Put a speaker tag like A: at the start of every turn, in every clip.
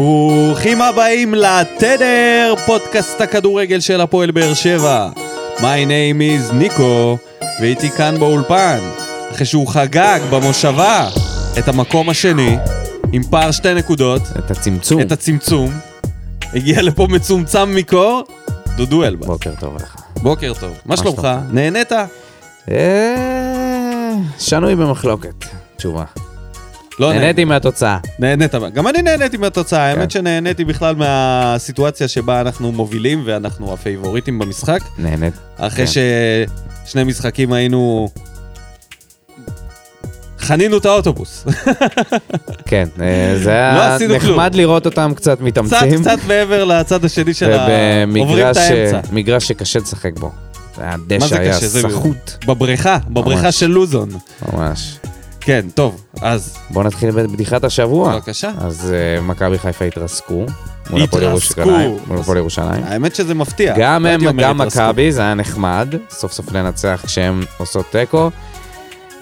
A: ברוכים הבאים לתדר, פודקאסט הכדורגל של הפועל באר שבע. My name is ניקו, והייתי כאן באולפן, אחרי שהוא חגג במושבה את המקום השני, עם פער שתי נקודות,
B: את הצמצום.
A: את הצמצום, הגיע לפה מצומצם מקור, דודו אלבה.
B: בוקר טוב לך.
A: בוקר טוב, מה שלומך?
B: שלומך?
A: נהנית? לא
B: אה, שנוי במחלוקת. תשובה.
A: לא
B: נהניתי מהתוצאה.
A: נהנית, גם אני נהניתי מהתוצאה, האמת
B: כן.
A: שנהניתי בכלל מהסיטואציה שבה אנחנו מובילים ואנחנו הפייבוריטים במשחק.
B: נהנית.
A: אחרי
B: כן.
A: ששני משחקים היינו... חנינו את האוטובוס.
B: כן, אה, זה
A: לא
B: היה
A: עשינו
B: נחמד לראות אותם קצת
A: קצת,
B: מתאמצים.
A: קצת מעבר לצד השני של ה... עוברים את
B: ובמגרש אה, ש-
A: האמצע.
B: מגרש שקשה לשחק בו.
A: מה זה
B: הדשא היה
A: קשה? זה-
B: סחוט.
A: בבריכה, בבריכה
B: ממש.
A: של לוזון.
B: ממש.
A: כן, טוב, אז
B: בואו נתחיל בבדיחת השבוע.
A: בבקשה.
B: אז אה, מכבי חיפה התרסקו. מול הפועל
A: אוקיי. התרסקו.
B: ירושלים. מול הפועל ירושלים.
A: האמת שזה מפתיע.
B: גם
A: הייתי
B: הם,
A: כן, אומר
B: גם
A: התרסקות.
B: מכבי, זה היה נחמד, סוף סוף לנצח כשהם עושות תיקו.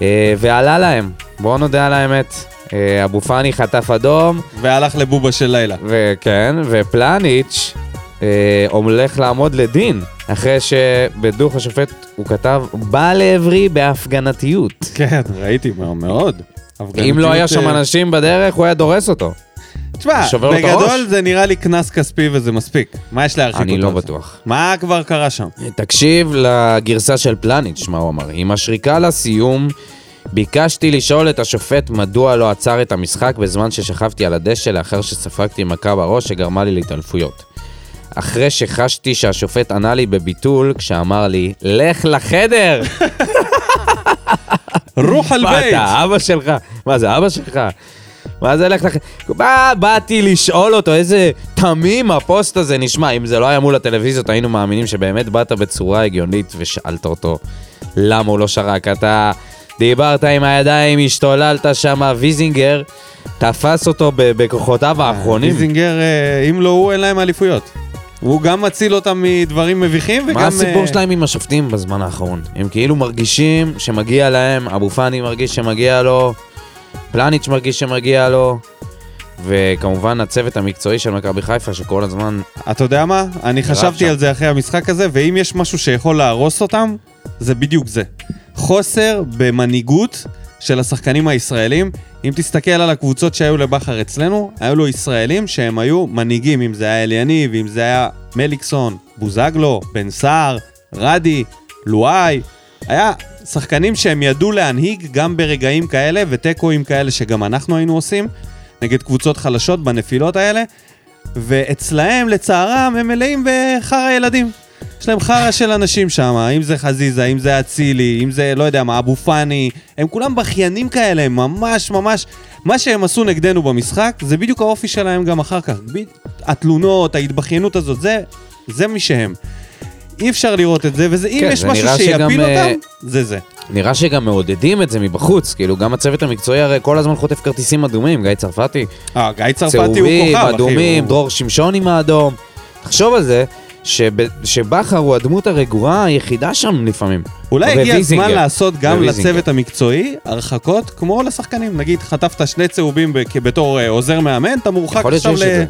B: אה, ועלה להם, בואו נודה על האמת. אה, אבו פאני חטף אדום,
A: והלך לבובה של לילה.
B: וכן, ופלניץ' אה, הולך לעמוד לדין, אחרי שבדוח השופט הוא כתב, בא לעברי בהפגנתיות.
A: כן, ראיתי מה- מאוד.
B: אם לא היה שם
A: הפגנתיות, אה,
B: אנשים בדרך, הוא היה דורס אותו.
A: תשמע,
B: שובר לו את
A: בגדול
B: הראש?
A: זה נראה לי קנס כספי וזה מספיק. מה יש להרחיק אותו?
B: אני לא
A: על זה?
B: בטוח.
A: מה כבר קרה שם?
B: תקשיב לגרסה של פלניץ', מה הוא אמר. עם השריקה לסיום, ביקשתי לשאול את השופט מדוע לא עצר את המשחק בזמן ששכבתי על הדשא לאחר שספגתי מכה בראש שגרמה לי להתעלפויות. אחרי שחשתי שהשופט ענה לי בביטול כשאמר לי, לך לחדר!
A: רוח על
B: מה
A: בית!
B: אתה, אבא שלך? מה זה, אבא שלך? מה זה לך לך... מה, באתי לשאול אותו, איזה תמים הפוסט הזה נשמע. אם זה לא היה מול הטלוויזיות, היינו מאמינים שבאמת באת בצורה הגיונית ושאלת אותו למה הוא לא שרק. אתה דיברת עם הידיים, השתוללת שם, ויזינגר תפס אותו ב- בכוחותיו האחרונים.
A: דיזינגר, אה, אם לא הוא, אין להם אליפויות. הוא גם מציל אותם מדברים מביכים וגם...
B: מה הסיפור
A: אה,
B: שלהם עם השופטים בזמן האחרון? הם כאילו מרגישים שמגיע להם, אבו פאני מרגיש שמגיע לו, פלניץ' מרגיש שמגיע לו, וכמובן הצוות המקצועי של מכבי חיפה שכל הזמן...
A: אתה יודע מה? אני חשבתי
B: שם.
A: על זה אחרי המשחק הזה, ואם יש משהו שיכול להרוס אותם, זה בדיוק זה. חוסר במנהיגות של השחקנים הישראלים. אם תסתכל על הקבוצות שהיו לבכר אצלנו, היו לו ישראלים שהם היו מנהיגים, אם זה היה אליניב, אם זה היה מליקסון, בוזגלו, בן סער, רדי, לואי. היה שחקנים שהם ידעו להנהיג גם ברגעים כאלה, ותיקואים כאלה שגם אנחנו היינו עושים, נגד קבוצות חלשות בנפילות האלה. ואצלהם, לצערם, הם מלאים בחרא ילדים. יש להם חרא של אנשים שם, אם זה חזיזה, אם זה אצילי, אם זה, לא יודע מה, אבו פאני, הם כולם בכיינים כאלה, הם ממש ממש... מה שהם עשו נגדנו במשחק, זה בדיוק האופי שלהם גם אחר כך. ב- התלונות, ההתבכיינות הזאת, זה, זה מי שהם. אי אפשר לראות את זה, וזה, אם
B: כן,
A: יש
B: זה
A: משהו
B: נראה
A: שיפיל
B: שגם, אה,
A: אותם, זה זה.
B: נראה שגם מעודדים את זה מבחוץ, כאילו גם הצוות המקצועי הרי כל הזמן חוטף כרטיסים אדומים, גיא צרפתי,
A: אה, גיא צרפתי הוא כוכב, אחי.
B: צהובים, אדומים,
A: הוא-
B: דרור שמשון עם האדום. תחשוב על זה. שב- שבכר הוא הדמות הרגועה היחידה שם לפעמים.
A: אולי הגיע הזמן
B: וויזינגר.
A: לעשות גם
B: וויזינגר.
A: לצוות המקצועי הרחקות כמו לשחקנים. נגיד, חטפת שני צהובים ב- כ- בתור אה, עוזר מאמן, אתה מורחק
B: יכול להיות
A: עכשיו ל...
B: שיש את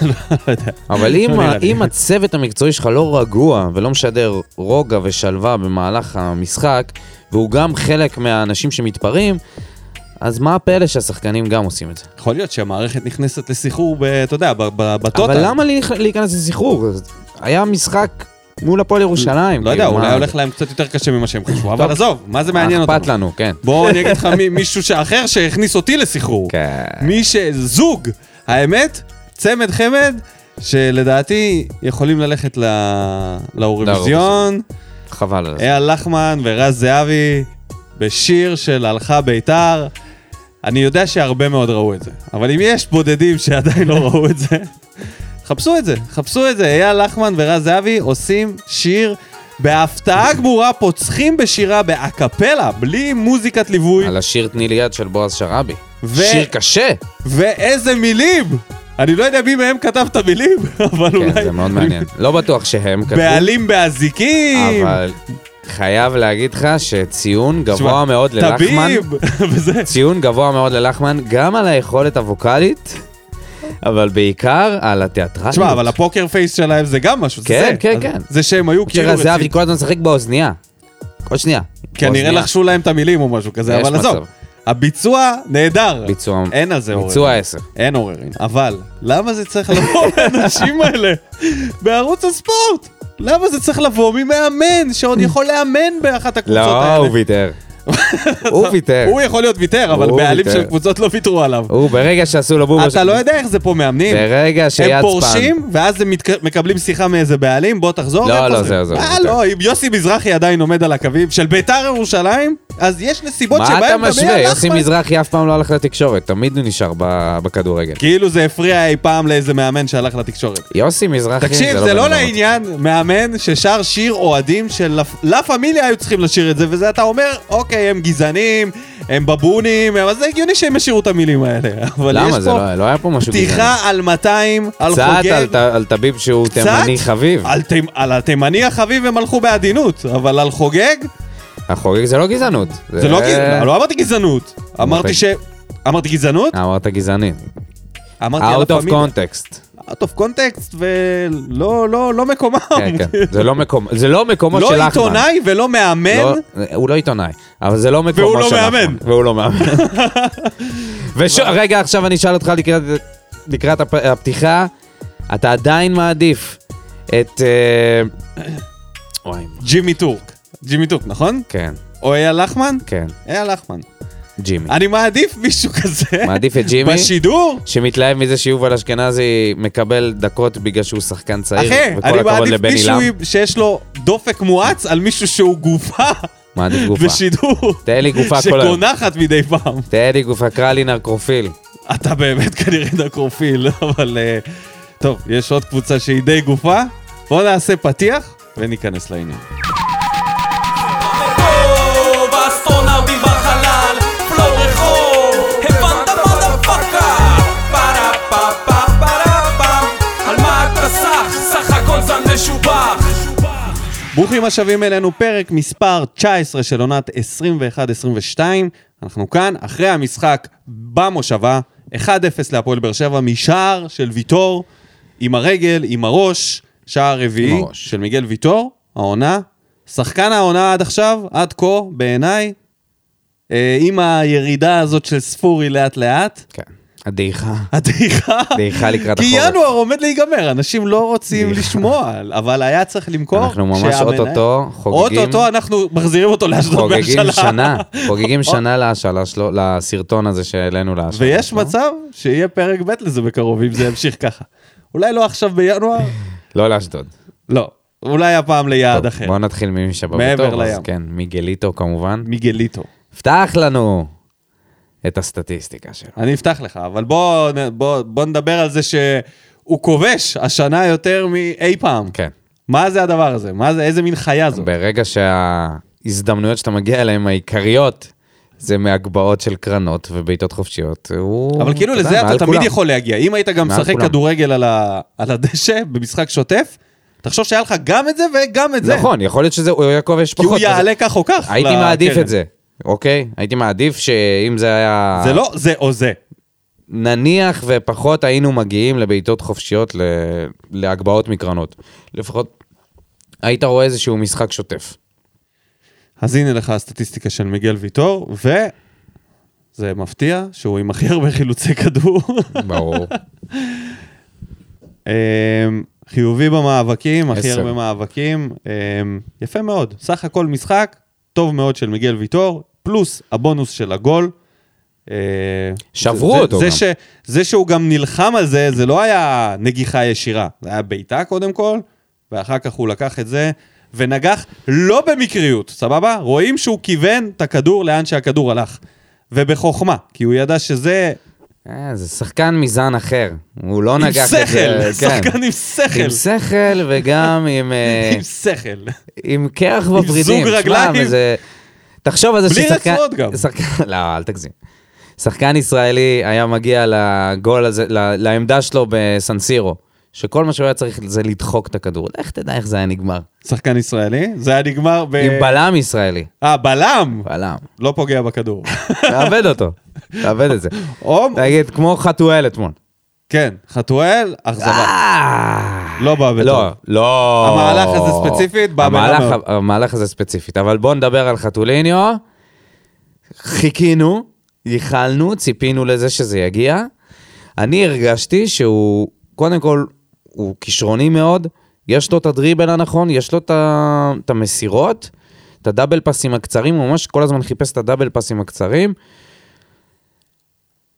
B: זה.
A: לא יודע.
B: אבל
A: לא
B: אם,
A: נראה
B: ה-
A: לי.
B: אם הצוות המקצועי שלך לא רגוע ולא משדר רוגע ושלווה במהלך המשחק, והוא גם חלק מהאנשים שמתפרעים, אז מה הפלא שהשחקנים גם עושים את זה?
A: יכול להיות שהמערכת נכנסת לסחרור, ב- אתה יודע, ב- ב- בטוטל.
B: אבל למה לי- להיכנס לסחרור? היה משחק מול הפועל ירושלים.
A: לא יודע,
B: כאילו,
A: אולי
B: מה-
A: הולך להם קצת יותר קשה ממה שהם חשבו, אבל
B: טוב.
A: עזוב, מה זה מעניין
B: אכפת
A: אותנו?
B: לנו, כן.
A: בוא אני אגיד לך מי- מישהו שאחר שהכניס אותי לסחרור.
B: כן.
A: מי ש... זוג, האמת, צמד חמד, שלדעתי יכולים ללכת ל- לאירוויזיון.
B: חבל על זה.
A: אייל לחמן ורז זהבי בשיר של הלכה ביתר. אני יודע שהרבה מאוד ראו את זה, אבל אם יש בודדים שעדיין לא ראו את זה, חפשו את זה, חפשו את זה. אייל לחמן ורז זהבי עושים שיר בהפתעה גמורה, פוצחים בשירה באקפלה, בלי מוזיקת ליווי,
B: על השיר תני לי יד של בועז שראבי.
A: אה, ו-
B: שיר קשה.
A: ואיזה מילים! אני לא יודע מי מהם כתב את המילים, אבל
B: כן,
A: אולי...
B: זה מאוד מעניין. לא בטוח שהם כתבו.
A: בעלים באזיקים,
B: אבל חייב להגיד לך שציון גבוה
A: תשמע,
B: מאוד ללחמן.
A: טביב, וזה...
B: ציון גבוה מאוד ללחמן, גם על היכולת הווקאלית אבל בעיקר על התיאטרליות.
A: תשמע, אבל הפוקר פייס שלהם זה גם משהו, זה
B: לא- כן,
A: זה.
B: כן,
A: אז
B: כן.
A: זה שהם היו כאילו...
B: תראה, זהבי
A: רציניים.
B: כל הזמן משחק באוזנייה. כל שנייה.
A: כנראה
B: באוזנייה.
A: לחשו להם את המילים או משהו כזה,
B: יש
A: אבל עזוב.
B: מצב.
A: הביצוע נהדר.
B: ביצוע-
A: אין על זה עוררין.
B: ביצוע עשר.
A: אין עוררין. אבל, למה זה צריך לבוא לאנשים האלה בערוץ הספורט? למה זה צריך לבוא ממאמן שעוד יכול לאמן באחת הקבוצות
B: לא,
A: האלה?
B: הוא ויתר. הוא ויתר.
A: הוא יכול להיות ויתר, אבל
B: הוא
A: בעלים
B: ויתר.
A: של קבוצות לא ויתרו עליו.
B: הוא ברגע שעשו לו בובה...
A: אתה לא יודע איך זה פה מאמנים.
B: ברגע
A: הם
B: שיצפן...
A: פורשים, ואז הם מתק- מקבלים שיחה מאיזה בעלים, בוא תחזור.
B: לא,
A: והם
B: לא,
A: חוזרים.
B: זהו, זהו,
A: אה,
B: זהו.
A: לא, אם יוסי מזרחי עדיין עומד על הקווים של ביתר ירושלים, אז יש נסיבות
B: מה
A: שבהן...
B: אתה
A: גם היה
B: משווה? יוסי
A: לחמן.
B: מזרחי אף פעם לא הלך לתקשורת, תמיד הוא נשאר ב- בכדורגל.
A: כאילו זה הפריע אי פעם לאיזה מאמן שהלך לתקשורת.
B: יוסי מזרחי...
A: תקשיב, זה
B: בן
A: לא
B: אדם.
A: לעניין מאמן ששר שיר אוהדים של לה- לה פמיליה היו צריכים לשיר את זה, וזה אתה אומר, אוקיי, הם גזענים, הם בבונים, אבל זה הגיוני שהם השאירו את המילים האלה. אבל יש
B: למה? זה
A: פה
B: לא לא היה פה משהו גזעני.
A: פתיחה על 200, על
B: קצת
A: חוגג.
B: על ת- על תביב שהוא
A: קצת?
B: תימני חביב.
A: על, תימ... על התימני החביב הם הלכו בעדינות, אבל על חוגג
B: החוגג זה לא גזענות.
A: זה לא גזענות, לא אמרתי גזענות,
B: אוקיי.
A: אמרתי ש... אמרתי גזענות?
B: אה, אמרת גזעני.
A: אמרתי על
B: אה, Out of
A: הפמיל-
B: context.
A: out of context ולא לא, לא מקומם.
B: כן, כן. זה לא מקום- זה לא מקומו של
A: לא
B: אחמד.
A: עיתונאי ולא מאמן,
B: לא- הוא לא עיתונאי, אבל זה לא מקומו של...
A: והוא לא
B: אחמד.
A: מאמן.
B: והוא לא מאמן. וש- רגע, עכשיו אני אשאל אותך לקראת- לקראת הפ- הפתיחה, אתה עדיין מעדיף את... אה, וואי, מה-
A: ג'ימי טורק. ג'ימי טורק, נכון?
B: כן,
A: או אייל לחמן?
B: כן,
A: אייל לחמן.
B: ג'ימי.
A: אני מעדיף מישהו כזה.
B: מעדיף את ג'ימי,
A: בשידור?
B: שמתלהב מזה שיובל אשכנזי מקבל דקות בגלל שהוא שחקן צעיר,
A: אחי,
B: וכל
A: אני
B: הכבוד
A: מעדיף
B: לבני
A: מישהו
B: לם.
A: עם- שיש לו דופק מואץ על מישהו שהוא גופה
B: מעדיף גופה.
A: בשידור.
B: תן לי גופה כל היום.
A: שקונחת מדי פעם.
B: תן לי גופה, קרא לי נרקרופיל.
A: אתה באמת כנראה נקרופיל, אבל... אה, טוב, יש עוד קבוצה שהיא די גופה. בואו נעשה פתיח וניכנס לעניין.
C: רחוב, האסטרונאוטים בחלל, פלוט רחוב, הבנת מה פרה פה פה פרה פם, על מה אתה סח? סך הכל זן משובח.
A: ברוכים השבים אלינו, פרק מספר 19 של עונת 21-22. אנחנו כאן, אחרי המשחק במושבה, 1-0 להפועל באר שבע, משער של ויטור, עם הרגל, עם הראש, שער רביעי
B: עם הראש.
A: של מיגל ויטור, העונה. שחקן העונה עד עכשיו, עד כה, בעיניי, אה, עם הירידה הזאת של ספורי לאט-לאט.
B: כן. הדעיכה.
A: הדעיכה.
B: דעיכה לקראת
A: כי
B: החורף.
A: ינואר עומד להיגמר, אנשים לא רוצים לשמוע, אבל היה צריך למכור.
B: אנחנו ממש
A: שהמנהל-
B: אוטוטו חוגגים-
A: אוטוטו אנחנו מחזירים אותו לאשדוד
B: חוגגים
A: בהשאלה.
B: שנה, חוגגים שנה להשאלה שלו, לסרטון הזה שהעלינו להשאלה.
A: ויש
B: שלו.
A: מצב שיהיה פרק ב' לזה בקרוב, אם זה ימשיך ככה. אולי לא עכשיו בינואר,
B: לא לאשדוד.
A: לא. אולי הפעם ליעד אחר.
B: בואו נתחיל ממי שבא
A: מעבר
B: בתור, אז
A: לים.
B: כן, מיגליטו כמובן.
A: מיגליטו.
B: פתח לנו את הסטטיסטיקה שלו.
A: אני אפתח לך, אבל בוא, נ- בוא, בוא נדבר על זה שהוא כובש השנה יותר מאי פעם.
B: כן.
A: מה זה הדבר הזה? מה זה, איזה מין חיה זאת?
B: ברגע שההזדמנויות שאתה מגיע אליהן העיקריות, זה מהגבהות של קרנות ובעיטות חופשיות, הוא...
A: אבל כאילו
B: יודע,
A: לזה אתה
B: מעל
A: תמיד
B: כולם.
A: יכול להגיע. אם היית גם
B: מעל
A: משחק
B: כולם.
A: כדורגל על ה- על הדשא במשחק שוטף, תחשוב שהיה לך גם את זה וגם את זה.
B: נכון, יכול להיות שזה, הוא היה כובש
A: כי
B: פחות.
A: הוא
B: אז-
A: יעלה כך או כך.
B: הייתי
A: לקרן.
B: מעדיף את זה, אוקיי? הייתי מעדיף שאם זה היה...
A: זה לא זה או זה.
B: נניח ופחות היינו מגיעים לבעיטות חופשיות ל... להגבהות מקרנות. לפחות היית רואה איזשהו משחק שוטף.
A: אז הנה לך הסטטיסטיקה של מיגל ויטור, ו... זה מפתיע שהוא עם הכי הרבה חילוצי כדור.
B: ברור.
A: אמ, חיובי במאבקים, הכי
B: עשר.
A: הרבה מאבקים. אמ, יפה מאוד. סך הכל משחק טוב מאוד של מיגל ויטור, פלוס הבונוס של הגול. אה,
B: שברו
A: זה- זה-
B: אותו
A: זה
B: גם.
A: ש, זה שהוא גם נלחם על זה, זה לא היה נגיחה ישירה. זה היה בעיטה קודם כל, ואחר כך הוא לקח את זה ונגח לא במקריות, סבבה? רואים שהוא כיוון את הכדור לאן שהכדור הלך. ובחוכמה, כי הוא ידע שזה
B: אה, זה שחקן מזן אחר. הוא לא
A: עם
B: נגח את זה.
A: שכל,
B: כן.
A: שחקן עם שכל.
B: עם שכל וגם עם, אה,
A: עם שכל.
B: עם קרח בוורידים.
A: זוג
B: שמע,
A: רגליים.
B: וזה- תחשוב על זה
A: בלי
B: ששחקן...
A: רצועות גם.
B: שחקן- לא, אל תגזים. שחקן ישראלי היה מגיע לגול הזה, ל- לעמדה שלו בסנסירו, שכל מה שהוא היה צריך זה לדחוק את הכדור. לך תדע איך זה היה נגמר.
A: שחקן ישראלי, זה היה נגמר ב...
B: עם בלם ישראלי.
A: אה, בלם!
B: בלם.
A: לא פוגע בכדור.
B: תאבד אותו. תאבד את זה.
A: או...
B: תגיד, כמו חתואל אתמול.
A: כן, חתואל, אכזבה.
B: אה.
A: לא בא בטוב.
B: לא, לא.
A: המהלך הזה ספציפית בא
B: המהלך-
A: ברע מאוד.
B: המהלך הזה ספציפית, אבל בואו נדבר על חתוליניו. חיכינו, ייחלנו, ציפינו לזה שזה יגיע. אני הרגשתי שהוא, קודם כל, הוא כישרוני מאוד, יש לו את הדריבל הנכון, יש לו את ה- את המסירות, את הדאבל פסים הקצרים, הוא ממש כל הזמן חיפש את הדאבל פסים הקצרים.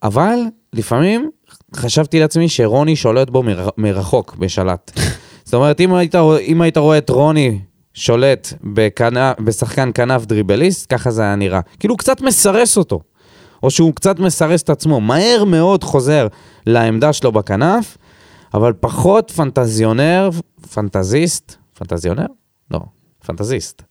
B: אבל לפעמים חשבתי לעצמי שרוני שולט בו מר... מרחוק בשלט. זאת אומרת, אם היית, רוא- אם היית רואה את רוני שולט בכנף, בשחקן כנף דריבליסט, ככה זה היה נראה. כאילו הוא קצת מסרס אותו, או שהוא קצת מסרס את עצמו. מהר מאוד חוזר לעמדה שלו בכנף, אבל פחות פנטזיונר, פנטזיסט, פנטזיונר? לא, פנטזיסט.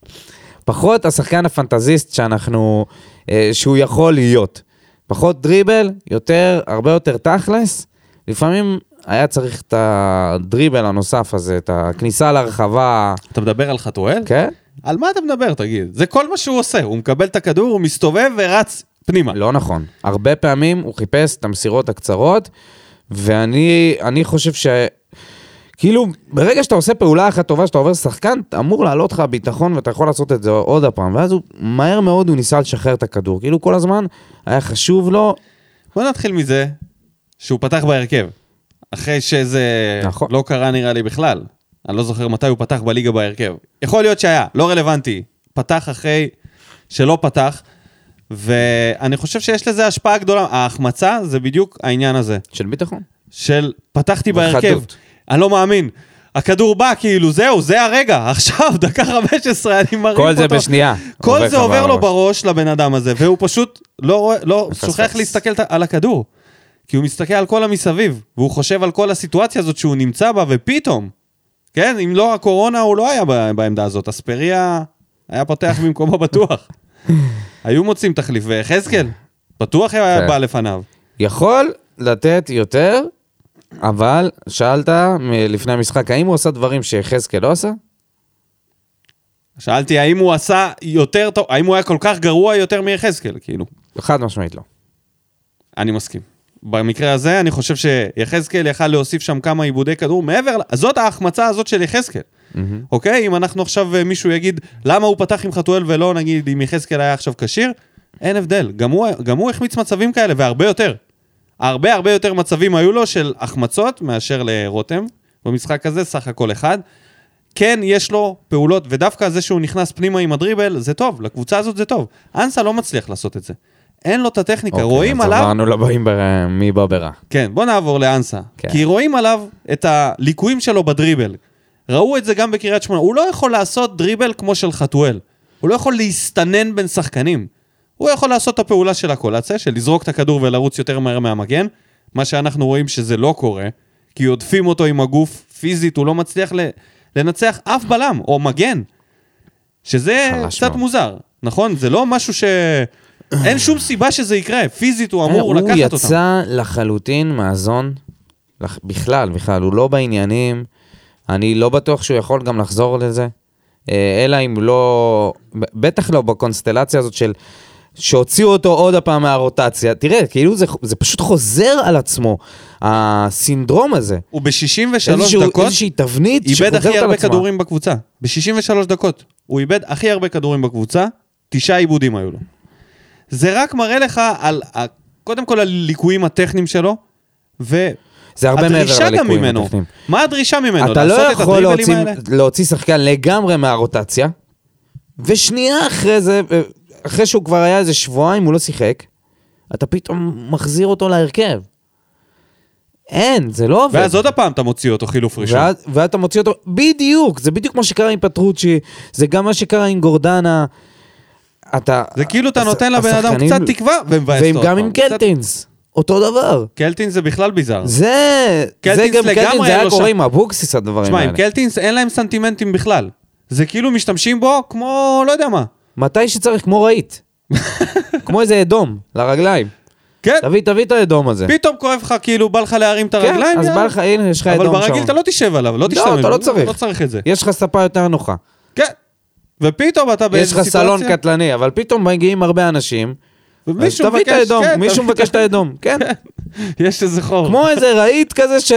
B: פחות השחקן הפנטזיסט שאנחנו, אה, שהוא יכול להיות. פחות דריבל, יותר, הרבה יותר תכלס. לפעמים היה צריך את הדריבל הנוסף הזה, את הכניסה להרחבה.
A: אתה מדבר על חתואל?
B: כן?
A: על מה אתה מדבר, תגיד? זה כל מה שהוא עושה, הוא מקבל את הכדור, הוא מסתובב ורץ פנימה.
B: לא נכון. הרבה פעמים הוא חיפש את המסירות הקצרות, ואני אני חושב ש... כאילו, ברגע שאתה עושה פעולה אחת טובה, שאתה עובר שחקן, אמור לעלות לך הביטחון ואתה יכול לעשות את זה עוד הפעם. ואז הוא, מהר מאוד הוא ניסה לשחרר את הכדור. כאילו, כל הזמן היה חשוב לו
A: בוא נתחיל מזה שהוא פתח בהרכב. אחרי שזה
B: נכון.
A: לא קרה נראה לי בכלל. אני לא זוכר מתי הוא פתח בליגה בהרכב. יכול להיות שהיה, לא רלוונטי. פתח אחרי שלא פתח, ואני חושב שיש לזה השפעה גדולה. ההחמצה זה בדיוק העניין הזה,
B: של ביטחון.
A: של פתחתי
B: וחדות.
A: בהרכב, אני לא מאמין. הכדור בא, כאילו, זהו, זה הרגע, עכשיו, דקה 15, אני מרים אותו.
B: כל זה בשנייה.
A: כל זה
B: לך
A: עובר לו
B: בראש.
A: בראש לבן אדם הזה, והוא פשוט לא רואה, לא
B: מפספס.
A: שוכח להסתכל על הכדור. כי הוא מסתכל על כל המסביב, והוא חושב על כל הסיטואציה הזאת שהוא נמצא בה, ופתאום, כן, אם לא הקורונה, הוא לא היה ב- בעמדה הזאת. אספריה היה פותח במקומו בטוח. היו מוצאים תחליף, ויחזקאל, בטוח היה
B: כן.
A: בא לפניו.
B: יכול לתת יותר, אבל שאלת מ- לפני המשחק, האם הוא עשה דברים שיחזקאל לא עשה?
A: שאלתי האם הוא עשה יותר טוב, האם הוא היה כל כך גרוע יותר מיחזקאל, כאילו.
B: חד משמעית לא.
A: אוקיי, אני מסכים. במקרה הזה, אני חושב שיחזקאל יכל להוסיף שם כמה עיבודי כדור מעבר, ל- זאת ההחמצה הזאת של יחזקאל, אוקיי? אם אנחנו עכשיו, אה, מישהו יגיד, למה הוא פתח עם חתואל ולא, נגיד, אם יחזקאל היה עכשיו כשיר, אין הבדל. גם הוא, גם הוא החמיץ מצבים כאלה, והרבה יותר. הרבה הרבה יותר מצבים היו לו של החמצות מאשר לרותם. במשחק הזה, סך הכל אחד. כן, יש לו פעולות, ודווקא זה שהוא נכנס פנימה עם הדריבל, זה טוב, לקבוצה הזאת זה טוב. אנסה לא מצליח לעשות את זה. אין לו את הטכניקה,
B: אוקיי,
A: רואים
B: אז
A: עליו
B: עברנו לבאים בר... מי בא ברע.
A: כן, בוא נעבור לאנסה. כן.
B: כן.
A: כי רואים עליו את הליקויים שלו בדריבל. ראו את זה גם בקריית שמונה. הוא לא יכול לעשות דריבל כמו של חתואל. הוא לא יכול להסתנן בין שחקנים. הוא יכול לעשות את הפעולה של הקולציה, של לזרוק את הכדור ולרוץ יותר מהר מהמגן, מה שאנחנו רואים שזה לא קורה, כי יודפים אותו עם הגוף פיזית, הוא לא מצליח ל- לנצח אף בלם או מגן. שזה
B: חלש
A: קצת
B: מאוד.
A: מוזר, נכון? זה לא משהו ש... אין שום סיבה שזה יקרה, פיזית הוא אמור לקחת
B: אה, הוא
A: אותם.
B: יצא לחלוטין מהזון, לח- בכלל, בכלל, הוא לא בעניינים. אני לא בטוח שהוא יכול גם לחזור לזה. אה, אלא אם לא, ב- בטח לא בקונסטלציה הזאת של... שהוציאו אותו עוד הפעם מהרוטציה. תראה, כאילו זה, זה פשוט חוזר על עצמו, הסינדרום הזה.
A: הוא ב-63
B: איזשהו,
A: דקות
B: איזושהי תבנית
A: איבד הכי
B: שחוזרת על
A: הרבה
B: עצמה.
A: כדורים בקבוצה. ב-63 דקות הוא איבד הכי הרבה כדורים בקבוצה, תשעה עיבודים היו לו. זה רק מראה לך על, ה- קודם כל, הליקויים הטכניים שלו, והדרישה
B: זה הרבה מעבר
A: גם
B: לליקויים
A: ממנו.
B: הטכניים.
A: מה הדרישה ממנו?
B: אתה לא
A: לעשות את
B: יכול
A: הדריבלים
B: להוציא,
A: האלה?
B: להוציא שחקן לגמרי מהרוטציה, ושנייה אחרי זה, אה, אחרי שהוא כבר היה איזה שבועיים, הוא לא שיחק, אתה פתאום מחזיר אותו להרכב. אין, זה לא עובד.
A: ואז עוד הפעם אתה מוציא אותו חילוף ראשון.
B: ואז- ואתה מוציא אותו, בדיוק, זה בדיוק מה שקרה עם פטרוצ'י, זה גם מה שקרה עם גורדנה. אתה...
A: זה כאילו אתה
B: הש-
A: נותן לבן אדם
B: השחקנים-
A: קצת תקווה, ומבאס אותו.
B: ועם-
A: עוד
B: גם עם
A: פעם. קצת-
B: קלטינס, אותו דבר.
A: קלטין זה בכלל ביזאר.
B: זה, זה
A: קלטינס
B: גם
A: לגמרי
B: קלטינס, זה
A: היה
B: היה
A: לו
B: קורה
A: שם.
B: עם אבוקסיס הדברים
A: תשמע,
B: האלה.
A: עם קלטינס אין להם סנטימנטים בכלל. זה כאילו משתמשים בו כמו, לא יודע מה.
B: מתי שצריך, כמו רהיט. כמו איזה אדום, לרגליים.
A: כן,
B: תביא, תביא את האדום הזה.
A: פתאום כואב לך, כאילו, בא לך להרים את
B: כן,
A: הרגליים,
B: אז
A: יאללה.
B: בא לך, הנה, יש לך אדום
A: אבל
B: שם.
A: ברגיל אתה לא תשב עליו, לא תשתמש.
B: אתה
A: בו,
B: לא צריך.
A: לא צריך את זה.
B: יש לך ספה יותר נוחה.
A: כן. ופתאום אתה באיזה
B: יש לך
A: סיטואציה...
B: סלון קטלני, אבל פתאום מגיעים הרבה אנשים. אז
A: ומישהו
B: תביא את
A: מבקש,
B: האדום,
A: כן,
B: מישהו
A: תביא-
B: מבקש את האדום, כן.
A: יש איזה חור.
B: כמו איזה רהיט כזה ש...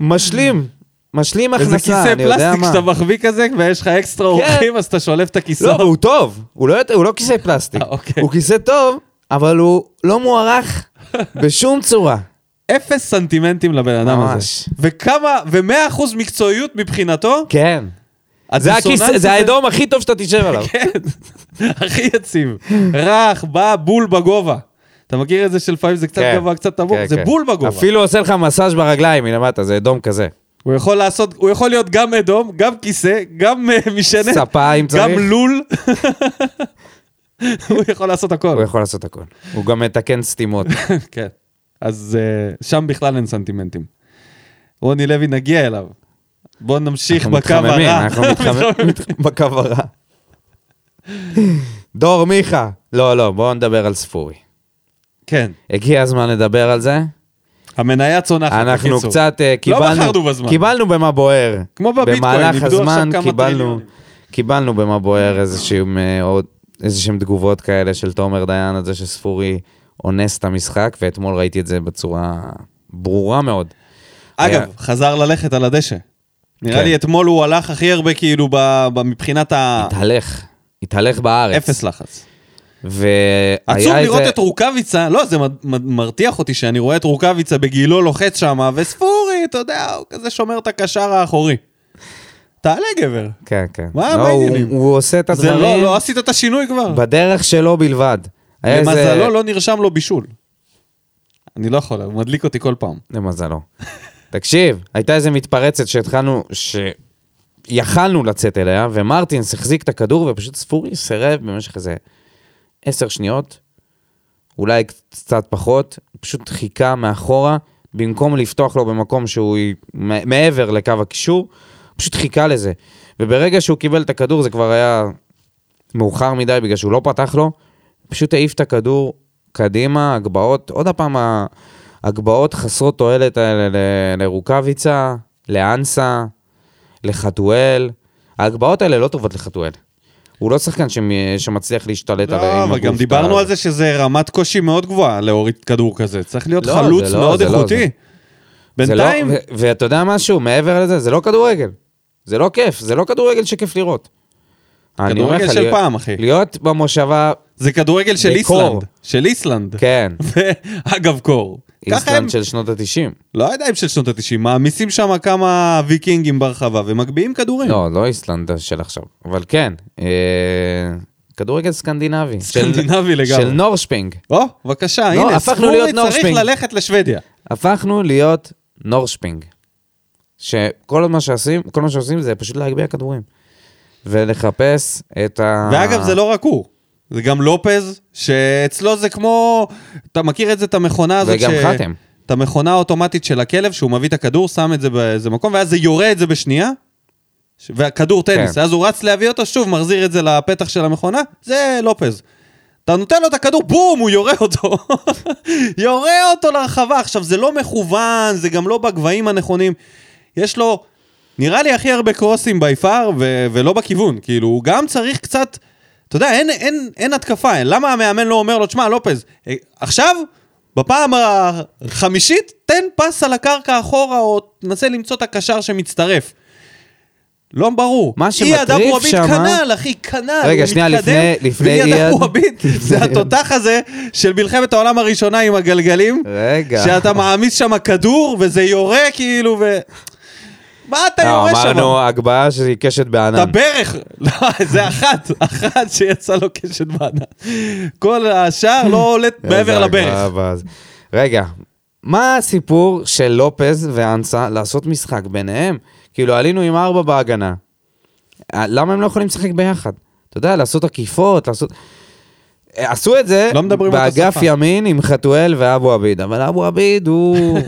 B: משלים, משלים
A: איזה
B: הכנסה,
A: כיסא
B: אני יודע
A: פלסטיק
B: מה. כן.
A: שאתה מחביא כזה, ויש לך אקסטרה אורחים, אז אתה שולף את הכיסא.
B: לא, הוא טוב, הוא לא, הוא לא כיסא פלסטיק.
A: אה, אוקיי.
B: הוא כיסא טוב, אבל הוא לא מוערך בשום צורה.
A: אפס סנטימנטים לבן אדם הזה.
B: ממש.
A: וכמה, ומאה אחוז מקצועיות מבחינתו,
B: כן. זה
A: הדיסוננס
B: הכיסא,
A: הזה-
B: זה האדום הכי טוב שאתה תשב עליו.
A: כן, הכי יציב. רך, בא, בול בגובה. אתה מכיר את זה שלפעמים זה קצת
B: כן.
A: גבוה, קצת נמוך?
B: כן,
A: זה
B: כן.
A: בול בגובה.
B: אפילו עושה לך מסאז' ברגליים מלמטה, זה אדום כזה.
A: הוא יכול לעשות, הוא יכול להיות גם אדום, גם כיסא, גם אה, משענת,
B: ספה אם צריך.
A: גם לא. לול. הוא יכול לעשות
B: הוא
A: הכל.
B: יכול לעשות הכל. הוא גם מתקן סתימות.
A: כן. אז אה, שם בכלל אין סנטימנטים. רוני לוי, נגיע אליו. בואו נמשיך
B: אנחנו
A: בקו
B: מתחממים,
A: הרע.
B: אנחנו מתחממים בקו הרע. דור מיכה. לא, לא, בואו נדבר על ספורי.
A: כן,
B: הגיע הזמן לדבר על זה.
A: המניה צונחת.
B: אנחנו
A: בקיצור.
B: קצת אה, קיבלנו...
A: לא בחרנו בזמן.
B: קיבלנו במה בוער.
A: כמו בביטקוין,
B: במהלך
A: איבדו עכשיו
B: הזמן
A: כמה
B: קיבלנו...
A: טריליונים.
B: קיבלנו במה בוער איזשהם, אה, עוד- איזשהם תגובות כאלה של תומר דיין על זה שספורי אונס את המשחק, ואתמול ראיתי את זה בצורה ברורה מאוד. היה-
A: אגב, חזר ללכת על הדשא. נראה
B: אה, כן.
A: לי אתמול הוא הלך הכי הרבה כאילו ב- ב- מבחינת
B: התהלך, התהלך בארץ.
A: האפס לחץ.
B: והיה
A: לא. עצוב
B: איזה-
A: לראות את רוקאביצה, לא, זה מד- מד- מרתיח אותי שאני רואה את רוקאביצה בגילו לוחץ שם, וספורי, אתה יודע, הוא כזה שומר את הקשר האחורי. תעלה גבר.
B: כן, כן.
A: מה-
B: לא,
A: מה
B: הוא-
A: העניינים?
B: הוא עושה את
A: זה לא,
B: הדברים
A: לא עשית את השינוי כבר.
B: בדרך שלו בלבד. היה איזה-
A: למזלו לא נרשם לו בישול. אני לא יכול, הוא מדליק אותי כל פעם.
B: למזלו. תקשיב, הייתה איזה מתפרצת שהתחלנו, שיכלנו לצאת אליה, ומרטינס החזיק את הכדור, ופשוט ספורי סירב במשך איזה עשר שניות, אולי קצת פחות, הוא פשוט חיכה מאחורה, במקום לפתוח לו במקום שהוא י- מ- מעבר לקו הקישור, הוא פשוט חיכה לזה. וברגע שהוא קיבל את הכדור זה כבר היה מאוחר מדי בגלל שהוא לא פתח לו, פשוט העיף את הכדור קדימה, הגבהות, עוד הפעם ההגבהות חסרות תועלת האלה ל- לרוקאביצה, לאנסה, לחתואל. ההגבהות האלה לא טובות לחתואל. הוא לא שחקן שמ... שמצליח להשתלט על... עם
A: לא, אבל
B: הגוף
A: גם
B: ב-
A: דיברנו על זה שזה רמת קושי מאוד גבוהה להוריד כדור כזה. צריך להיות
B: לא,
A: חלוץ
B: זה לא,
A: מאוד
B: זה לא,
A: איכותי.
B: זה- זה
A: בינתיים,
B: לא, ו- ואתה יודע משהו, מעבר לזה, זה לא כדורגל. זה לא כיף, זה לא כדורגל שכיף לראות. אני אומר
A: כדורגל
B: לך,
A: של
B: להיות-
A: פעם, אחי.
B: להיות במושבה,
A: זה כדורגל של
B: בקור.
A: איסלנד. של איסלנד.
B: כן,
A: אגב קור. ככה הם,
B: איסלנד של שנות ה-90.
A: לא יודע אם של שנות ה-90, מעמיסים שם כמה ויקינגים ברחבה ומגביהים כדורים.
B: לא, לא איסלנד של עכשיו, אבל כן, אה, כדורגל סקנדינבי. של-
A: סקנדינבי לגמרי.
B: של נורשפינג.
A: או, בבקשה,
B: לא,
A: הנה,
B: הפכנו להיות
A: ספורי צריך
B: נורשפינג.
A: ללכת לשוודיה.
B: הפכנו להיות נורשפינג. שכל מה שעושים, כל מה שעושים זה פשוט להגביה כדורים. ולחפש את ה...
A: ואגב, זה לא רק הוא. זה גם לופז, שאצלו זה כמו... אתה מכיר את זה, את המכונה הזאת
B: וגם חתם.
A: את המכונה האוטומטית של הכלב, שהוא מביא את הכדור, שם את זה באיזה מקום, ואז זה יורה את זה בשנייה, ש- והכדור טניס.
B: כן.
A: אז הוא רץ להביא אותו, שוב מחזיר את זה לפתח של המכונה, זה לופז. אתה נותן לו את הכדור, בום, הוא יורה אותו. יורה אותו לרחבה. עכשיו, זה לא מכוון, זה גם לא בגבהים הנכונים. יש לו, נראה לי, הכי הרבה קרוסים בי פאר, ו- ולא בכיוון. כאילו, הוא גם צריך קצת... אתה יודע, אין, אין, אין התקפה, אין. למה המאמן לא אומר לו, תשמע, לופז, אה, עכשיו, בפעם החמישית, תן פס על הקרקע אחורה, או תנסה למצוא את הקשר שמצטרף. לא ברור.
B: מה
A: אייד
B: שמטריף
A: אבו עביד
B: שמה-
A: כנ"ל, אחי, כנ"ל.
B: רגע,
A: הוא
B: שנייה,
A: מתקדם,
B: לפני- לפני
A: ואייד
B: אייד-
A: אבו עביד, זה התותח הזה של מלחמת העולם הראשונה עם הגלגלים.
B: רגע.
A: שאתה מעמיס שם כדור, וזה יורה כאילו, ו... מה אתה
B: לא,
A: יורה שם?
B: אמרנו הגבהה שהיא קשת
A: את
B: בענן.
A: הברך, לא, זה אחת, אחת שיצא לו קשת בענן. כל השאר לא עולת מעבר
B: איזה
A: לברך.
B: הגבהה ואז- רגע, מה הסיפור של לופז ואנסה לעשות משחק ביניהם? כאילו, עלינו עם ארבע בהגנה. אה, למה הם לא יכולים לשחק ביחד? אתה יודע, לעשות עקיפות, לעשות... אה, עשו את זה
A: לא מדברים אותה
B: באגף
A: שפה.
B: ימין עם חתואל ואבו עביד, אבל אבו עביד הוא...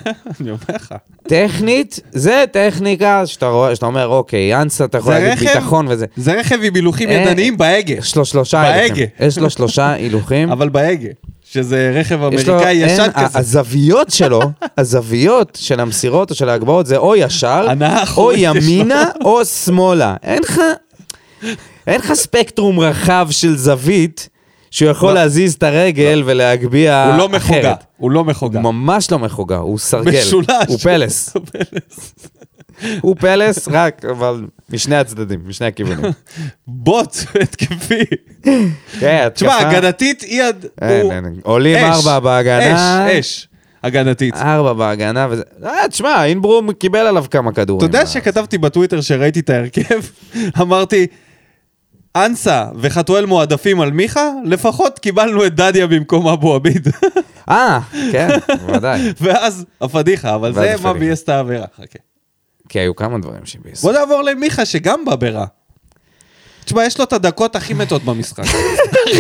A: אני אומר לך.
B: טכנית, זה טכניקה שאתה רואה, שאתה אומר, אוקיי, אנסה, אתה יכול
A: זה
B: להגיד
A: רכב-
B: ביטחון וזה.
A: זה רכב עם הילוכים
B: אה,
A: ידניים בהגה,
B: יש לו שלושה
A: בהגה.
B: הילוכים. יש לו שלושה הילוכים.
A: אבל בהגה. שזה רכב
B: יש לו-
A: אמריקאי ישן
B: אין,
A: כזה.
B: הזוויות שלו, הזוויות של המסירות או של ההגבהות זה או ישר,
A: הנאה
B: או
A: אחורית יש לו.
B: ימינה, או שמאלה. אין לך, אין לך ספקטרום רחב של זווית שהוא יכול להזיז את הרגל
A: לא.
B: ולהגביה אחרת.
A: הוא לא מחוגה, הוא לא מחוגה.
B: הוא ממש לא מחוגה, הוא סרגל.
A: משולש.
B: הוא פלס. הוא פלס, רק, אבל משני הצדדים, משני הכיוונים.
A: בוט התקפי.
B: כן, התקפה-
A: תשמע, הגנתית היא עד...
B: אין,
A: הוא-
B: אין, עולים
A: אש,
B: ארבע בהגנה.
A: אש,
B: אה,
A: אש, הגנתית.
B: ארבע בהגנה וזה... אה, תשמע, אינברום קיבל עליו כמה כדורים.
A: אתה יודע
B: אה.
A: שכתבתי בטוויטר שראיתי את ההרכב, אמרתי, אנסה וחתואל מועדפים על מיכה, לפחות קיבלנו את דדיה במקום אבו עביד.
B: אה, כן, בוודאי.
A: ואז הפדיחה, אבל
B: ואז
A: זה מה
B: הפדיחה.
A: ביאס את העבירה. חכה.
B: כי היו כמה דברים שביסו.
A: בוא נעבור למיכה שגם בא ברע. תשמע, יש לו את הדקות הכי מתות במשחק.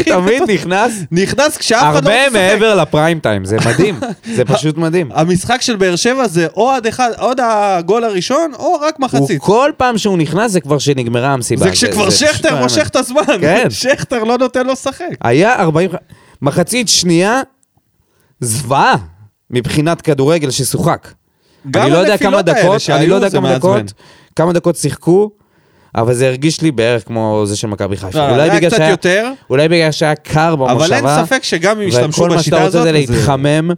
B: תמיד נכנס
A: נכנס כשאף אחד לא
B: הרבה
A: משחק.
B: מעבר לפריים טיים, זה מדהים. זה פשוט מדהים.
A: המשחק של באר שבע זה או עד אחד, עוד הגול הראשון, או רק
B: הוא
A: מחצית.
B: כל פעם שהוא נכנס זה כבר שנגמרה המסיבה.
A: זה כשכבר שכטר
B: פשוט
A: מושך את הזמן.
B: כן.
A: שכטר לא נותן לו לשחק.
B: היה 40... מחצית שנייה, זוועה, מבחינת כדורגל ששוחק.
A: גם
B: אני לא יודע
A: הנפילות
B: כמה
A: האלה
B: דקות, אני
A: שהיו,
B: לא יודע
A: זה
B: כמה
A: מעצבן.
B: דקות, כמה דקות שיחקו, אבל זה הרגיש לי בערך כמו זה של מכבי חיפה.
A: לא,
B: אולי
A: היה
B: בגלל
A: קצת
B: שהיה-
A: יותר.
B: אולי בגלל שהיה קר במושבה.
A: אבל אין ספק שגם אם ישתמשו
B: וכל מה
A: בשיטה
B: שאתה רוצה
A: הזאת,
B: זה
A: אז זה-
B: להתחמם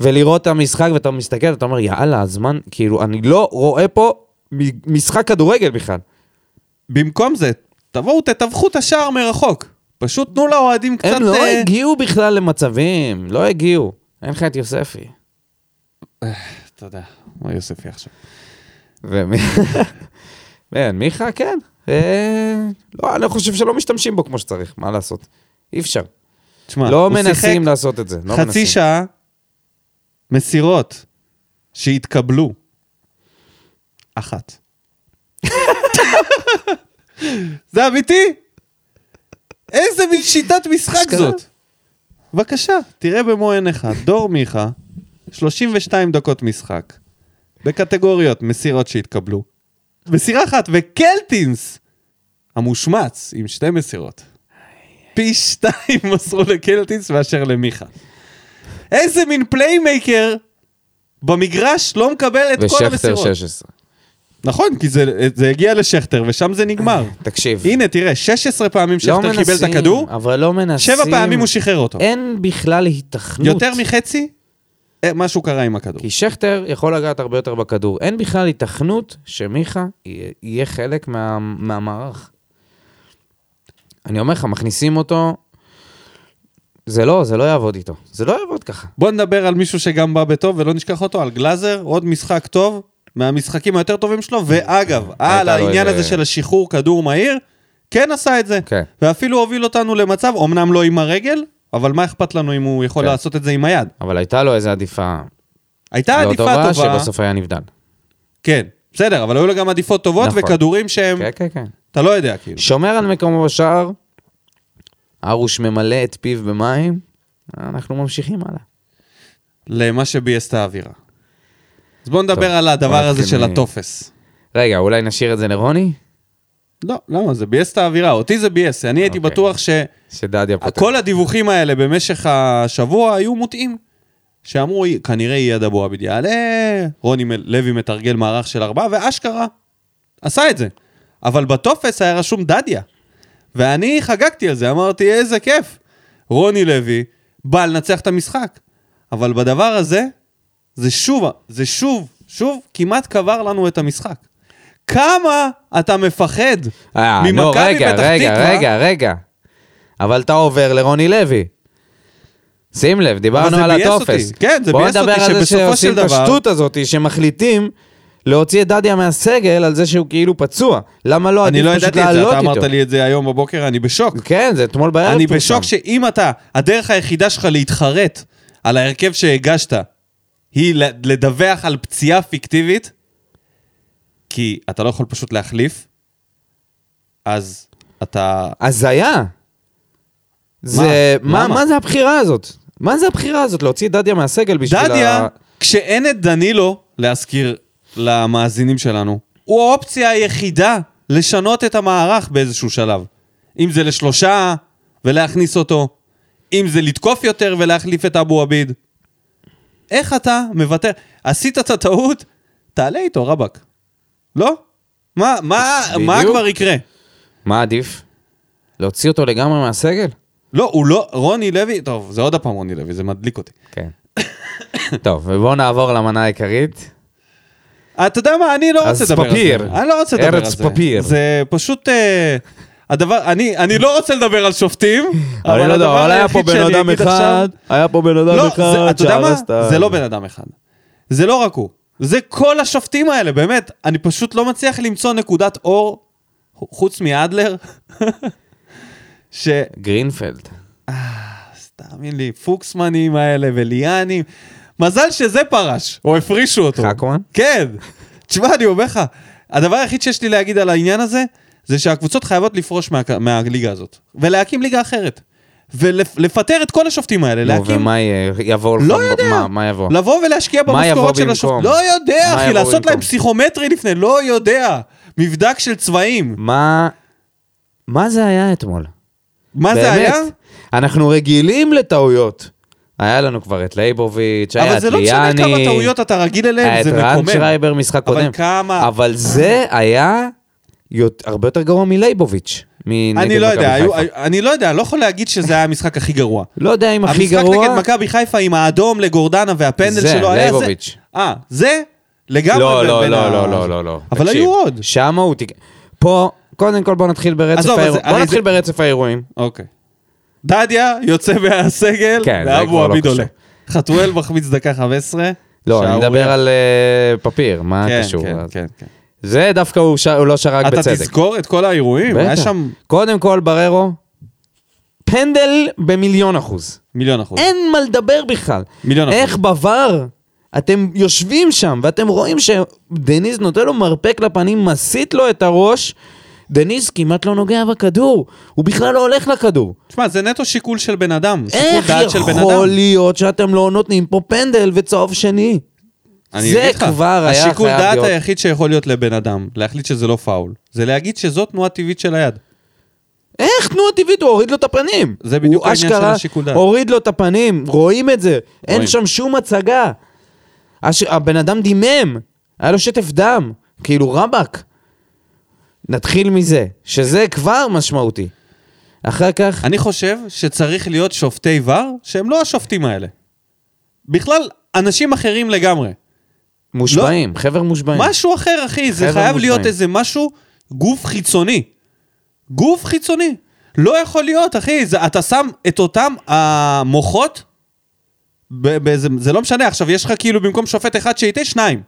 B: ולראות את המשחק, ואתה מסתכל, אתה אומר, יאללה, הזמן, כאילו, אני לא רואה פה מ- משחק כדורגל בכלל.
A: במקום זה, תבואו, תתווכו את השער מרחוק. פשוט תנו לאוהדים קצת...
B: הם לא
A: אה,
B: הגיעו בכלל למצבים, לא הגיעו. אין לך את יוספי.
A: אתה יודע, מה יוספי עכשיו?
B: ומי... כן, מיכה, כן. אה, לא, אני חושב שלא משתמשים בו כמו שצריך, מה לעשות? אי אפשר.
A: תשמע,
B: לא
A: הוא שיחק
B: מנסים לעשות את זה. לא
A: חצי
B: מנסים.
A: שעה מסירות שהתקבלו. אחת. זה אמיתי? איזה מין שיטת משחק
B: אשכרה.
A: זאת? בבקשה, תראה במו עיניך, דור מיכה, 32 דקות משחק, בקטגוריות מסירות שהתקבלו. מסירה אחת, וקלטינס, המושמץ, עם שתי מסירות. פי שתיים מסרו לקלטינס מאשר למיכה. איזה מין פליימייקר במגרש לא מקבל את כל
B: ושכטר
A: המסירות.
B: 16.
A: נכון, כי זה, זה הגיע לשכטר, ושם זה נגמר.
B: תקשיב.
A: הנה, תראה, 16 פעמים
B: לא
A: שכטר קיבל את
B: מנסים,
A: הכדור,
B: אבל לא מנסים.
A: שבע פעמים הוא שחרר אותו.
B: אין בכלל היתכנות.
A: יותר מחצי, אה, משהו קרה עם הכדור.
B: כי שכטר יכול לגעת הרבה יותר בכדור. אין בכלל היתכנות שמיכה יהיה- יהיה חלק מה, מהמערך. אני אומר לך, מכניסים אותו, זה לא, זה לא יעבוד איתו. זה לא יעבוד ככה.
A: בוא נדבר על מישהו שגם בא בטוב, ולא נשכח אותו, על גלאזר, עוד משחק טוב, מהמשחקים היותר טובים שלו, ואגב, על
B: לו
A: העניין
B: איזה-
A: הזה של השחרור כדור מהיר, כן עשה את זה.
B: כן.
A: ואפילו הוביל אותנו למצב, אמנם לא עם הרגל, אבל מה אכפת לנו אם הוא יכול
B: כן.
A: לעשות את זה עם היד?
B: אבל הייתה לו איזו עדיפה
A: הייתה
B: לא
A: אה, עדיפה
B: טובה,
A: טובה,
B: שבסוף היה נבדל.
A: כן, בסדר, אבל היו לו גם עדיפות טובות
B: נכון.
A: וכדורים שהם,
B: כן, כן, כן.
A: אתה לא יודע, כאילו.
B: שומר על מקומו בשער, ארוש ממלא את פיו במים, אנחנו ממשיכים הלאה.
A: למה שביאס את האווירה. אז בואו נדבר
B: טוב, כן, אה,
A: על
B: בוא
A: הדבר הזה
B: נתחיל
A: של
B: מ-
A: הטופס.
B: רגע, אולי נשאיר את זה לרוני?
A: לא, למה? זה ביאס את האווירה, אותי זה ביאס. אני הייתי
B: אוקיי.
A: בטוח
B: שדדיה פותח.
A: שכל הדיווחים האלה במשך השבוע היו מוטעים. שאמרו, כנראה יהיה אבו עביד יעלה, "אה, רוני מ- לוי מתרגל מערך של ארבעה, ואשכרה, עשה את זה. אבל בטופס היה רשום דדיה. ואני חגגתי על זה, אמרתי, איזה כיף. רוני לוי בא לנצח את המשחק. אבל בדבר הזה, זה שוב, זה שוב, שוב, כמעט קבר לנו את המשחק. כמה אתה מפחד
B: אה,
A: ממכבי
B: נו,
A: פתח
B: רגע,
A: תקווה.
B: רגע, רגע, רגע. אבל אתה עובר לרוני לוי. שים לב, דיברנו
A: זה
B: על
A: ביאס
B: הטופס.
A: אותי. כן, זה ביאס אותי
B: בוא נדבר על זה
A: שבסופו
B: שעושים
A: של
B: את
A: דבר-
B: השטות הזאת, שמחליטים להוציא את דדיה מהסגל על זה שהוא כאילו פצוע. למה לא?
A: אני
B: עדיף
A: לא
B: פשוט
A: ידעתי את זה,
B: לעלות
A: אתה אמרת
B: איתו.
A: לי את זה היום בבוקר, אני בשוק.
B: כן, זה אתמול בערב.
A: אני
B: פורסם.
A: בשוק שאם אתה, הדרך היחידה שלך להתחרט על ההרכב שהגשת, היא ל- לדווח על פציעה פיקטיבית, כי אתה לא יכול פשוט להחליף, אז אתה...
B: הזיה. זה... מה-
A: למה?
B: מה זה הבחירה הזאת? מה זה הבחירה הזאת? להוציא את דדיה מהסגל בשביל ה...
A: דדיה, כשאין את דנילו, להזכיר למאזינים שלנו, הוא האופציה היחידה לשנות את המערך באיזשהו שלב. אם זה לשלושה ולהכניס אותו, אם זה לתקוף יותר ולהחליף את אבו עביד. איך אתה מוותר? עשית את הטעות? תעלה איתו, רבאק. לא? מה, מה, מה
B: בדיוק.
A: כבר יקרה?
B: מה עדיף? להוציא אותו לגמרי מהסגל?
A: לא, הוא לא, רוני לוי, טוב, זה עוד הפעם רוני לוי, זה מדליק אותי.
B: כן. טוב, ובואו נעבור למנה העיקרית.
A: אתה יודע מה, אני לא
B: אז
A: רוצה לדבר על
B: פפיר.
A: זה. אני לא רוצה לדבר על זה.
B: ארץ פפיר.
A: זה פשוט... אה, הדבר, אני, אני לא רוצה לדבר על שופטים, אבל
B: אני לא יודע,
A: הדבר
B: אבל היה פה
A: היחיד
B: בן
A: שאני
B: אדם
A: אגיד עכשיו...
B: אחד, היה פה בן אדם
A: לא,
B: אחד
A: זה, אתה יודע מה?
B: שהרס את ה-
A: זה לא בן אדם אחד. זה לא רק הוא. זה כל השופטים האלה, באמת. אני פשוט לא מצליח למצוא נקודת אור, חוץ מאדלר, ש...
B: גרינפלד.
A: אז תאמין לי, פוקסמנים האלה וליאנים. מזל שזה פרש, או הפרישו אותו.
B: חכמן?
A: כן. תשמע, אני אומר לך, הדבר היחיד שיש לי להגיד על העניין הזה, זה שהקבוצות חייבות לפרוש מה, מהליגה הזאת, ולהקים ליגה אחרת. ולפטר את כל השופטים האלה,
B: נו,
A: להקים...
B: ומה יהיה? יבוא לך?
A: לא יודע.
B: מה- מה יבוא?
A: לבוא ולהשקיע
B: מה יבוא
A: במשכורות של
B: במקום?
A: השופט. לא יודע,
B: מה
A: אחי,
B: יבוא
A: לעשות
B: במקום?
A: להם פסיכומטרי לפני, לא יודע. מבדק של צבעים.
B: מה... מה זה היה אתמול?
A: מה זה היה?
B: אנחנו רגילים לטעויות. היה לנו כבר את לייבוביץ', היה
A: אבל
B: את
A: זה לא
B: ליאני.
A: משנה כמה טעויות אתה רגיל
B: היה
A: אליהן,
B: את
A: זה
B: רן
A: מקומם.
B: שרייבר משחק
A: אבל
B: קודם.
A: כמה-
B: אבל זה היה יות- הרבה יותר גרוע מלייבוביץ'. מנגד
A: אני לא יודע,
B: מכבי
A: היו-
B: חיפה.
A: אני לא יודע, לא יכול להגיד שזה היה המשחק הכי גרוע.
B: לא יודע אם הכי
A: המשחק
B: גרוע...
A: נגד מכבי חיפה עם האדום לגורדנה והפנדל
B: זה,
A: שלו היה זה.
B: לייבוביץ'.
A: אה, זה? לגמרי
B: לא,
A: בין-
B: לא,
A: בין
B: לא,
A: ה-
B: לא, לא, לא, לא.
A: אבל
B: תקשיב,
A: היו עוד.
B: שמה הוא תיק... פה, קודם כל בוא נתחיל ברצף
A: עזוב, אז
B: האירועים.
A: הרי
B: בוא
A: זה-
B: נתחיל ברצף האירועים.
A: אוקיי. דדיה יוצא מהסגל,
B: כן, זה כבר
A: ואבו
B: לא
A: עביד
B: קשור.
A: עולה. חתואל מחמיץ דקה 15.
B: לא, אני
A: שערוריה.
B: מדבר על אה, פפיר, מה
A: כן,
B: קשור?
A: כן,
B: אז-
A: כן, כן.
B: זה דווקא הוא ש- הוא לא שרק
A: אתה
B: בצדק.
A: תזכור את כל האירועים? היה
B: בטח.
A: שם
B: קודם כל, בררו, פנדל במיליון אחוז.
A: מיליון אחוז.
B: אין מה לדבר בכלל.
A: מיליון אחוז.
B: איך בוואר, אתם יושבים שם ואתם רואים שדניז נותן לו מרפק לפנים, מסיט לו את הראש, דניז כמעט לא נוגע בכדור, הוא בכלל לא הולך לכדור.
A: תשמע, זה נטו שיקול של בן אדם. שיקול
B: איך
A: דעת של בן
B: יכול
A: אדם.
B: להיות שאתם לא נותנים פה פנדל וצהוב שני?
A: אני
B: זה
A: אגיד לך,
B: כבר היה
A: השיקול
B: חייב
A: דעת
B: להיות.
A: היחיד שיכול להיות לבן אדם, להחליט שזה לא פאול, זה להגיד שזו תנועה טבעית של היד.
B: איך תנועה טבעית? הוא הוריד לו את הפנים.
A: זה בדיוק
B: הוא
A: העניין של
B: אשכרה
A: השיקול דעת.
B: הוריד לו את הפנים, רואים את זה. אין
A: רואים.
B: שם שום הצגה. הש... הבן אדם דימם, היה לו שטף דם, כאילו רבאק. נתחיל מזה, שזה כבר משמעותי. אחר כך,
A: אני חושב שצריך להיות שופטי ור שהם לא השופטים האלה. בכלל, אנשים אחרים לגמרי. לא.
B: מושבעים, חבר מושבעים.
A: משהו אחר, אחי, זה
B: חבר'ה
A: חייב להיות
B: מושבעים.
A: איזה משהו, גוף חיצוני. גוף חיצוני. לא יכול להיות, אחי, זה, אתה שם את אותם המוחות, ב, באיזה, זה לא משנה, עכשיו יש לך כאילו במקום שופט אחד שייטה, שניים.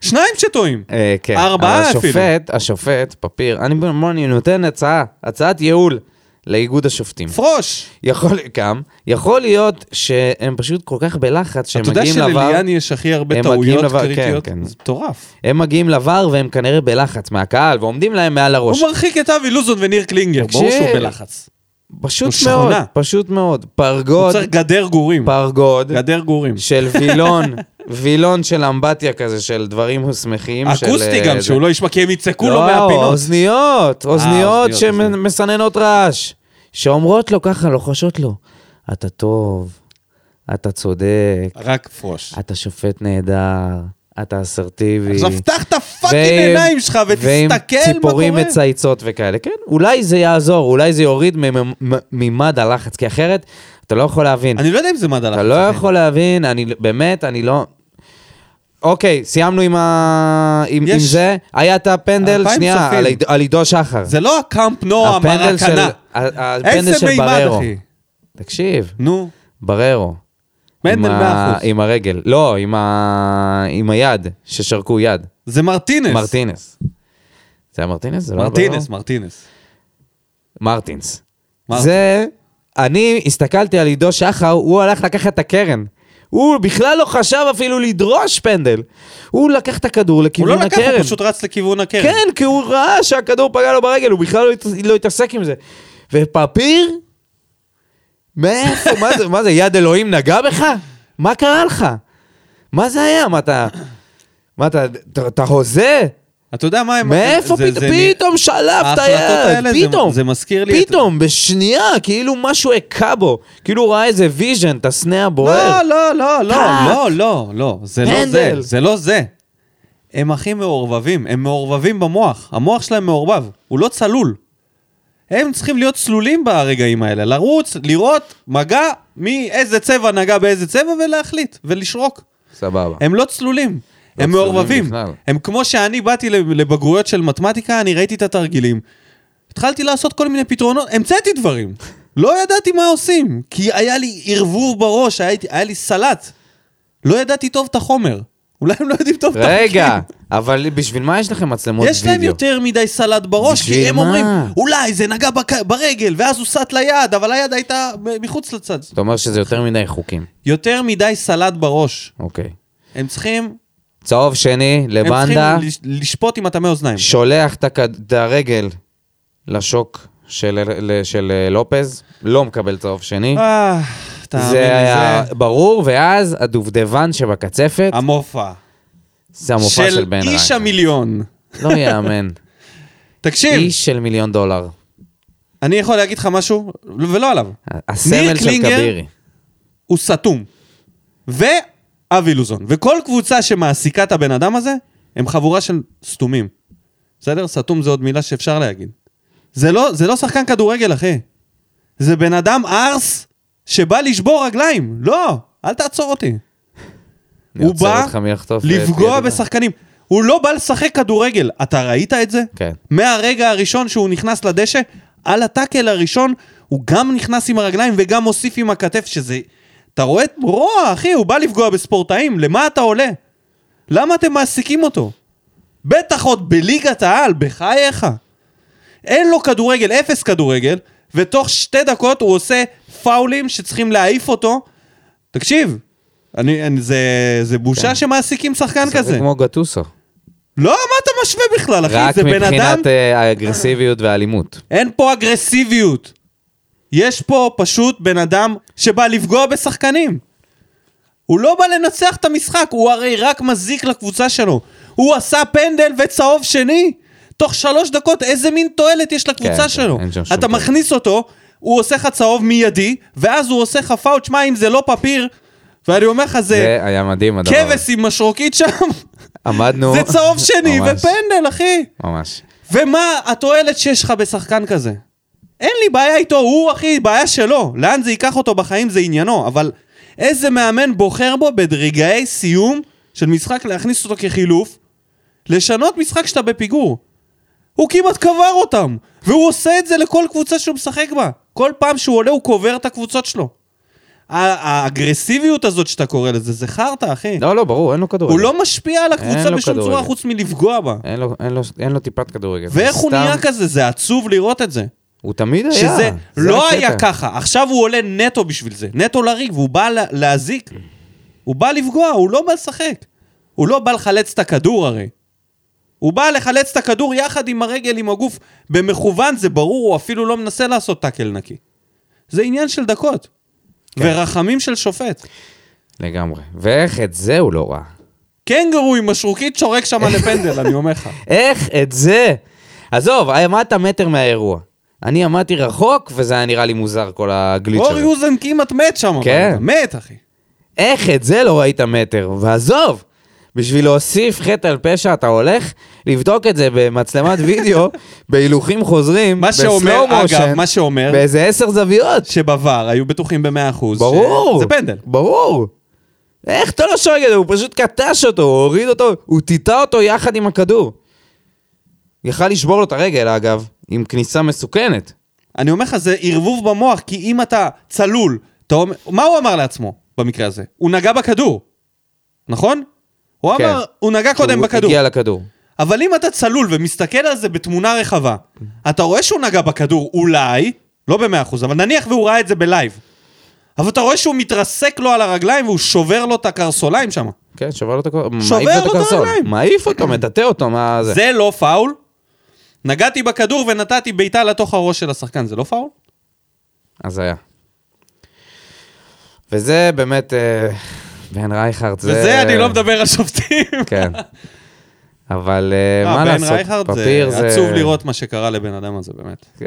A: שניים שטועים.
B: אה, כן.
A: ארבעה אפילו.
B: אבל השופט, השופט, פפיר, אני, בוא, אני נותן הצעה, הצעת ייעול לאיגוד השופטים.
A: פרוש.
B: יכול, גם, יכול להיות שהם פשוט כל כך בלחץ שהם
A: אתה יודע
B: מגיעים לבר.
A: שלליאני יש הכי הרבה
B: הם
A: טעויות
B: מגיעים לבר- כן,
A: קריטיות?
B: כן.
A: זה מטורף.
B: הם מגיעים לבר והם כנראה בלחץ מהקהל, ועומדים להם מעל הראש.
A: הוא מרחיק את אבי לוזון וניר קלינגר, ברור שהוא
B: תקשיב.
A: בלחץ.
B: פשוט
A: הוא
B: מאוד,
A: שכונה.
B: פשוט מאוד.
A: הוא
B: פרגוד,
A: צריך גדר גורים.
B: פרגוד
A: גדר גורים.
B: של וילון, וילון של אמבטיה כזה, של דברים שמחים. של,
A: אקוסטי
B: אה,
A: גם,
B: זה.
A: שהוא לא ישמע, כי הם יצעקו לו
B: לא,
A: מהפינות. אה,
B: אוזניות, אוזניות
A: אוזניות, אוזניות.
B: שמסננות רעש. שאומרות לו ככה, לוחשות לו, אתה טוב, אתה צודק,
A: רק פרוש.
B: אתה שופט נהדר, אתה אסרטיבי.
A: אז פתח את הפאקינג
B: ועם-
A: עיניים שלך
B: ועם
A: ותסתכל מה קורה.
B: ציפורים מצייצות וכאלה, כן. אולי זה יעזור, אולי זה יוריד ממ- מ- ממד הלחץ, כי אחרת אתה לא יכול להבין.
A: אני לא יודע אם זה מדע לחץ.
B: אתה לא
A: אחי.
B: יכול להבין, אני באמת, אני לא... אוקיי, סיימנו עם ה- עם- עם
A: יש-
B: זה. היה את הפנדל,
A: אלפיים
B: שנייה,
A: צופים.
B: על עיד- על עידו שחר.
A: זה לא הקאמפ נו
B: הפנדל של...
A: המרקנה.
B: ה- הפנדל
A: איזה
B: של
A: מימד,
B: בררו.
A: אחי.
B: תקשיב,
A: נו,
B: בררו. עם
A: מנדל
B: ה-
A: 100%.
B: עם הרגל. לא, עם ה- עם היד, ששרקו יד.
A: זה מרטינס.
B: מרטינס. זה היה מרטינס? זה לא היה בררו?
A: מרטינס, מרטינס.
B: מרטינס.
A: מרטינס.
B: זה, אני הסתכלתי על עידו שחר, הוא הלך לקחת את הקרן. הוא בכלל לא חשב אפילו לדרוש פנדל. הוא לקח את הכדור
A: הוא
B: לכיוון
A: לא
B: הקרן.
A: לקח, הוא פשוט רץ לכיוון הקרן.
B: כן, כי הוא ראה שהכדור פגע לו ברגל, הוא בכלל לא, הת... לא התעסק עם זה. ופפיר? מאיפה? מה זה, מה זה, יד אלוהים נגע בך? מה קרה לך? מה זה היה? מה אתה... מה אתה, אתה, אתה הוזה?
A: אתה יודע מה הם...
B: מאיפה
A: זה- זה
B: פתאום,
A: נראה-
B: פתאום שלף את
A: ההחלטות
B: היד,
A: האלה, זה-
B: פתאום,
A: זה מזכיר לי את-
B: פתאום, בשנייה, כאילו משהו הכה בו, כאילו הוא ראה איזה ויז'ן, את הסנה הבוער.
A: לא, לא, לא, לא,
B: טאק.
A: לא, לא, לא, זה לא זה,
B: פנדל.
A: זה לא זה. הם הכי מעורבבים, הם מעורבבים במוח, המוח שלהם מעורבב, הוא לא צלול. הם צריכים להיות צלולים ברגעים האלה, לרוץ, לראות, מגע, מאיזה צבע נגע באיזה צבע ולהחליט, ולשרוק.
B: סבבה.
A: הם לא צלולים,
B: לא
A: הם
B: צלולים
A: מעורבבים.
B: בכלל.
A: הם כמו שאני באתי לב- לבגרויות של מתמטיקה, אני ראיתי את התרגילים. התחלתי לעשות כל מיני פתרונות, המצאתי דברים. לא ידעתי מה עושים, כי היה לי ערבוב בראש, היה, היה לי סלט. לא ידעתי טוב את החומר. אולי הם לא יודעים טוב את החוקים.
B: רגע, אבל בשביל מה יש לכם מצלמות וידאו?
A: יש להם יותר מדי סלט בראש,
B: בשביל
A: כי הם
B: מה?
A: אומרים, אולי זה נגע בק- ברגל, ואז הוא סט ליד, אבל היד הייתה מ- מחוץ לצד.
B: אתה אומר שזה יותר מדי חוקים.
A: יותר מדי סלט בראש.
B: אוקיי.
A: הם צריכים,
B: צהוב שני
A: הם
B: לבנדה,
A: צריכים לש- לשפוט עם הטמא אוזניים.
B: שולח את הכד- את הרגל לשוק של ל- של, אה, לופז, לא מקבל צהוב שני.
A: אה, תאמין לי,
B: זה היה
A: זה
B: ברור, ואז הדובדבן שבקצפת,
A: המופע.
B: זה המופע של
A: של
B: בן
A: איש
B: רייך.
A: המיליון.
B: לא יאמן.
A: תקשיב,
B: איש של מיליון דולר.
A: אני יכול להגיד לך משהו, ולא עליו.
B: הסמל של
A: קלינגר?
B: כבירי.
A: הוא סתום. ואבי לוזון. וכל קבוצה שמעסיקה את הבן אדם הזה, הם חבורה של סתומים. בסדר? סתום זה עוד מילה שאפשר להגיד. זה לא, זה לא שחקן כדורגל, אחי. זה בן אדם ארס שבא לשבור רגליים. לא, אל תעצור אותי.
B: אני
A: הוא
B: עוצר
A: בא
B: אותך מלחטוף, אה,
A: לפגוע
B: תהיה דוגמה.
A: בשחקנים. הוא לא בא לשחק כדורגל. אתה ראית את זה?
B: כן.
A: מהרגע הראשון שהוא נכנס לדשא, על הטאקל הראשון, הוא גם נכנס עם הרגליים וגם מוסיף עם הכתף, שזה... אתה רואה את רוע, אחי, הוא בא לפגוע בספורטאים, למה אתה עולה? למה אתם מעסיקים אותו? בטח עוד בליגת העל, בחייך. אין לו כדורגל, אפס כדורגל, ותוך שתי דקות הוא עושה פאולים שצריכים להעיף אותו. תקשיב, אני, אני, זה, זה בושה שמעסיקים שחקן
B: כן. זה
A: כזה.
B: כמו גטוסו.
A: לא, מה אתה משווה בכלל, אחי?
B: רק
A: זה בן אדם...
B: מבחינת אה, האגרסיביות והאלימות.
A: אין פה אגרסיביות. יש פה פשוט בן אדם שבא לפגוע בשחקנים. הוא לא בא לנצח את המשחק, הוא הרי רק מזיק לקבוצה שלו. הוא עשה פנדל וצהוב שני. תוך שלוש דקות, איזה מין תועלת יש לקבוצה
B: כן,
A: שלו?
B: אין שם שום
A: אתה
B: תועלת.
A: מכניס אותו, הוא עושה לך צהוב מיידי, ואז הוא עושה לך פאוט, שמע, אם זה לא פפיר, ואני אומר לך, זה
B: זה היה מדהים הדבר. הזה.
A: כבש עם משרוקית שם,
B: עמדנו...
A: זה צהוב שני
B: ממש,
A: ופנדל, אחי.
B: ממש.
A: ומה התועלת שיש לך בשחקן כזה? אין לי בעיה איתו, הוא אחי, בעיה שלו. לאן זה ייקח אותו בחיים זה עניינו, אבל איזה מאמן בוחר בו ברגעי סיום של משחק להכניס אותו כחילוף, לשנות משחק שאתה בפיגור. הוא כמעט קבר אותם, והוא עושה את זה לכל קבוצה שהוא משחק בה. כל פעם שהוא עולה הוא קובר את הקבוצות שלו. ה- האגרסיביות הזאת שאתה קורא לזה, זה חרטא, אחי.
B: לא, לא, ברור, אין לו כדורגל.
A: הוא לא משפיע על הקבוצה
B: לו
A: בשום צורה
B: כדורגל.
A: חוץ מלפגוע בה.
B: אין לו, אין, לו, אין לו טיפת כדורגל.
A: ואיך הוא
B: סתם-
A: נהיה כזה? זה עצוב לראות את זה.
B: הוא תמיד היה.
A: שזה
B: זה
A: לא
B: הקטע.
A: היה ככה, עכשיו הוא עולה נטו בשביל זה. נטו לריב, והוא בא לה- להזיק. הוא בא לפגוע, הוא לא בא לשחק. הוא לא בא לחלץ את הכדור הרי. הוא בא לחלץ את הכדור יחד עם הרגל, עם הגוף. במכוון זה ברור, הוא אפילו לא מנסה לעשות טאקל נקי. זה עניין של דקות.
B: כן.
A: ורחמים של שופט.
B: לגמרי. ואיך את זה הוא לא ראה.
A: קנגורו עם משרוקית שורק שם לפנדל, אני אומר לך.
B: איך את זה? עזוב, עמדת מטר מהאירוע. אני עמדתי רחוק, וזה היה נראה לי מוזר, כל הגליץ'
A: אורי
B: הזה.
A: אוזן כמעט מת שם. אבל
B: כן.
A: אתה מת, אחי.
B: איך את זה לא ראית מטר? ועזוב, בשביל להוסיף חטא על פשע, אתה הולך לבדוק את זה במצלמת וידאו, בהילוכים חוזרים,
A: מה שאומר,
B: בסלואו
A: אגב,
B: מושן,
A: מה שאומר,
B: באיזה עשר זוויות.
A: שבעבר היו בטוחים ב-100%.
B: ברור.
A: זה פנדל.
B: ברור. איך אתה לא שואג את זה? הוא פשוט קטש אותו, הוא הוריד אותו, הוא טיטה אותו יחד עם הכדור. יכל לשבור לו את הרגל, אגב, עם כניסה מסוכנת.
A: אני אומר לך, זה ערבוב במוח, כי אם אתה צלול, אתה אומר... מה הוא אמר לעצמו במקרה הזה? הוא נגע בכדור, נכון? הוא
B: כן.
A: אמר, הוא נגע קודם
B: הוא
A: בכדור.
B: הגיע לכדור.
A: אבל אם אתה צלול ומסתכל על זה בתמונה רחבה, אתה רואה שהוא נגע בכדור, אולי, לא במאה אחוז, אבל נניח והוא ראה את זה בלייב. אבל אתה רואה שהוא מתרסק לו על הרגליים והוא שובר לו את הקרסוליים שם.
B: כן, שובר לו את הכדור.
A: שובר
B: מעיף
A: לו את
B: הקרסול.
A: הרגליים.
B: מעיף אותו, מטאטא אותו, מה זה?
A: זה לא פאול? נגעתי בכדור ונתתי בעיטה לתוך הראש של השחקן, זה לא פאול?
B: אז היה. וזה באמת, אה, בן רייכרד, זה...
A: וזה אני לא מדבר על שופטים.
B: כן. אבל אה,
A: אה,
B: מה
A: בן
B: לעשות,
A: רייכרד
B: פפיר
A: זה עצוב לראות מה שקרה לבן אדם הזה, באמת.
B: כן,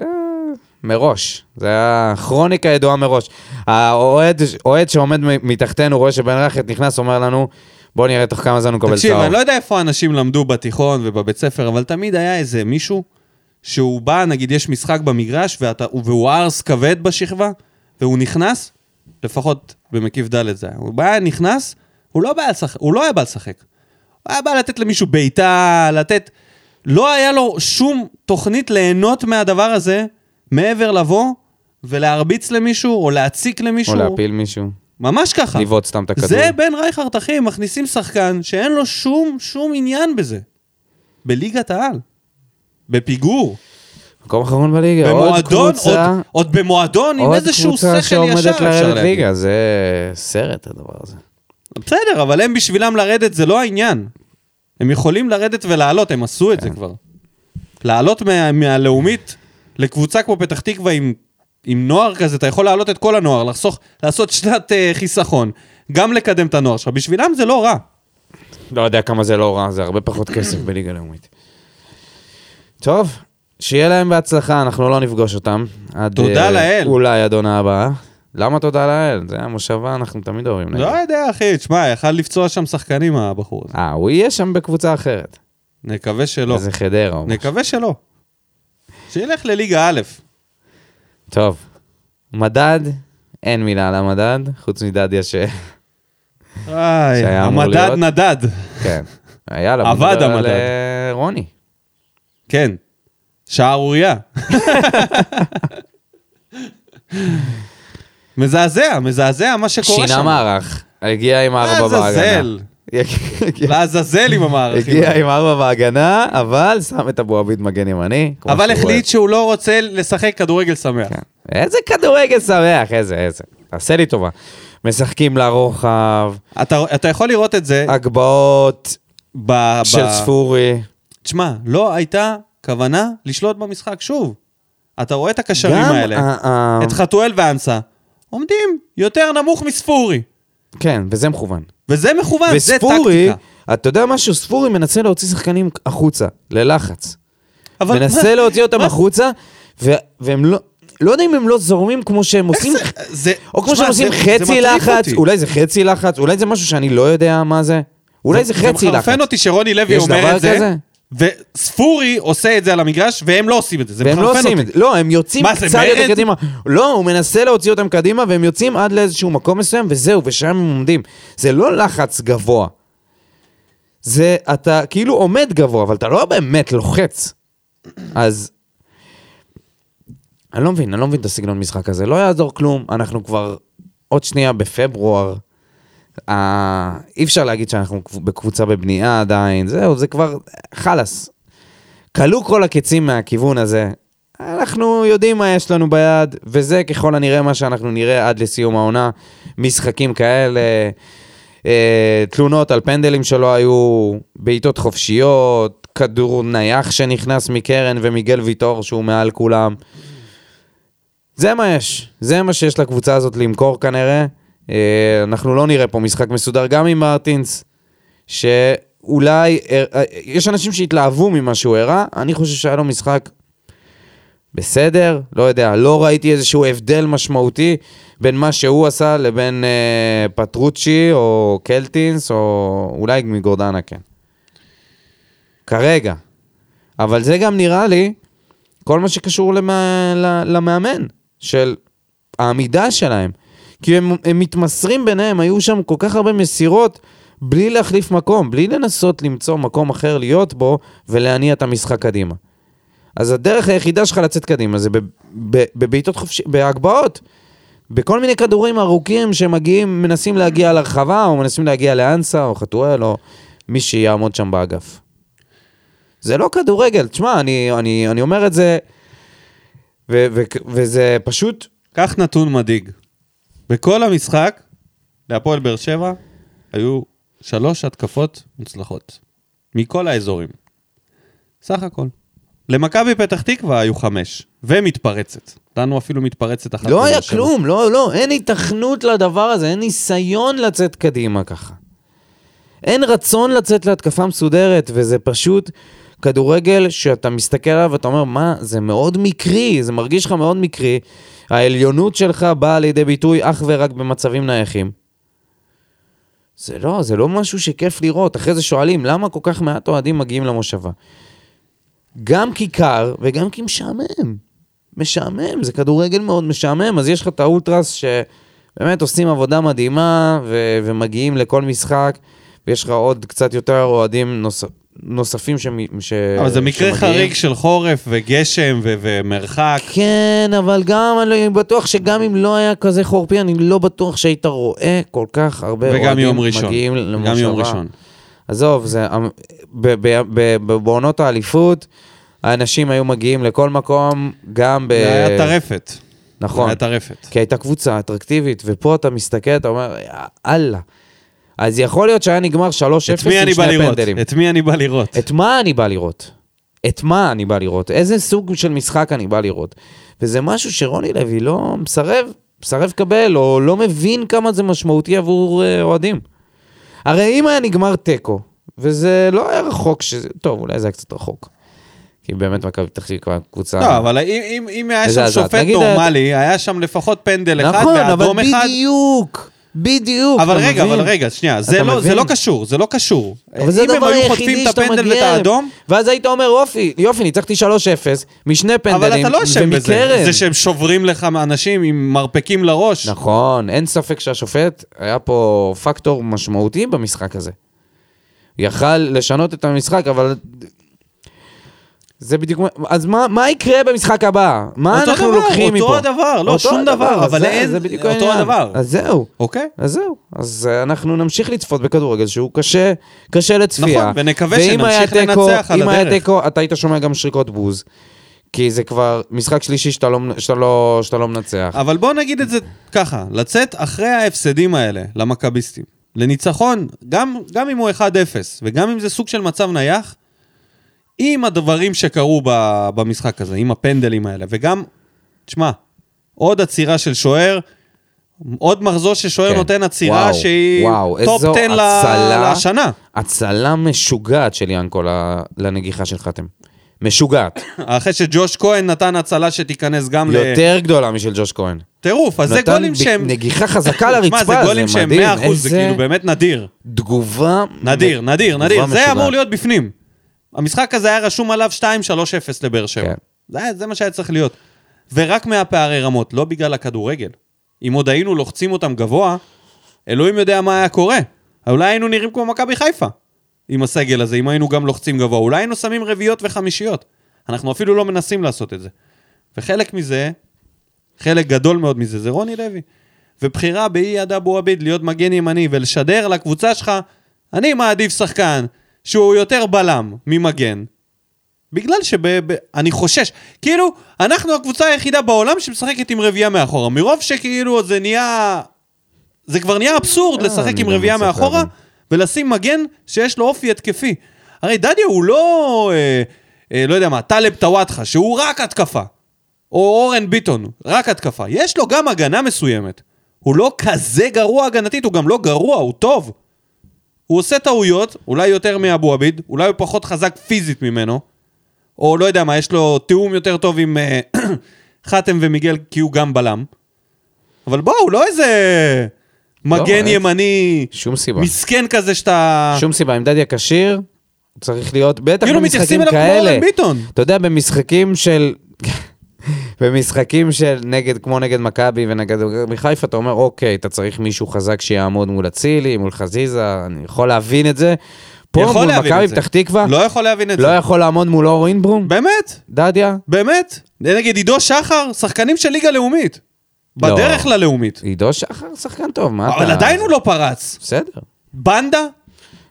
B: מראש, זה היה כרוניקה ידועה מראש. האוהד אוהד שעומד מ- מתחתנו רואה שבן רייכרד נכנס, אומר לנו, בוא נראה תוך כמה זמן הוא מקבל
A: תקשיב, לא
B: צהוב.
A: אני לא יודע איפה אנשים למדו בתיכון ובבית ספר, אבל תמיד היה איזה מישהו שהוא בא, נגיד יש משחק במגרש ואתה, והוא ארס כבד בשכבה, והוא נכנס, לפחות במקיף ד' זה היה, הוא בא, נכנס, הוא לא, בא לשחק, הוא לא היה בא לשחק. הוא היה בא לתת למישהו בעיטה, לתת... לא היה לו שום תוכנית ליהנות מהדבר הזה, מעבר לבוא ולהרביץ למישהו, או להציק למישהו.
B: או להפיל מישהו.
A: ממש ככה.
B: לבעוט סתם את הכדור.
A: אה, זה בן רייכרד, אחי, מכניסים שחקן שאין לו שום, שום עניין בזה. בליגת העל. בפיגור.
B: מקום אחרון בליגה, כן, עוד
A: במועדון, עוד,
B: קבוצה.
A: עוד במועדון עם
B: עוד
A: איזשהו
B: קבוצה
A: שכל ישר
B: שעומדת
A: אפשר
B: לרדת
A: להגיד.
B: ליגה, זה סרט הדבר הזה.
A: בסדר, אבל הם בשבילם לרדת זה לא העניין. הם יכולים לרדת ולעלות, הם עשו
B: כן.
A: את זה כבר. לעלות מה, מהלאומית לקבוצה כמו פתח תקווה עם, עם נוער כזה, אתה יכול להעלות את כל הנוער, לחסוך, לעשות שנת uh, חיסכון, גם לקדם את הנוער שלך, בשבילם זה לא רע.
B: לא יודע כמה זה לא רע, זה הרבה פחות כסף בליגה לאומית. טוב, שיהיה להם בהצלחה, אנחנו לא נפגוש אותם. עד,
A: תודה
B: אה,
A: לאל.
B: אולי עד עונה הבאה. למה תודה לאל? זה המושבה, אנחנו תמיד אוהבים
A: לא
B: להגיד.
A: יודע, אחי, תשמע, יכל לפצוע שם שחקנים הבחור הזה.
B: אה, הוא יהיה שם בקבוצה אחרת.
A: נקווה שלא.
B: איזה חדרה. או משהו.
A: נקווה שלא. שילך לליגה א'.
B: טוב, מדד, אין מילה על המדד, חוץ מדדיה ש...
A: איי,
B: שהיה אמור
A: המדד
B: להיות.
A: נדד.
B: כן. יאללה, בוא
A: עבד
B: נדבר על,
A: המדד.
B: אה, רוני.
A: כן. שערורייה. מזעזע, מזעזע מה שקורה שם.
B: שינה מערך, הגיע עם ארבע בהגנה.
A: לעזאזל.
B: הגיע-
A: לעזאזל עם המערכים.
B: הגיע עם ארבע בהגנה, אבל שם את אבו עביד מגן ימני. כמו
A: אבל
B: שהוא
A: החליט שהוא לא רוצה לשחק כדורגל שמח.
B: אוהב. כן. איזה כדורגל שמח, איזה, איזה. תעשה לי טובה. משחקים לרוחב,
A: אתה- אתה יכול לראות את זה
B: הגבהות
A: ב... ב-
B: אה, של ספורי.
A: תשמע, לא הייתה כוונה לשלוט במשחק שוב. אתה רואה את הקשרים
B: גם אה,
A: האלה.
B: ה- ה-
A: את חתואל ואנסה, עומדים יותר נמוך מספורי.
B: כן, וזה מכוון.
A: וזה מכוון, אה, זה
B: וספורי,
A: טקטיקה.
B: אתה יודע משהו? ספורי מנסה להוציא שחקנים החוצה, ללחץ.
A: אבל
B: מנסה להוציא אותם
A: מה-
B: החוצה, ו- והם לא... לא יודע אם הם לא זורמים כמו שהם עושים,
A: זה,
B: או כמו
A: תשמע,
B: שהם עושים
A: זה- זה
B: חצי
A: מטריף
B: לחץ,
A: אותי.
B: אולי זה חצי לחץ, אולי זה משהו שאני לא יודע מה זה, אולי זה חצי
A: זה
B: לחץ.
A: מחרפן אותי שרוני לוי
B: יש
A: אומר
B: דבר
A: את זה,
B: כזה?
A: וספורי עושה את זה על המגרש, והם לא עושים את זה. זה
B: והם לא
A: מחרפן
B: עושים את
A: אותי.
B: זה, לא, הם יוצאים
A: מה, זה
B: קצת יותר
A: מרד?
B: קדימה. לא, הוא מנסה להוציא אותם קדימה, והם יוצאים עד לאיזשהו מקום מסוים, וזהו, ושם הם עומדים. זה לא לחץ גבוה. זה, אתה כאילו עומד גבוה, אבל אתה לא באמת לוחץ. אז... אני לא מבין, אני לא מבין את הסגנון משחק הזה. לא יעזור כלום, אנחנו כבר עוד שנייה בפברואר. אה, אי אפשר להגיד שאנחנו בקבוצה בבנייה עדיין, זהו, זה כבר, חלאס, כלו כל הקיצים מהכיוון הזה. אנחנו יודעים מה יש לנו ביד, וזה ככל הנראה מה שאנחנו נראה עד לסיום העונה. משחקים כאלה, אה, תלונות על פנדלים שלא היו, בעיטות חופשיות, כדור נייח שנכנס מקרן ומיגל ויטור שהוא מעל כולם. זה מה יש, זה מה שיש לקבוצה הזאת למכור כנראה. אה, אנחנו לא נראה פה משחק מסודר גם עם מרטינס, שאולי, אה, אה, יש אנשים שהתלהבו ממה שהוא הראה, אני חושב שהיה לו משחק בסדר, לא יודע, לא ראיתי איזשהו הבדל משמעותי בין מה שהוא עשה לבין אה, פטרוצ'י או קלטינס, או אולי מגורדנה כן. כרגע. אבל זה גם נראה לי כל מה שקשור למה, ל- למאמן, של העמידה שלהם. כי הם, הם מתמסרים ביניהם, היו שם כל כך הרבה מסירות בלי להחליף מקום, בלי לנסות למצוא מקום אחר להיות בו ולהניע את המשחק קדימה. אז הדרך היחידה שלך לצאת קדימה זה בב- ב- בבעיטות חופשי, בהגבהות. בכל מיני כדורים ארוכים שמגיעים, מנסים להגיע לרחבה, או מנסים להגיע לאנסה, או חתואל, או מי שיעמוד שם באגף. זה לא כדורגל, תשמע, אני, אני, אני אומר את זה, ו, ו, וזה פשוט...
A: קח נתון מדאיג. בכל המשחק, להפועל באר שבע, היו שלוש התקפות מוצלחות. מכל האזורים. סך הכל. למכבי פתח תקווה היו חמש, ומתפרצת. לנו אפילו מתפרצת אחת.
B: לא
A: בבאר
B: היה
A: שבע.
B: כלום, לא, לא, אין היתכנות לדבר הזה, אין ניסיון לצאת קדימה ככה. אין רצון לצאת להתקפה מסודרת, וזה פשוט כדורגל שאתה מסתכל עליו ואתה אומר, מה, זה מאוד מקרי, זה מרגיש לך מאוד מקרי. העליונות שלך באה לידי ביטוי אך ורק במצבים נייחים. זה לא, זה לא משהו שכיף לראות. אחרי זה שואלים, למה כל כך מעט אוהדים מגיעים למושבה? גם כי קר וגם כי משעמם. משעמם, זה כדורגל מאוד משעמם, אז יש לך את האולטרס שבאמת עושים עבודה מדהימה ו- ומגיעים לכל משחק, ויש לך עוד קצת יותר אוהדים נוס- נוספים שמ- ש...
A: אבל זה מקרה
B: שמגיעים.
A: חריג של חורף וגשם ו- ומרחק.
B: כן, אבל גם אני בטוח שגם אם לא היה כזה חורפי, אני לא בטוח שהיית רואה כל כך הרבה
A: וגם יום
B: אוהדים
A: ראשון.
B: מגיעים למושבה.
A: גם יום ראשון.
B: עזוב, זה... המ- ב- ב- ב- ב- בעונות האליפות, האנשים היו מגיעים לכל מקום, גם ב...
A: זה היה טרפת. זה
B: אה, נכון.
A: היה טרפת.
B: כי הייתה קבוצה אטרקטיבית, ופה אתה מסתכל, אתה אומר, אללה. אז יכול להיות שהיה נגמר 3-0 עם
A: את מי אני בא
B: שני
A: לראות?
B: פנדלים.
A: את מי אני בא לראות?
B: את מה אני בא לראות? את מה אני בא לראות? איזה סוג של משחק אני בא לראות? וזה משהו שרוני לוי לא מסרב, מסרב לקבל, או לא מבין כמה זה משמעותי עבור אה, אוהדים. הרי אם היה נגמר תיקו, וזה לא היה רחוק, שזה... טוב, אולי זה היה קצת רחוק. כי באמת מכבי פתח תקווה קבוצה...
A: לא, אבל אם- אם- אם היה שם
B: מזעזעת.
A: שופט
B: נגיד,
A: נורמלי, היה שם לפחות פנדל אחד
B: נכון,
A: ואדום
B: אבל
A: אחד.
B: בדיוק, בדיוק.
A: אבל
B: אתה
A: רגע,
B: מבין?
A: אבל רגע, שנייה, זה
B: אתה
A: לא- זה
B: מבין?
A: לא קשור, זה לא קשור.
B: אבל זה
A: אם הם
B: הדבר
A: היו
B: היחידי
A: חוטפים את
B: שאתה
A: הפנדל ואת
B: מגיע אליו.
A: האדום,
B: ואז היית אומר, יופי, יופי, ניצחתי 3-0, משני פנדלים,
A: אבל אתה לא אשם בזה.
B: ומקרן.
A: זה שהם שוברים לך אנשים עם מרפקים לראש.
B: נכון, אין ספק שהשופט היה פה פקטור משמעותי במשחק הזה. יכל לשנות את המשחק, אבל... זה בדיוק... מה- אז מה, מה יקרה במשחק הבא? מה
A: אותו
B: אנחנו
A: דבר,
B: לוקחים
A: אותו
B: מפה?
A: הדבר, לא, שום דבר,
B: אז
A: אבל
B: זה-
A: אין-
B: זה בדיוק
A: אותו
B: העניין.
A: הדבר.
B: אז זהו.
A: אוקיי?
B: אז זהו, אז אה, אנחנו נמשיך לצפות בכדורגל שהוא קשה, קשה לצפייה.
A: נכון, ונקווה
B: ואם
A: שנמשיך
B: היה תיקו-
A: לנצח על
B: אם היה
A: הדרך.
B: תיקו, אתה היית שומע גם שריקות בוז, כי זה כבר משחק שלישי שאתה לא, מנ- שאתה לא, שאתה לא מנצח.
A: אבל בוא נגיד את זה ככה, לצאת אחרי ההפסדים האלה למכביסטים, לניצחון, גם, גם אם הוא 1-0 וגם אם זה סוג של מצב נייח, עם הדברים שקרו ב, במשחק הזה, עם הפנדלים האלה, וגם, תשמע, עוד עצירה של שוער, עוד מחזור ששוער
B: כן.
A: כן. נותן עצירה
B: וואו,
A: שהיא
B: וואו,
A: טופ
B: איזו
A: 10 ל-
B: הצלה.
A: לשנה.
B: הצלה משוגעת של ינקו ל- לנגיחה של חתם. משוגעת.
A: אחרי שג'וש כהן נתן הצלה שתיכנס גם
B: יותר גדולה משל ג'וש כהן.
A: לטירוף, אז זה
B: נתן
A: גולים
B: ב-
A: שהם...
B: נגיחה חזקה
A: תשמע,
B: לרצפה, זה
A: זה גולים שהם 100%,
B: מדהים.
A: זה
B: איזה
A: כאילו באמת נדיר.
B: תגובה...
A: נדיר, נדיר,
B: תגובה
A: נדיר. זה
B: משוגעת.
A: אמור להיות בפנים. המשחק הזה היה רשום עליו 2-3-0 לבאר שבע.
B: כן.
A: זה היה- זה מה שהיה צריך להיות. ורק מהפערי רמות, לא בגלל הכדורגל. אם עוד היינו לוחצים אותם גבוה, אלוהים יודע מה היה קורה. אולי היינו נראים כמו מכבי חיפה עם הסגל הזה, אם היינו גם לוחצים גבוה. אולי היינו שמים רביעיות וחמישיות. אנחנו אפילו לא מנסים לעשות את זה. וחלק מזה, חלק גדול מאוד מזה, זה רוני לוי. ובחירה באייד אבו עביד להיות מגן ימני ולשדר לקבוצה שלך, אני מעדיף שחקן שהוא יותר בלם ממגן. בגלל שאני חושש, כאילו, אנחנו הקבוצה היחידה בעולם שמשחקת עם רביעייה מאחורה. מרוב שכאילו זה נהיה... זה כבר נהיה אבסורד
B: אה,
A: לשחק
B: אני
A: עם
B: גם
A: רביעייה
B: מצליח
A: מאחורה
B: להבין.
A: ולשים מגן שיש לו אופי התקפי. הרי דדיה הוא לא, אה, אה, לא יודע מה, טלב טוואטחה, שהוא רק התקפה. או אורן ביטון, רק התקפה. יש לו גם הגנה מסוימת. הוא לא כזה גרוע הגנתית, הוא גם לא גרוע, הוא טוב. הוא עושה טעויות, אולי יותר מאבו עביד, אולי הוא פחות חזק פיזית ממנו, או לא יודע מה, יש לו תיאום יותר טוב עם אה, חתם ומיגל, כי הוא גם בלם. אבל בוא, הוא לא איזה מגן
B: לא,
A: ימני
B: שום סיבה.
A: מסכן כזה שאתה...
B: שום סיבה, אם דדיה כשיר, הוא צריך להיות, בטח
A: אה. כאילו מתייחסים
B: במשחקים
A: אליו כמו
B: כאלה.
A: אורן ביטון.
B: אתה יודע, במשחקים של... במשחקים של נגד, כמו נגד מכבי ונגד מכבי חיפה, אתה אומר, אוקיי, אתה צריך מישהו חזק שיעמוד מול אצילי, מול חזיזה, אני יכול להבין את זה. פה
A: יכול
B: מול
A: להבין
B: מכבי
A: את זה.
B: פתח תקווה,
A: לא יכול להבין את
B: לא
A: זה.
B: יכול לעמוד מול אור אינברום,
A: באמת?
B: דדיה,
A: באמת? נגד עידו שחר, שחקנים של ליגה לאומית.
B: לא.
A: בדרך ללאומית.
B: עידו שחר, שחקן טוב, מה אתה...
A: אבל עדיין הוא לא פרץ.
B: בסדר.
A: בנדה?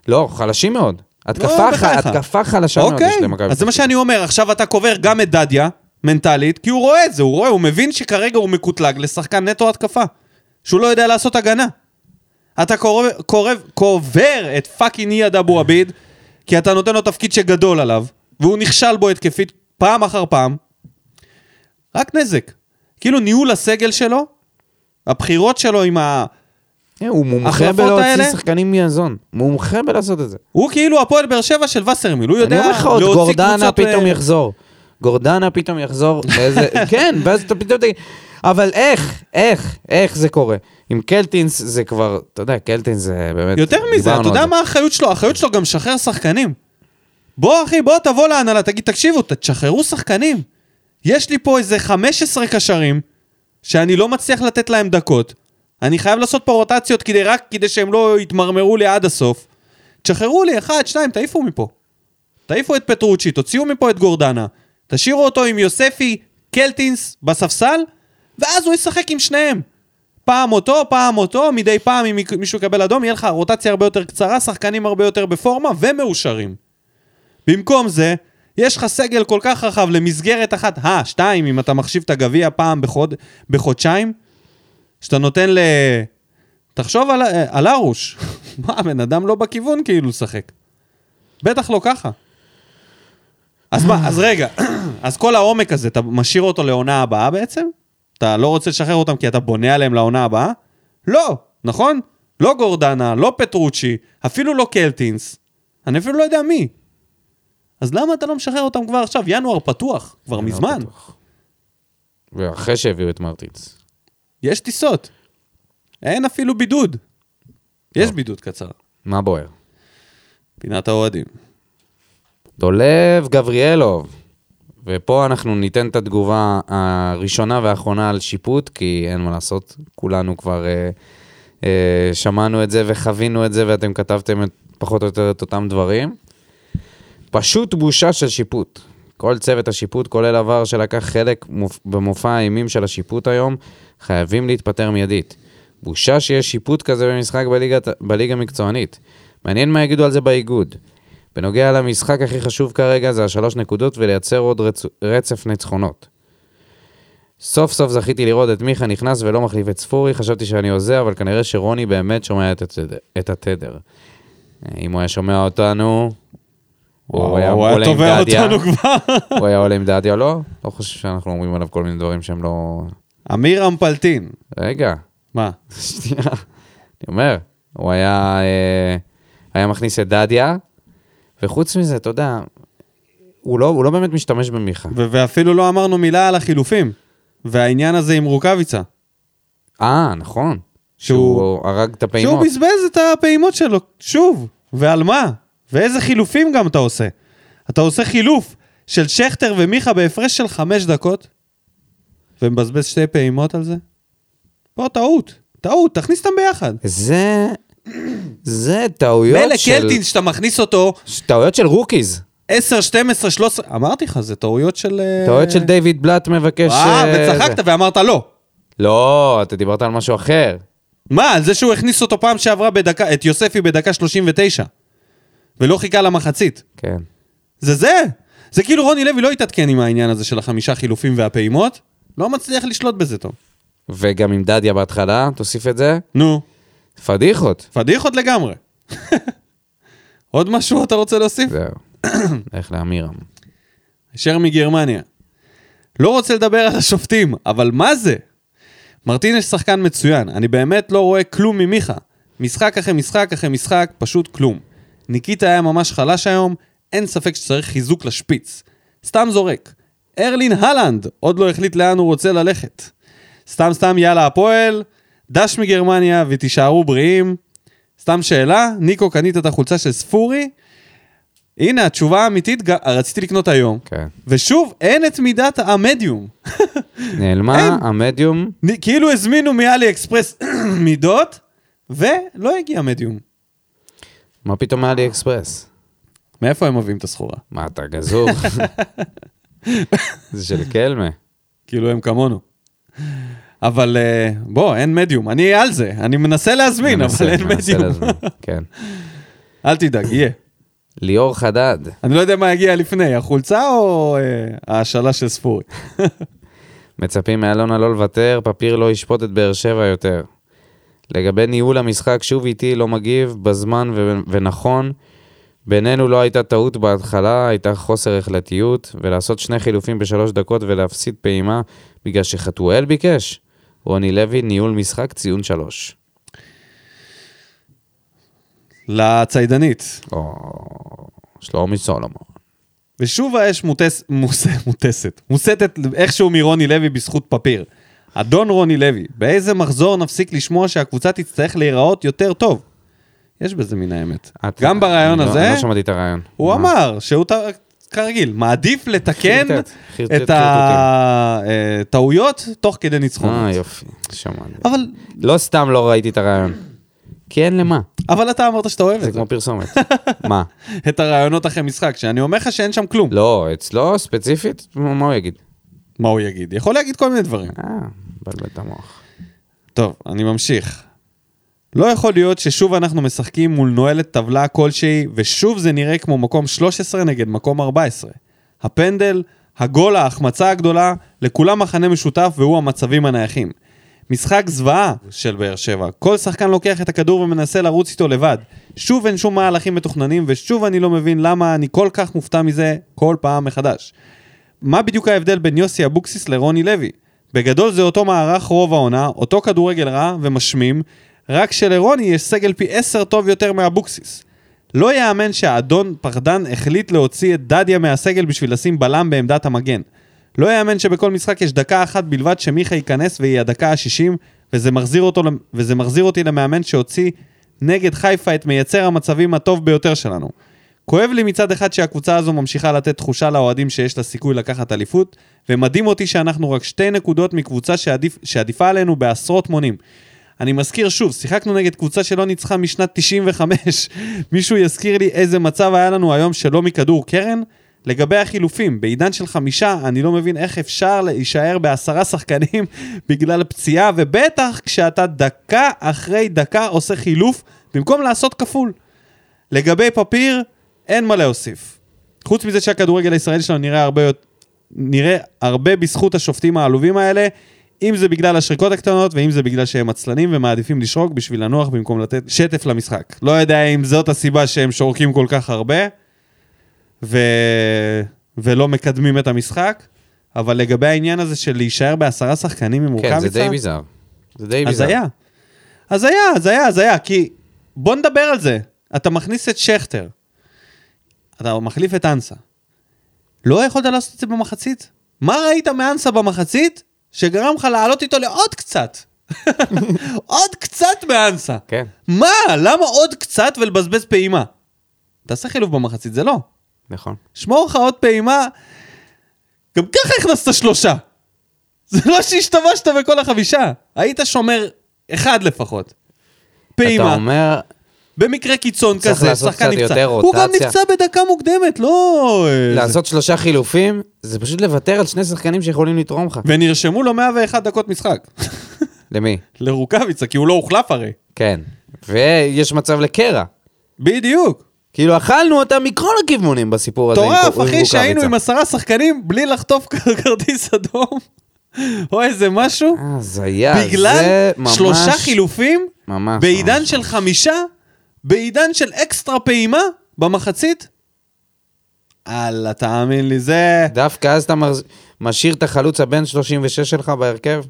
B: לא, חלשים מאוד. התקפה, ח...
A: בחייך.
B: התקפה חלשה מאוד
A: לא, אוקיי.
B: יש למכבי
A: אז זה מה
B: פתח תקווה.
A: שאני אומר, עכשיו אתה קובר גם את דדיה, מנטלית, כי הוא רואה את זה, הוא רואה, הוא מבין שכרגע הוא מקוטלג לשחקן נטו התקפה. שהוא לא יודע לעשות הגנה. אתה קורב, קורב, קובר את פאקינג אייד אבו עביד, כי אתה נותן לו תפקיד שגדול עליו, והוא נכשל בו התקפית פעם אחר פעם. רק נזק. כאילו ניהול הסגל שלו, הבחירות שלו עם ה... כן,
B: אה, הוא מומחה
A: ההחלפות
B: בלהוציא
A: האלה-
B: שחקנים מהזון. מומחה בלעשות את זה.
A: הוא כאילו הפועל באר שבע של וסרמיל, הוא יודע
B: אני אומר לך עוד,
A: להוציא
B: גורדנה
A: קבוצות אה, ל-
B: פתאום יחזור. גורדנה פתאום יחזור לאיזה... כן, ואז אתה פתאום תגיד... אבל איך, איך, איך זה קורה? עם קלטינס זה כבר, אתה יודע, קלטינס זה באמת...
A: יותר מזה, אתה
B: דיברנו על
A: יודע
B: זה.
A: מה האחריות שלו? האחריות שלו גם לשחרר שחקנים. בוא, אחי, בוא, תבוא להנהלה, תגיד, תקשיבו, ת- תשחררו שחקנים. יש לי פה איזה 15 קשרים, שאני לא מצליח לתת להם דקות. אני חייב לעשות פה רוטציות כדי, רק כדי שהם לא יתמרמרו לי עד הסוף. תשחררו לי אחד, שניים, תעיפו מפה. תעיפו את פטרוצ'י, תוציאו מפה את גורדנה. תשאירו אותו עם יוספי קלטינס בספסל, ואז הוא ישחק עם שניהם. פעם אותו, פעם אותו, מדי פעם אם מישהו יקבל אדום, יהיה לך רוטציה הרבה יותר קצרה, שחקנים הרבה יותר בפורמה ומאושרים. במקום זה, יש לך סגל כל כך רחב למסגרת אחת, אה, שתיים, אם אתה מחשיב את הגביע פעם בחוד, בחודשיים, שאתה נותן ל... תחשוב על, אה, על ארוש. מה, הבן אדם לא בכיוון כאילו לשחק. בטח לא ככה. אז מה, אז רגע, אז כל העומק הזה, אתה משאיר אותו לעונה הבאה בעצם? אתה לא רוצה לשחרר אותם כי אתה בונה עליהם לעונה הבאה? לא, נכון? לא גורדנה, לא פטרוצ'י, אפילו לא קלטינס. אני אפילו לא יודע מי. אז למה אתה לא משחרר אותם כבר עכשיו? ינואר פתוח, כבר מזמן.
B: לא בטוח. ואחרי שהביאו את מרטינס.
A: יש טיסות. אין אפילו בידוד.
B: לא.
A: יש בידוד קצר.
B: מה בוער?
A: פינת האוהדים.
B: דולב גבריאלוב. ופה אנחנו ניתן את התגובה הראשונה והאחרונה על שיפוט, כי אין מה לעשות, כולנו כבר אה, אה, שמענו את זה וחווינו את זה, ואתם כתבתם את, פחות או יותר את אותם דברים. פשוט בושה של שיפוט. כל צוות השיפוט, כולל עבר שלקח חלק מופ- במופע האימים של השיפוט היום, חייבים להתפטר מיידית. בושה שיש שיפוט כזה במשחק בליגה, בליגה מקצוענית. מעניין מה יגידו על זה באיגוד. בנוגע למשחק הכי חשוב כרגע זה השלוש נקודות ולייצר עוד רצ... רצף ניצחונות. סוף סוף זכיתי לראות את מיכה נכנס ולא מחליף את ספורי, חשבתי שאני הוזה, אבל כנראה שרוני באמת שומע את התדר. את התדר. אם הוא היה שומע אותנו, הוא היה
A: הוא היה
B: עולה עם
A: תובע
B: דדיה.
A: אותנו כבר.
B: הוא היה עולה עם דדיה, לא? לא חושב שאנחנו אומרים עליו כל מיני דברים שהם לא...
A: אמיר אמפלטין.
B: רגע,
A: מה?
B: שנייה. אני אומר, הוא היה, אה, היה מכניס את דדיה, וחוץ מזה, אתה יודע, הוא לא, הוא לא באמת משתמש במיכה.
A: ו- ואפילו לא אמרנו מילה על החילופים. והעניין הזה עם רוקאביצה.
B: אה, נכון.
A: שהוא-
B: שהוא הרג את הפעימות.
A: שהוא בזבז את הפעימות שלו, שוב. ועל מה? ואיזה חילופים גם אתה עושה. אתה עושה חילוף של שכטר ומיכה בהפרש של חמש דקות, ומבזבז שתי פעימות על זה? פה טעות. טעות, תכניס אותם ביחד.
B: זה... זה טעויות
A: מילא
B: של...
A: קלטינס שאתה מכניס אותו
B: טעויות של רוקיז.
A: 10, 12, 13, אמרתי לך, זה טעויות של... אה,
B: טעויות של דיוויד בלאט מבקש...
A: אה,
B: אה, זה.
A: וצחקת ואמרת לא.
B: לא, אתה דיברת על משהו אחר.
A: מה, על זה שהוא הכניס אותו פעם שעברה בדקה, את יוספי בדקה 39, ולא חיכה למחצית.
B: כן.
A: זה זה! זה כאילו רוני לוי לא התעדכן עם העניין הזה של החמישה חילופים והפעימות, לא מצליח לשלוט בזה טוב.
B: וגם עם דדיה בהתחלה, תוסיף את זה.
A: נו,
B: פדיחות.
A: פדיחות לגמרי. עוד משהו אתה רוצה להוסיף?
B: זהו. לך לאמירם.
A: אשר מגרמניה. לא רוצה לדבר על השופטים, אבל מה זה? מרטינש שחקן מצוין, אני באמת לא רואה כלום ממיכה. משחק אחרי משחק אחרי משחק, פשוט כלום. ניקיטה היה ממש חלש היום, אין ספק שצריך חיזוק לשפיץ. סתם זורק. ארלין הלנד עוד לא החליט לאן הוא רוצה ללכת. סתם סתם יאללה הפועל, דש מגרמניה ותישארו בריאים. סתם שאלה, ניקו קנית את החולצה של ספורי? הנה התשובה האמיתית, ג- רציתי לקנות היום.
B: כן.
A: ושוב, אין את מידת המדיום.
B: נעלמה המדיום.
A: נ- כאילו הזמינו מאלי אקספרס מידות, ולא הגיע מדיום.
B: מה פתאום מאלי אקספרס?
A: מאיפה הם מביאים את הסחורה?
B: מה, אתה גזור? זה של קלמה.
A: כאילו הם כמונו. אבל אה, בוא, אין מדיום. אני על זה, אני מנסה להזמין,
B: ננסה,
A: אבל אין
B: ננסה
A: מדיום.
B: להזמין, כן.
A: אל תדאג, יהיה.
B: ליאור חדד,
A: אני לא יודע מה יגיע לפני, החולצה או אה, ההשאלה של ספורי?
B: מצפים מאלונה לא לוותר, פפיר לא ישפוט את באר שבע יותר. לגבי ניהול המשחק, שוב איתי לא מגיב, בזמן ו- ונכון. בינינו לא הייתה טעות בהתחלה, הייתה חוסר החלטיות, ולעשות שני חילופים בשלוש דקות ולהפסיד פעימה בגלל שחתואל ביקש. רוני לוי, ניהול משחק, ציון שלוש.
A: לציידנית.
B: או... שלומי סולומון.
A: ושוב האש מוטס, מוס, מוטסת, מוסתת איכשהו מרוני לוי בזכות פפיר. אדון רוני לוי, באיזה מחזור נפסיק לשמוע שהקבוצה תצטרך להיראות יותר טוב? יש בזה מן האמת.
B: את-
A: גם ברעיון
B: אני לא-
A: הזה,
B: לא שמעתי את הרעיון. אה,
A: הוא
B: מה?
A: אמר שהוא ת- כרגיל, מעדיף לתקן
B: חרטט, חרטט,
A: את הטעויות תוך כדי
B: אה,
A: ניצחונות.
B: יופי, שמעתי.
A: נכון. אבל-
B: לא סתם לא ראיתי את הרעיון. כי אין למה,
A: אבל אתה אמרת שאתה אוהב
B: זה
A: את זה.
B: כמו פרסומת. מה?
A: את הרעיונות אחרי משחק, שאני אומר לך שאין שם כלום.
B: לא, אצלו ספציפית, מה מה הוא יגיד?
A: מה הוא יגיד? יכול להגיד כל מיני דברים.
B: אה, מבלבל את המוח.
A: טוב, אני ממשיך. לא יכול להיות ששוב אנחנו משחקים מול נועלת טבלה כלשהי, ושוב זה נראה כמו מקום 13 נגד מקום 14. הפנדל, הגול, ההחמצה הגדולה, לכולם מחנה משותף והוא המצבים הנייחים. משחק זוועה של באר שבע. כל שחקן לוקח את הכדור ומנסה לרוץ איתו לבד. שוב אין שום מהלכים מתוכננים, ושוב אני לא מבין למה אני כל כך מופתע מזה כל פעם מחדש. מה בדיוק ההבדל בין יוסי אבוקסיס לרוני לוי? בגדול זה אותו מערך רוב העונה, אותו כדורגל רע ומשמים, רק שלרוני יש סגל פי עשר טוב יותר מאבוקסיס. לא יאמן שהאדון פחדן החליט להוציא את דדיה מהסגל בשביל לשים בלם בעמדת המגן. לא יאמן שבכל משחק יש דקה אחת בלבד שמיכה ייכנס והיא הדקה ה-60, וזה, מחזיר אותו למ- וזה מחזיר אותי למאמן שהוציא נגד חיפה את מייצר המצבים הטוב ביותר שלנו. כואב לי מצד אחד שהקבוצה הזו ממשיכה לתת תחושה לאוהדים שיש לה סיכוי לקחת אליפות, ומדהים אותי שאנחנו רק שתי נקודות מקבוצה שעדיף, שעדיפה עלינו בעשרות מונים. אני מזכיר שוב, שיחקנו נגד קבוצה שלא ניצחה משנת 95. מישהו יזכיר לי איזה מצב היה לנו היום שלא מכדור קרן? לגבי החילופים, בעידן של חמישה, אני לא מבין איך אפשר להישאר בעשרה שחקנים בגלל פציעה, ובטח כשאתה דקה אחרי דקה עושה חילוף במקום לעשות כפול. לגבי פפיר, אין מה להוסיף. חוץ מזה שהכדורגל הישראלי שלנו נראה הרבה, יות- נראה הרבה בזכות השופטים העלובים האלה, אם זה בגלל השריקות הקטנות, ואם זה בגלל שהם עצלנים ומעדיפים לשרוק בשביל לנוח במקום לתת שטף למשחק. לא יודע אם זאת הסיבה שהם שורקים כל כך הרבה, ו... ולא מקדמים את המשחק, אבל לגבי העניין הזה של להישאר בעשרה שחקנים עם
B: כן,
A: רוקאביצה...
B: זה די ביזר. זה די ביזר.
A: אז היה. אז היה, אז היה, אז היה, כי... בוא נדבר על זה. אתה מכניס את שכטר. אתה מחליף את אנסה. לא יכולת לעשות את זה במחצית? מה ראית מאנסה במחצית שגרם לך לעלות איתו לעוד קצת? עוד קצת מאנסה.
B: כן.
A: מה? למה עוד קצת ולבזבז פעימה? תעשה חילוף במחצית, זה לא.
B: נכון.
A: שמור לך עוד פעימה. גם ככה הכנסת שלושה. זה לא שהשתמשת בכל החמישה. היית שומר אחד לפחות.
B: אתה
A: פעימה.
B: אומר,
A: במקרה קיצון
B: צריך
A: כזה,
B: לעשות
A: שחקן
B: קצת
A: נפצע.
B: יותר
A: הוא גם
B: רוטציה.
A: נפצע בדקה מוקדמת, לא... אה, זה.
B: לעשות שלושה חילופים, זה פשוט לוותר על שני שחקנים שיכולים לתרום לך.
A: ונרשמו לו 101 דקות משחק.
B: למי?
A: לרוקאביצה, כי הוא לא הוחלף הרי.
B: כן. ויש מצב לקרע.
A: בדיוק.
B: כאילו, אכלנו אותה מכל הכיוונים בסיפור הזה. עם
A: מטורף,
B: קו- עם
A: אחי, שהיינו
B: רוקאביצה.
A: עם עשרה שחקנים בלי לחטוף כרטיס אדום, או איזה משהו.
B: אה, הזיה,
A: בגלל
B: זה ממש...
A: שלושה חילופים,
B: ממש,
A: בעידן
B: ממש,
A: של חמישה, בעידן של אקסטרה פעימה, במחצית? אללה, תאמין לי, זה...
B: דווקא אז אתה מרז- משאיר את החלוץ הבן 36 שלך בהרכב?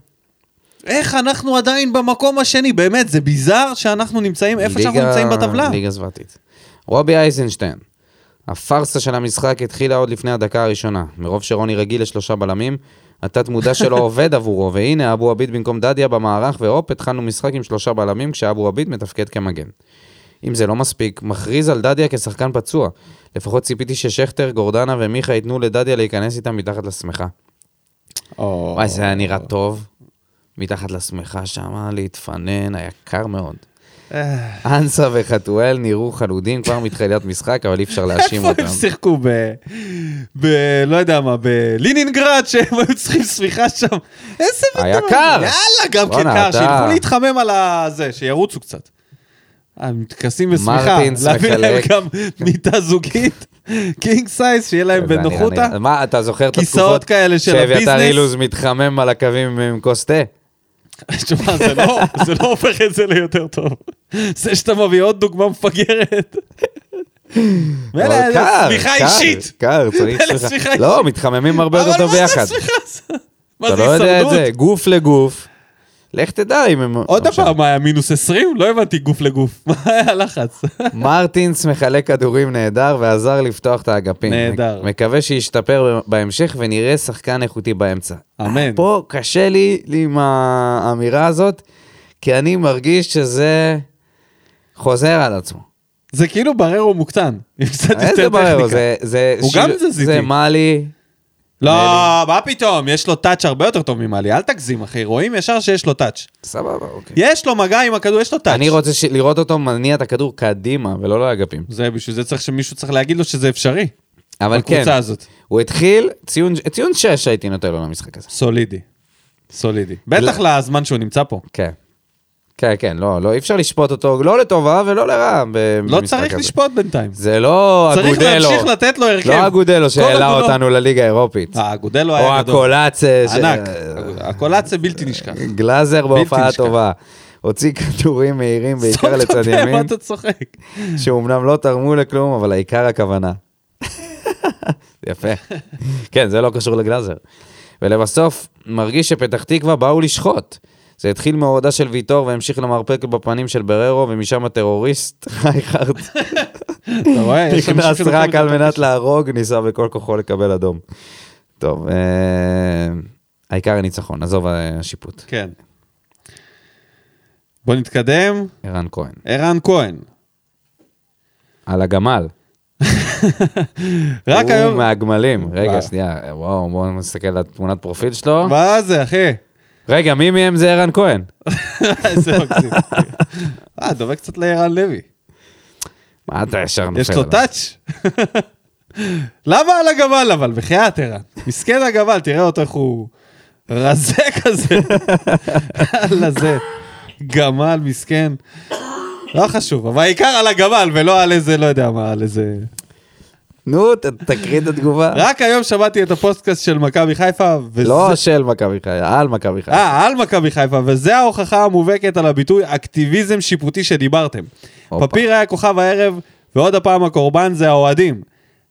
A: איך אנחנו עדיין במקום השני? באמת, זה ביזאר שאנחנו נמצאים איפה שאנחנו
B: ליגה-
A: נמצאים בטבלה.
B: ליגה זוועתית. רובי אייזנשטיין, הפארסה של המשחק התחילה עוד לפני הדקה הראשונה. מרוב שרוני רגיל לשלושה בלמים, התת מודע שלו עובד עבורו, והנה אבו עביד במקום דדיה במערך, והופ, התחלנו משחק עם שלושה בלמים כשאבו עביד מתפקד כמגן. אם זה לא מספיק, מכריז על דדיה כשחקן פצוע. לפחות ציפיתי ששכטר, גורדנה ומיכה ייתנו לדדיה להיכנס איתם מתחת לשמיכה.
A: או,
B: וואי, זה היה נראה טוב. מתחת לשמיכה שם, להתפנן, היה קר מאוד.
A: אה.
B: אנסה וחתואל נראו חלודים כבר מתחילת משחק, אבל אי אפשר להאשים
A: איפה
B: אותם.
A: הם שיחקו? ב... ב... לא יודע מה, בלינינגרד, שהם היו צריכים סמיכה שם? איזה
B: היה
A: מטורף.
B: קר.
A: יאללה, גם כן
B: בואנה,
A: קר,
B: אתה-
A: שילכו להתחמם על הזה, שירוצו קצת. הם מתכסים בשמיכה,
B: מרטינס
A: להביא להם
B: מחלק.
A: גם מיטה זוגית, קינג סייז, שיהיה להם
B: זה היה נראה-
A: בנוחותה.
B: נראה- מה, אתה זוכר את
A: כיסאות
B: התקופות?
A: כאלה של הביזנס?
B: שאביתר אילוז מתחמם על הקווים עם כוס תה?
A: תשמע, זה לא- זה לא הופך את זה ליותר טוב. זה שאתה מביא עוד דוגמה מפגרת.
B: אבל
A: מילא, זה
B: קר,
A: צמיחה
B: קר,
A: אישית.
B: קר, צריך
A: אלה
B: סמיכה.
A: צמיחה
B: לא,
A: אישית.
B: מתחממים הרבה יותר טוב
A: אבל מה
B: ביחד.
A: זה סמיכה? הזאת? מה
B: אתה
A: זה
B: לא יודע את
A: הישרדות?
B: זה, גוף לגוף. לך תדע אם הם...
A: עוד
B: לא משנה.
A: פעם היה מינוס 20? לא הבנתי גוף לגוף. מה היה הלחץ?
B: מרטינס מחלק כדורים נהדר ועזר לפתוח את האגפים.
A: נהדר.
B: מקווה שישתפר בהמשך ונראה שחקן איכותי באמצע.
A: אמן.
B: פה קשה לי עם האמירה הזאת, כי אני מרגיש שזה חוזר על עצמו.
A: זה כאילו בררו מוקטן. עם קצת יותר
B: איזה ברר,
A: טכניקה.
B: זה... זה
A: הוא
B: שיר-
A: גם תזזיתי.
B: זה מאלי.
A: לא, מה פתאום, יש לו טאץ' הרבה יותר טוב ממאלי, אל תגזים אחי, רואים ישר שיש לו טאץ'.
B: סבבה, אוקיי.
A: יש לו מגע עם הכדור, יש לו טאץ'.
B: אני רוצה ש- לראות אותו מניע את הכדור קדימה, ולא לא לאגפים.
A: זה, בשביל זה צריך שמישהו צריך להגיד לו שזה אפשרי.
B: אבל כן,
A: בקבוצה הזאת.
B: הוא התחיל, ציון- ציון 6 הייתי נותן לו למשחק הזה.
A: סולידי. סולידי.
B: לא-
A: בטח לזמן שהוא נמצא פה.
B: כן. כן, כן, לא, לא, אי אפשר לשפוט אותו, לא לטובה ולא לרעה ב-
A: לא
B: במשחק
A: צריך
B: הזה.
A: לשפוט בינתיים.
B: זה לא
A: צריך
B: אגודלו.
A: להמשיך לתת לו הרכב.
B: לא אגודלו
A: כל
B: שהעלה
A: אגודלו.
B: אותנו לליגה האירופית.
A: אה, אגודלו
B: או
A: היה גדול.
B: הקולאצה. ש-
A: ענק. הקולאציה בלתי נשכח.
B: גלאזר בהופעה
A: נשכח.
B: טובה. הוציא כדורים מהירים בעיקר
A: סתום את
B: לצד
A: הפה, מה
B: ימין,
A: אתה צוחק?
B: שאומנם לא תרמו לכלום, אבל העיקר הכוונה. יפה. כן, זה לא קשור לגלאזר. ולבסוף, מרגיש שפתח תקווה באו לשחוט. זה התחיל מהורדה של ויטור והמשיך למרפק בפנים של בררו, ומשם הטרוריסט, רייכרד,
A: אתה רואה? יש אנשים
B: נכנס
A: שלוקחים
B: רק
A: את
B: על
A: התפקיד
B: מנת
A: שלהם.
B: להרוג, ניסה בכל כוחו לקבל אדום. טוב, אה, העיקר הניצחון, עזוב אה, השיפוט.
A: כן. בוא נתקדם.
B: ערן כהן,
A: ערן כהן.
B: על הגמל.
A: רק
B: הוא
A: היום...
B: מהגמלים.
A: וואו.
B: רגע, שנייה, וואו, בואו נסתכל על תמונת פרופיל שלו.
A: מה זה, אחי?
B: רגע, מי מהם זה ערן כהן?
A: איזה מקסים. אה, דומה קצת לערן לוי.
B: מה אתה ישר נופל?
A: יש לו
B: עליו?
A: טאץ'. למה על הגבל אבל? בחייאת ערן. מסכן הגבל, תראה אותו איך הוא רזה כזה. יאללה זה. גמל מסכן. לא חשוב, אבל העיקר על הגמל ולא על איזה, לא יודע מה, על איזה...
B: נו, ת- תקריא את התגובה.
A: רק היום שמעתי את הפודקאסט של מכבי חיפה, וזה...
B: לא של מכבי חיפה, על מכבי חיפה.
A: אה, על מכבי חיפה, וזה ההוכחה המובהקת על הביטוי אקטיביזם שיפוטי שדיברתם.
B: הופה.
A: פפיר היה כוכב הערב, ועוד הפעם הקורבן זה האוהדים.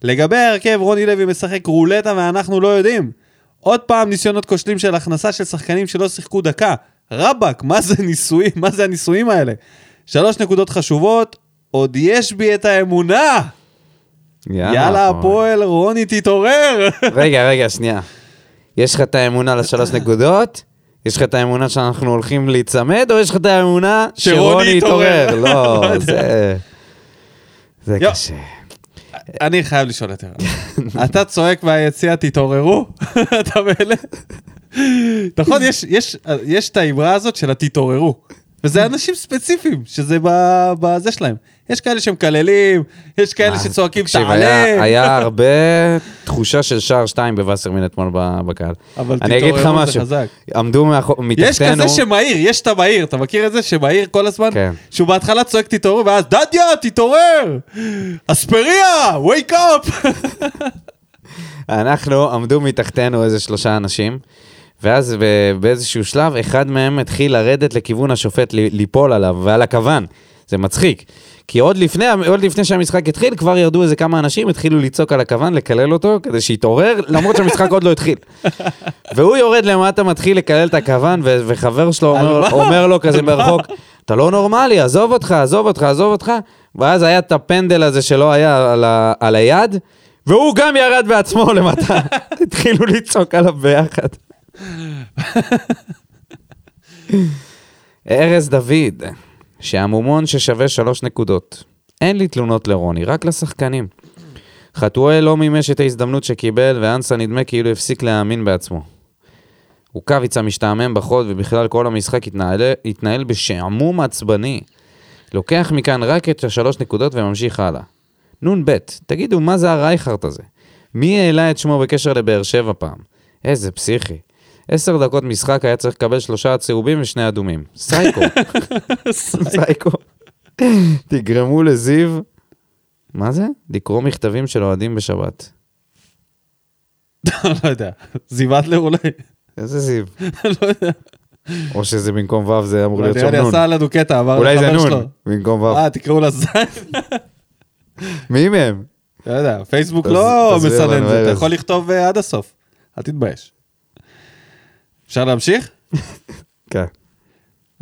A: לגבי ההרכב, רוני לוי משחק רולטה ואנחנו לא יודעים. עוד פעם ניסיונות כושלים של הכנסה של שחקנים שלא שיחקו דקה. רבאק, מה זה ניסויים? מה זה הניסויים האלה? שלוש נקודות חשובות, עוד יש בי את האמונה!
B: נכון.
A: יאללה, הפועל, רוני תתעורר!
B: רגע, רגע, שנייה. יש לך את האמונה לשלוש נקודות? יש לך את האמונה שאנחנו הולכים להיצמד, או יש לך את האמונה
A: שרוני
B: שרוני
A: יתעורר?
B: יתעורר? לא,
A: לא יודע.
B: זה... זה
A: יו.
B: קשה.
A: אני חייב לשאול את ערן. אתה צועק מהיציע, תתעוררו? אתה מאלה? נכון, יש- יש- יש את האמרה הזאת של התתעוררו. וזה אנשים ספציפיים, שזה ב- בזה שלהם. יש כאלה שמקללים, יש כאלה שצועקים
B: אה, תקשיב, היה-
A: תעלה.
B: היה הרבה תחושה של שער שתיים בווסרמן אתמול ב- בקהל.
A: אבל
B: אני אגיד לך
A: תתעוררו, זה
B: משהו,
A: חזק.
B: עמדו מאחור-
A: יש
B: מתחתנו,
A: כזה שמהיר, יש את המהיר, אתה מכיר את זה שמהיר כל הזמן?
B: כן.
A: שהוא בהתחלה צועק תתעוררו, ואז דדיה, תתעורר! אספריה, wake up!
B: אנחנו, עמדו מתחתנו איזה שלושה אנשים, ואז ב- באיזשהו שלב, אחד מהם התחיל לרדת לכיוון השופט, ל- ליפול עליו ועל הכוון. זה מצחיק. כי עוד לפני, עוד לפני שהמשחק התחיל, כבר ירדו איזה כמה אנשים, התחילו לצעוק על הכוון, לקלל אותו, כדי שיתעורר, למרות שהמשחק עוד לא התחיל. והוא יורד למטה, מתחיל לקלל את הכוון, ו- וחבר שלו
A: על
B: אומר,
A: מה?
B: אומר לו כזה
A: על מה?
B: מרחוק, אתה לא נורמלי, עזוב אותך, עזוב אותך, עזוב אותך. ואז היה את הפנדל הזה שלא היה על, ה- על היד, והוא גם ירד בעצמו למטה. התחילו לצעוק עליו ביחד. ארז דוד, שהמומון ששווה שלוש נקודות. אין לי תלונות לרוני, רק לשחקנים. חתואל לא מימש את ההזדמנות שקיבל, ואנסה נדמה כאילו הפסיק להאמין בעצמו. רוקאביצה משתעמם בחוד, ובכלל כל המשחק התנהל, התנהל בשעמום עצבני. לוקח מכאן רק את השלוש נקודות וממשיך הלאה. נ"ב, תגידו, מה זה הרייכרט הזה? מי העלה את שמו בקשר לבאר שבע פעם? איזה פסיכי. עשר דקות משחק היה צריך לקבל שלושה צהובים ושני אדומים. סייקו. סייקו. תגרמו לזיו... מה זה? לקרוא מכתבים של אוהדים בשבת.
A: לא יודע, זיוודלר אולי?
B: איזה זיו.
A: לא יודע.
B: או שזה במקום ו' זה אמור להיות
A: נראה
B: שם
A: לי
B: נון.
A: עשה לנו קטע, אמר
B: אולי זה
A: לחבר שלו.
B: נון, במקום ו'.
A: אה, תקראו לה זין?
B: מי מהם?
A: לא יודע, פייסבוק
B: תז-
A: לא
B: תסביר
A: מסנן
B: לנו,
A: זה, אתה
B: ארז.
A: יכול לכתוב אה, עד הסוף. אל תתבייש. אפשר להמשיך?
B: כן.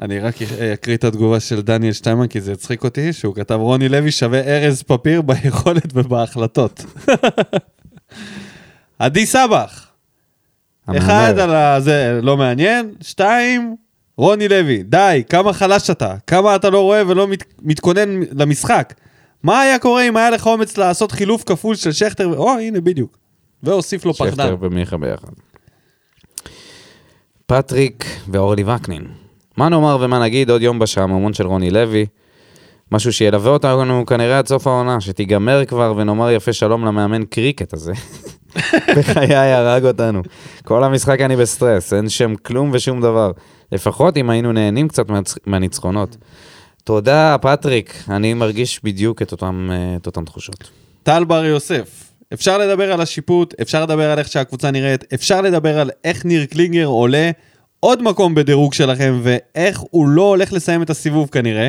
A: אני רק אה, אקריא את התגובה של דניאל שטיימן, כי זה הצחיק אותי, שהוא כתב רוני לוי שווה ארז פפיר ביכולת ובהחלטות. עדי סבח, אחד על הזה לא מעניין, שתיים, רוני לוי, די, כמה חלש אתה, כמה אתה לא רואה ולא מת, מתכונן למשחק. מה היה קורה אם היה לך אומץ לעשות חילוף כפול של שכטר, ו- או הנה בדיוק. והוסיף לו פחדן.
B: שכטר ומיכה ביחד. פטריק ואורלי וקנין. מה נאמר ומה נגיד עוד יום בשעממון של רוני לוי? משהו שילווה אותנו כנראה עד סוף העונה, שתיגמר כבר ונאמר יפה שלום למאמן קריקט הזה. בחיי הרג אותנו. כל המשחק אני בסטרס, אין שם כלום ושום דבר. לפחות אם היינו נהנים קצת מהצ- מהניצחונות. תודה, פטריק, אני מרגיש בדיוק את אותם, אה, את אותן תחושות.
A: טל בר יוסף. אפשר לדבר על השיפוט, אפשר לדבר על איך שהקבוצה נראית, אפשר לדבר על איך ניר קלינגר עולה עוד מקום בדירוג שלכם ואיך הוא לא הולך לסיים את הסיבוב כנראה.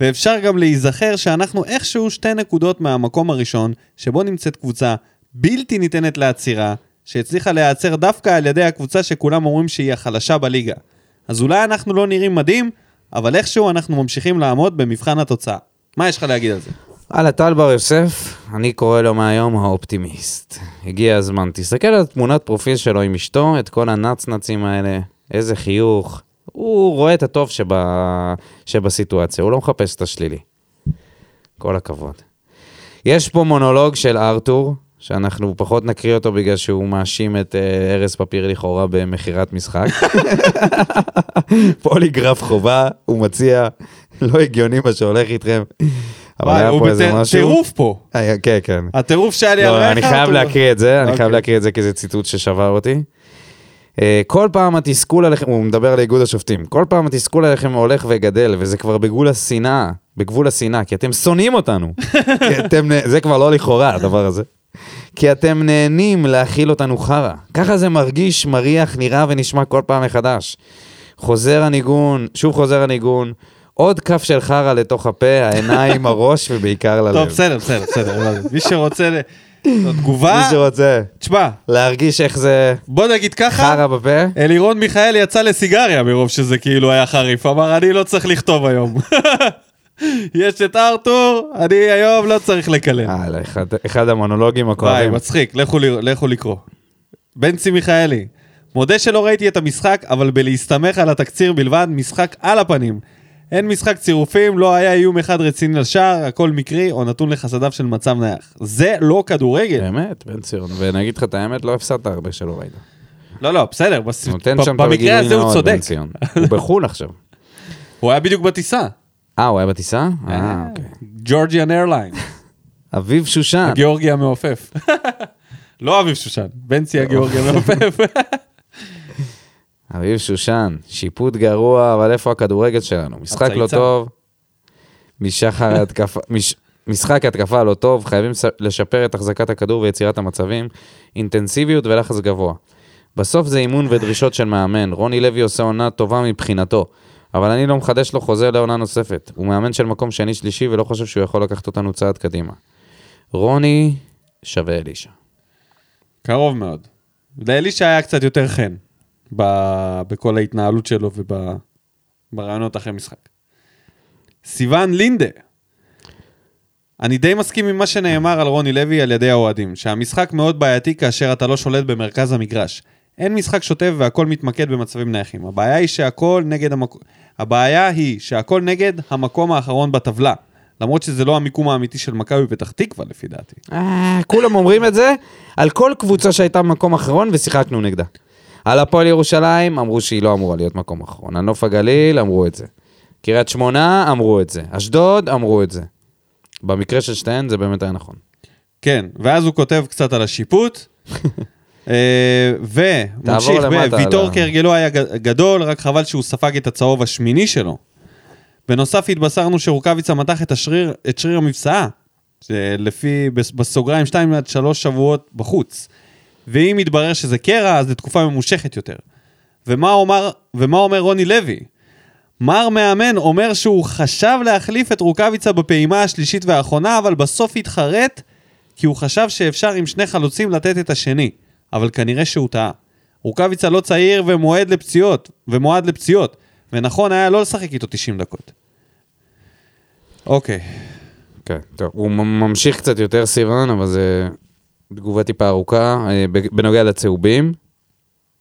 A: ואפשר גם להיזכר שאנחנו איכשהו שתי נקודות מהמקום הראשון, שבו נמצאת קבוצה בלתי ניתנת לעצירה, שהצליחה להיעצר דווקא על ידי הקבוצה שכולם אומרים שהיא החלשה בליגה. אז אולי אנחנו לא נראים מדהים, אבל איכשהו אנחנו ממשיכים לעמוד במבחן התוצאה. מה יש לך להגיד על זה?
B: הלאה, טל בר יוסף, אני קורא לו מהיום האופטימיסט. הגיע הזמן, תסתכל על תמונת פרופיל שלו עם אשתו, את כל הנצנצים האלה, איזה חיוך. הוא רואה את הטוב שב... שבסיטואציה, הוא לא מחפש את השלילי. כל הכבוד. יש פה מונולוג של ארתור, שאנחנו פחות נקריא אותו בגלל שהוא מאשים את אה, ארז פפיר לכאורה במכירת משחק. פוליגרף חובה, הוא מציע, לא הגיוני מה שהולך איתכם. אבל
A: וואי,
B: היה
A: הוא
B: פה איזה
A: בטיר-
B: משהו.
A: טירוף פה.
B: היה- כן, כן.
A: הטירוף שהיה לי על
B: לא,
A: רייכרד,
B: אני חייב
A: הוא-
B: להקריא את זה, אני
A: אוקיי.
B: חייב להקריא את זה כי זה ציטוט ששבר אותי. אה, כל פעם התסכול עליכם, הוא מדבר על איגוד השופטים, כל פעם התסכול עליכם הולך וגדל, וזה כבר בגבול השנאה, בגבול השנאה, כי אתם שונאים אותנו. כי אתם, נה- זה כבר לא לכאורה, הדבר הזה. כי אתם נהנים להאכיל אותנו חרא. ככה זה מרגיש, מריח, נראה ונשמע כל פעם מחדש. חוזר הניגון, שוב חוזר הניגון, עוד כף של חרא לתוך הפה, העיניים, הראש ובעיקר ללב.
A: טוב, בסדר, בסדר, בסדר. מי שרוצה ל- זו
B: מי
A: תגובה,
B: שרוצה
A: תשמע,
B: להרגיש איך זה...
A: בוא נגיד ככה,
B: חרא בפה?
A: אלירון מיכאל יצא לסיגריה מרוב שזה כאילו היה חריף, אמר אני לא צריך לכתוב היום. יש את ארתור, אני היום לא צריך לקלל.
B: אה, אחד- אחד המונולוגים
A: וואי,
B: הכואבים.
A: מצחיק, לכו ל- לכו לקרוא. בנצי מיכאלי, מודה שלא ראיתי את המשחק, אבל בלהסתמך על התקציר בלבד, משחק על הפנים. אין משחק צירופים, לא היה איום אחד רציני לשער, הכל מקרי או נתון לחסדיו של מצב נייח. זה לא כדורגל.
B: באמת, בן ציון, ואני אגיד לך את האמת, לא הפסדת הרבה שלא ראית.
A: לא, לא, בסדר, בס-
B: נותן
A: ב-
B: שם את
A: במקרה
B: הגילוי
A: הזה הוא
B: נאות,
A: צודק.
B: בן ציון. הוא בחו"ל עכשיו.
A: הוא היה בדיוק בטיסה.
B: אה, הוא היה בטיסה?
A: כן.
B: אה, אוקיי.
A: ג'ורג'יאן איירליין,
B: אביב שושן.
A: גיאורגיה המעופף. לא אביב שושן, בנצי הגיאורגיה המעופף.
B: אביב שושן, שיפוט גרוע, אבל איפה הכדורגל שלנו? משחק לא
A: הצייצן.
B: טוב, משחר ההתקפה, מש... משחק התקפה לא טוב, חייבים ס- לשפר את החזקת הכדור ויצירת המצבים, אינטנסיביות ולחץ גבוה. בסוף זה אימון ודרישות של מאמן, רוני לוי עושה עונה טובה מבחינתו, אבל אני לא מחדש לו חוזה לעונה נוספת. הוא מאמן של מקום שני-שלישי ולא חושב שהוא יכול לקחת אותנו צעד קדימה. רוני שווה אלישע.
A: קרוב מאוד. לאלישע היה קצת יותר חן ב... בכל ההתנהלות שלו וברעיונות אחרי משחק. סיוון לינדה. אני די מסכים עם מה שנאמר על רוני לוי על ידי האוהדים, שהמשחק מאוד בעייתי כאשר אתה לא שולט במרכז המגרש. אין משחק שוטף והכל מתמקד במצבים נייחים. הבעיה היא שהכל נגד המקום... הבעיה היא שהכל נגד המקום האחרון בטבלה. למרות שזה לא המיקום האמיתי של מכבי פתח תקווה לפי דעתי.
B: אה, כולם אומרים את זה על כל קבוצה שהייתה במקום אחרון ושיחקנו נגדה. על הפועל ירושלים אמרו שהיא לא אמורה להיות מקום אחרון. על נוף הגליל אמרו את זה. קריית שמונה אמרו את זה. אשדוד אמרו את זה. במקרה של שתיהן זה באמת היה נכון.
A: כן, ואז הוא כותב קצת על השיפוט. אה, וממשיך, ב-
B: למטה,
A: ויטור
B: לא.
A: כהרגלו היה ג- גדול, רק חבל שהוא ספג את הצהוב השמיני שלו. בנוסף התבשרנו שרוקאביצה מתח את, השריר, את שריר המפסעה, שלפי, בס- בסוגריים 2 עד 3 שבועות בחוץ. ואם יתברר שזה קרע, אז לתקופה ממושכת יותר. ומה אומר, ומה אומר רוני לוי? מר מאמן אומר שהוא חשב להחליף את רוקאביצה בפעימה השלישית והאחרונה, אבל בסוף התחרט כי הוא חשב שאפשר עם שני חלוצים לתת את השני, אבל כנראה שהוא טעה. רוקאביצה לא צעיר ומועד לפציעות, ומועד לפציעות, ונכון היה לא לשחק איתו 90 דקות. אוקיי,
B: כן, טוב. הוא מ- ממשיך קצת יותר סיוון, אבל זה תגובה טיפה ארוכה. אה, ב- בנוגע לצהובים,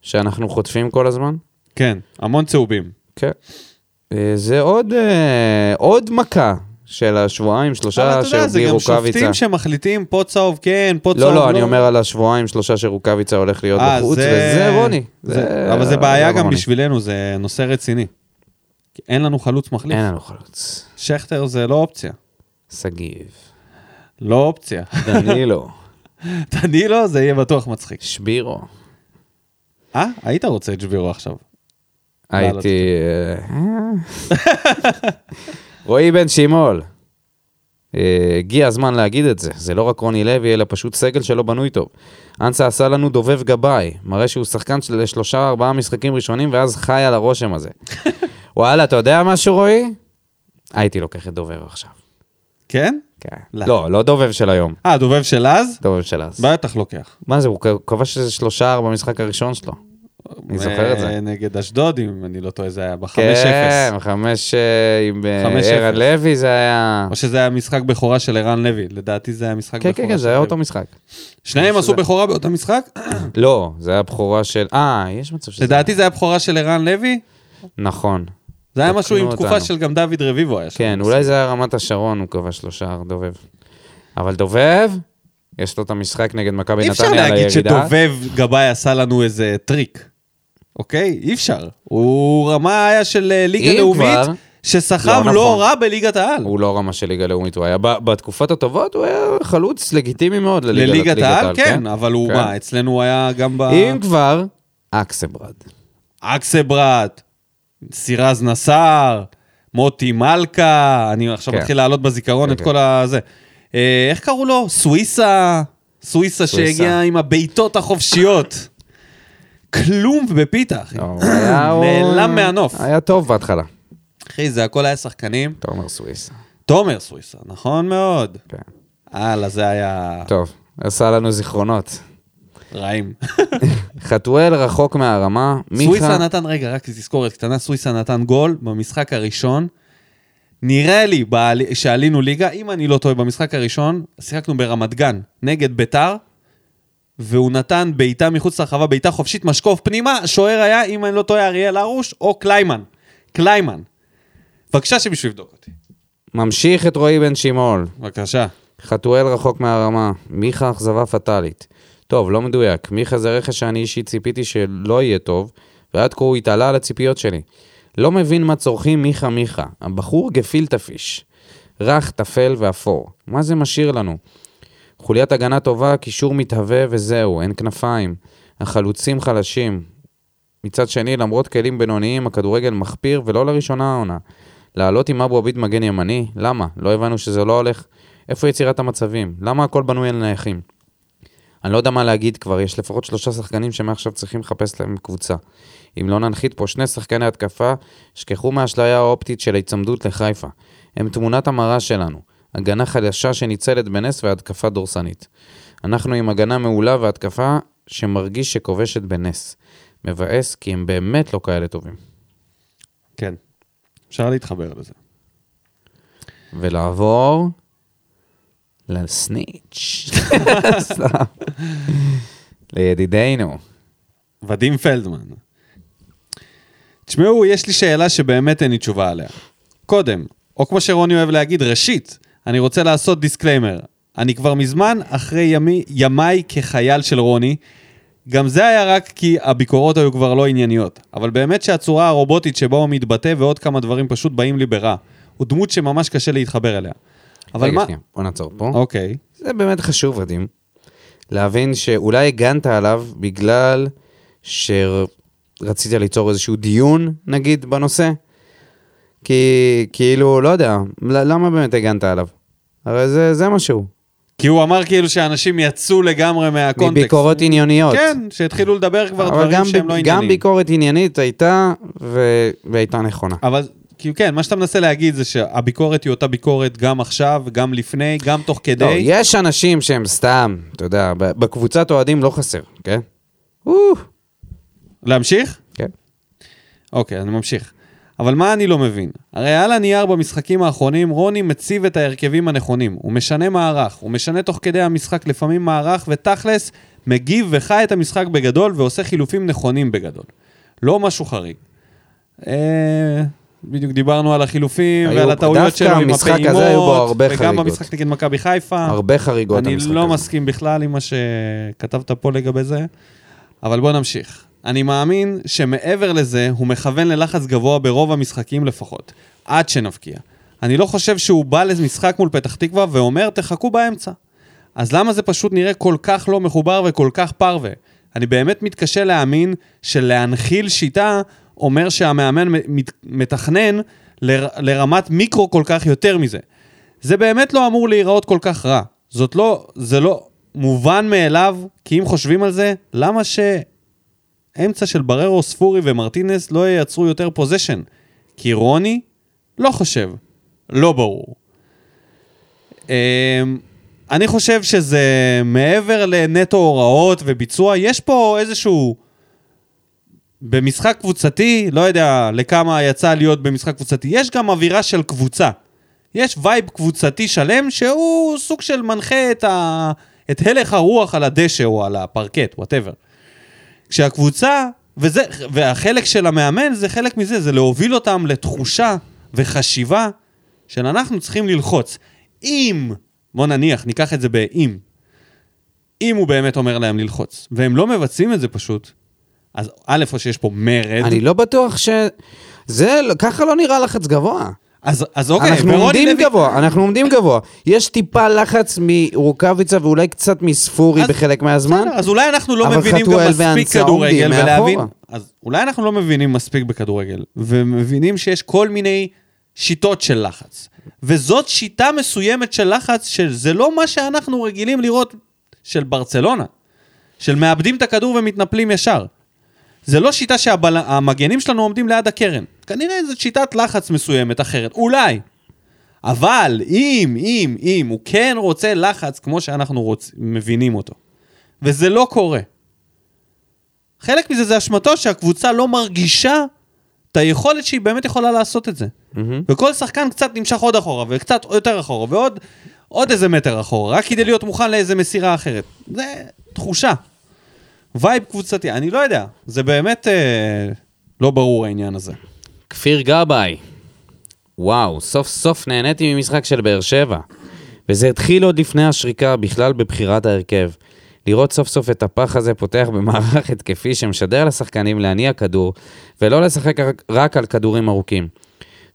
B: שאנחנו חוטפים כל הזמן.
A: כן, המון צהובים.
B: כן. אה, זה עוד, אה, עוד מכה של השבועיים,
A: אבל
B: שלושה
A: אתה יודע, זה
B: שרבי
A: גם
B: רוקאביצה.
A: שופטים שמחליטים פה צהוב כן, פה צהוב
B: לא, לא, אני אומר על השבועיים, שלושה שרוקאביצה הולך להיות
A: אה,
B: בחוץ,
A: זה-
B: וזה רוני. לא,
A: זה- אבל זה בעיה גם
B: רוני.
A: בשבילנו, זה נושא רציני. כי אין לנו חלוץ מחליף.
B: אין לנו חלוץ.
A: שכטר זה לא אופציה.
B: שגיב.
A: לא אופציה.
B: דנילו.
A: דנילו, זה יהיה בטוח מצחיק.
B: שבירו.
A: אה? היית רוצה את שבירו עכשיו. לא, לא
B: הייתי... אה, רועי בן שימול. אה, הגיע הזמן להגיד את זה, זה לא רק רוני לוי, אלא פשוט סגל שלא בנוי טוב. אנסה עשה לנו דובב גבאי, מראה שהוא שחקן של שלושה ארבעה משחקים ראשונים, ואז חי על הרושם הזה. וואלה, אתה יודע משהו, רועי? הייתי לוקח את דובב עכשיו.
A: כן?
B: כן.
A: לא.
B: לא, לא דובב של היום,
A: אה, דובב של אז?
B: דובב של אז.
A: בטח לוקח.
B: מה זה, הוא כ- כבש שזה שלושה ארבע משחק הראשון שלו. אני זוכר את זה.
A: אה, נגד אשדוד, אם אני לא טועה, זה היה
B: כן,
A: ב-5-0.
B: חמש אה, עם אה,
A: חמש
B: ערן
A: אפס.
B: לוי, זה היה...
A: או שזה היה משחק בכורה של ערן לוי. לדעתי זה היה משחק
B: כן,
A: בכורה.
B: כן, כן,
A: של
B: זה היה
A: לוי.
B: אותו משחק.
A: שניהם
B: שזה-
A: עשו בכורה באותו משחק?
B: לא, זה היה בכורה של... אה, יש מצב שזה...
A: לדעתי זה היה בכורה של ערן לוי.
B: נכון.
A: זה היה
B: תקנו
A: משהו עם תקופה
B: אותנו.
A: של גם דוד רביבו היה שם.
B: כן, אולי זה היה רמת השרון, הוא כבש לו שער דובב. אבל דובב, יש לו את המשחק נגד מכבי
A: אי אפשר
B: נתניה על הירידה.
A: להגיד שדובב גבאי עשה לנו איזה טריק, אוקיי? אי אפשר. הוא רמה היה של אה, ליגה
B: אם
A: לאומית,
B: כבר,
A: שסחב
B: לא נכון.
A: לא רע בליגת העל.
B: הוא לא רמה של ליגה לאומית, הוא היה... ב- בתקופות הטובות הוא היה חלוץ לגיטימי מאוד לליגה-
A: לליגת העל, כן, אבל הוא
B: כן.
A: מה, אצלנו הוא היה גם ב...
B: אם כבר, אקסברד.
A: אקסברת, סירז נסאר, מוטי מלכה, אני עכשיו
B: כן.
A: מתחיל להעלות בזיכרון
B: כן,
A: את
B: כן.
A: כל הזה. אה, איך קראו לו? סוויסה, סוויסה
B: סוויסה.
A: שהגיע עם הבעיטות החופשיות. כלום בפיתה, אחי.
B: לא, הוא היה- הוא-
A: נעלם מהנוף.
B: היה טוב בהתחלה.
A: אחי, זה הכל היה שחקנים.
B: תומר סוויסה.
A: תומר סוויסה, נכון מאוד.
B: כן.
A: הלאה, זה היה
B: טוב, עשה לנו זיכרונות.
A: רעים.
B: חתואל רחוק מהרמה,
A: סוויסה
B: מיכה...
A: נתן, רגע, רק תזכורת קטנה, סוויסה נתן גול במשחק הראשון. נראה לי בעל- שעלינו ליגה, אם אני לא טועה, במשחק הראשון, שיחקנו ברמת גן נגד ביתר, והוא נתן בעיטה מחוץ לרחבה, בעיטה חופשית, משקוף פנימה, השוער היה, אם אני לא טועה, אריאל הרוש או קליימן. קליימן. בבקשה שמישהו יבדוק אותי.
B: ממשיך את רועי בן שמעון,
A: בבקשה.
B: חתואל רחוק מהרמה, מיכה אכזבה פטאלית. טוב, לא מדויק, מיכה זה רכש שאני אישית ציפיתי שלא יהיה טוב, ועד כה הוא התעלה על הציפיות שלי. לא מבין מה צורכים מיכה מיכה, הבחור גפילטה פיש. רך, טפל ואפור. מה זה משאיר לנו? חוליית הגנה טובה, קישור מתהווה וזהו, אין כנפיים. החלוצים חלשים. מצד שני, למרות כלים בינוניים, הכדורגל מחפיר, ולא לראשונה העונה. לעלות עם אבו עביד מגן ימני? למה? לא הבנו שזה לא הולך. איפה יצירת המצבים? למה הכל בנוי על נייחים? אני לא יודע מה להגיד כבר, יש לפחות שלושה שחקנים שמעכשיו צריכים לחפש להם קבוצה. אם לא ננחית פה שני שחקני התקפה, שכחו מהאשליה האופטית של ההיצמדות לחיפה. הם תמונת המראה שלנו. הגנה חלשה שניצלת בנס והתקפה דורסנית. אנחנו עם הגנה מעולה והתקפה שמרגיש שכובשת בנס. מבאס כי הם באמת לא כאלה טובים.
A: כן. אפשר להתחבר לזה.
B: ולעבור לסניץ'. סתם. לידידינו.
A: ודים פלדמן. תשמעו, יש לי שאלה שבאמת אין לי תשובה עליה. קודם, או כמו שרוני אוהב להגיד, ראשית, אני רוצה לעשות דיסקליימר. אני כבר מזמן אחרי ימי, ימיי כחייל של רוני. גם זה היה רק כי הביקורות היו כבר לא ענייניות. אבל באמת שהצורה הרובוטית שבה הוא מתבטא ועוד כמה דברים פשוט באים לי ברע. הוא דמות שממש קשה להתחבר אליה. אבל
B: רגע,
A: מה...
B: שנייה, בוא נעצור פה.
A: אוקיי.
B: זה באמת חשוב, ודים, להבין שאולי הגנת עליו בגלל שרצית ליצור איזשהו דיון, נגיד, בנושא. כי כאילו, לא יודע, ל- למה באמת הגנת עליו? הרי זה, זה מה שהוא.
A: כי הוא אמר כאילו שאנשים יצאו לגמרי מהקונטקסט.
B: מביקורות ענייניות.
A: כן, שהתחילו לדבר כבר
B: אבל
A: דברים
B: גם,
A: שהם
B: ב-
A: לא ענייניים.
B: גם ביקורת עניינית הייתה, ו... והייתה נכונה.
A: אבל כאילו כן, מה שאתה מנסה להגיד זה שהביקורת היא אותה ביקורת גם עכשיו, גם לפני, גם תוך
B: לא,
A: כדי.
B: יש אנשים שהם סתם, אתה יודע, ב- בקבוצת אוהדים לא חסר, כן? או,
A: להמשיך?
B: כן.
A: אוקיי, אני ממשיך. אבל מה אני לא מבין? הרי על הנייר במשחקים האחרונים, רוני מציב את ההרכבים הנכונים. הוא משנה מערך, הוא משנה תוך כדי המשחק לפעמים מערך, ותכלס, מגיב וחי את המשחק בגדול, ועושה חילופים נכונים בגדול. לא משהו חריג. אה, בדיוק דיברנו על החילופים
B: היו-
A: ועל הטעויות
B: דווקא
A: שלו עם
B: המשחק
A: הפעימות,
B: הזה היו בו הרבה
A: וגם
B: חריגות.
A: במשחק נגד מכבי חיפה.
B: הרבה חריגות
A: אה. אני
B: המשחק
A: לא
B: הזה.
A: מסכים בכלל עם מה שכתבת פה לגבי זה, אבל בוא נמשיך. אני מאמין שמעבר לזה, הוא מכוון ללחץ גבוה ברוב המשחקים לפחות, עד שנבקיע. אני לא חושב שהוא בא למשחק מול פתח תקווה ואומר, תחכו באמצע. אז למה זה פשוט נראה כל כך לא מחובר וכל כך פרווה? אני באמת מתקשה להאמין שלהנחיל שיטה אומר שהמאמן מת- מתכנן לר, לרמת מיקרו כל כך יותר מזה. זה באמת לא אמור להיראות כל כך רע. זאת לא, זה לא מובן מאליו, כי אם חושבים על זה, למה שאמצע של בררו, ספורי ומרטינס לא ייצרו יותר פוזיישן? כי רוני לא חושב. לא ברור. אמ, אני חושב שזה מעבר לנטו הוראות וביצוע, יש פה איזשהו... במשחק קבוצתי, לא יודע לכמה יצא להיות במשחק קבוצתי, יש גם אווירה של קבוצה. יש וייב קבוצתי שלם שהוא סוג של מנחה את, ה... את הלך הרוח על הדשא או על הפרקט, וואטאבר. כשהקבוצה, וזה, והחלק של המאמן זה חלק מזה, זה להוביל אותם לתחושה וחשיבה של אנחנו צריכים ללחוץ. אם, בוא נניח, ניקח את זה באם, אם הוא באמת אומר להם ללחוץ, והם לא מבצעים את זה פשוט, אז א', או שיש פה מרד,
B: אני לא בטוח ש... זה, לא- ככה לא נראה לחץ גבוה.
A: אז, אז אוקיי,
B: אנחנו
A: ורוני
B: עומדים
A: לוי-
B: גבוה, אנחנו עומדים גבוה. יש טיפה לחץ מרוקאביצה ואולי קצת מספורי
A: אז-
B: בחלק מהזמן.
A: בסדר, אז אולי אנחנו לא
B: אבל
A: מבינים גם
B: חתואל
A: מספיק
B: ואנסה
A: כדורגל
B: עומדים
A: ולהבין...
B: מאחורה.
A: אז אולי אנחנו לא מבינים מספיק בכדורגל, ומבינים שיש כל מיני שיטות של לחץ. וזאת שיטה מסוימת של לחץ, שזה לא מה שאנחנו רגילים לראות של ברצלונה. של מאבדים את הכדור ומתנפלים ישר. זה לא שיטה שהמגנים שלנו עומדים ליד הקרן. כנראה זו שיטת לחץ מסוימת אחרת, אולי. אבל אם, אם, אם, הוא כן רוצה לחץ כמו שאנחנו רוצ... מבינים אותו. וזה לא קורה. חלק מזה זה אשמתו שהקבוצה לא מרגישה את היכולת שהיא באמת יכולה לעשות את זה. Mm-hmm. וכל שחקן קצת נמשך עוד אחורה, וקצת יותר אחורה, ועוד עוד איזה מטר אחורה, רק כדי להיות מוכן לאיזה מסירה אחרת. זה תחושה. וייב קבוצתי, אני לא יודע, זה באמת אה, לא ברור העניין הזה.
B: כפיר גבאי. וואו, סוף סוף נהניתי ממשחק של באר שבע. וזה התחיל עוד לפני השריקה, בכלל בבחירת ההרכב. לראות סוף סוף את הפח הזה פותח במערך התקפי שמשדר לשחקנים להניע כדור, ולא לשחק רק- רק על כדורים ארוכים.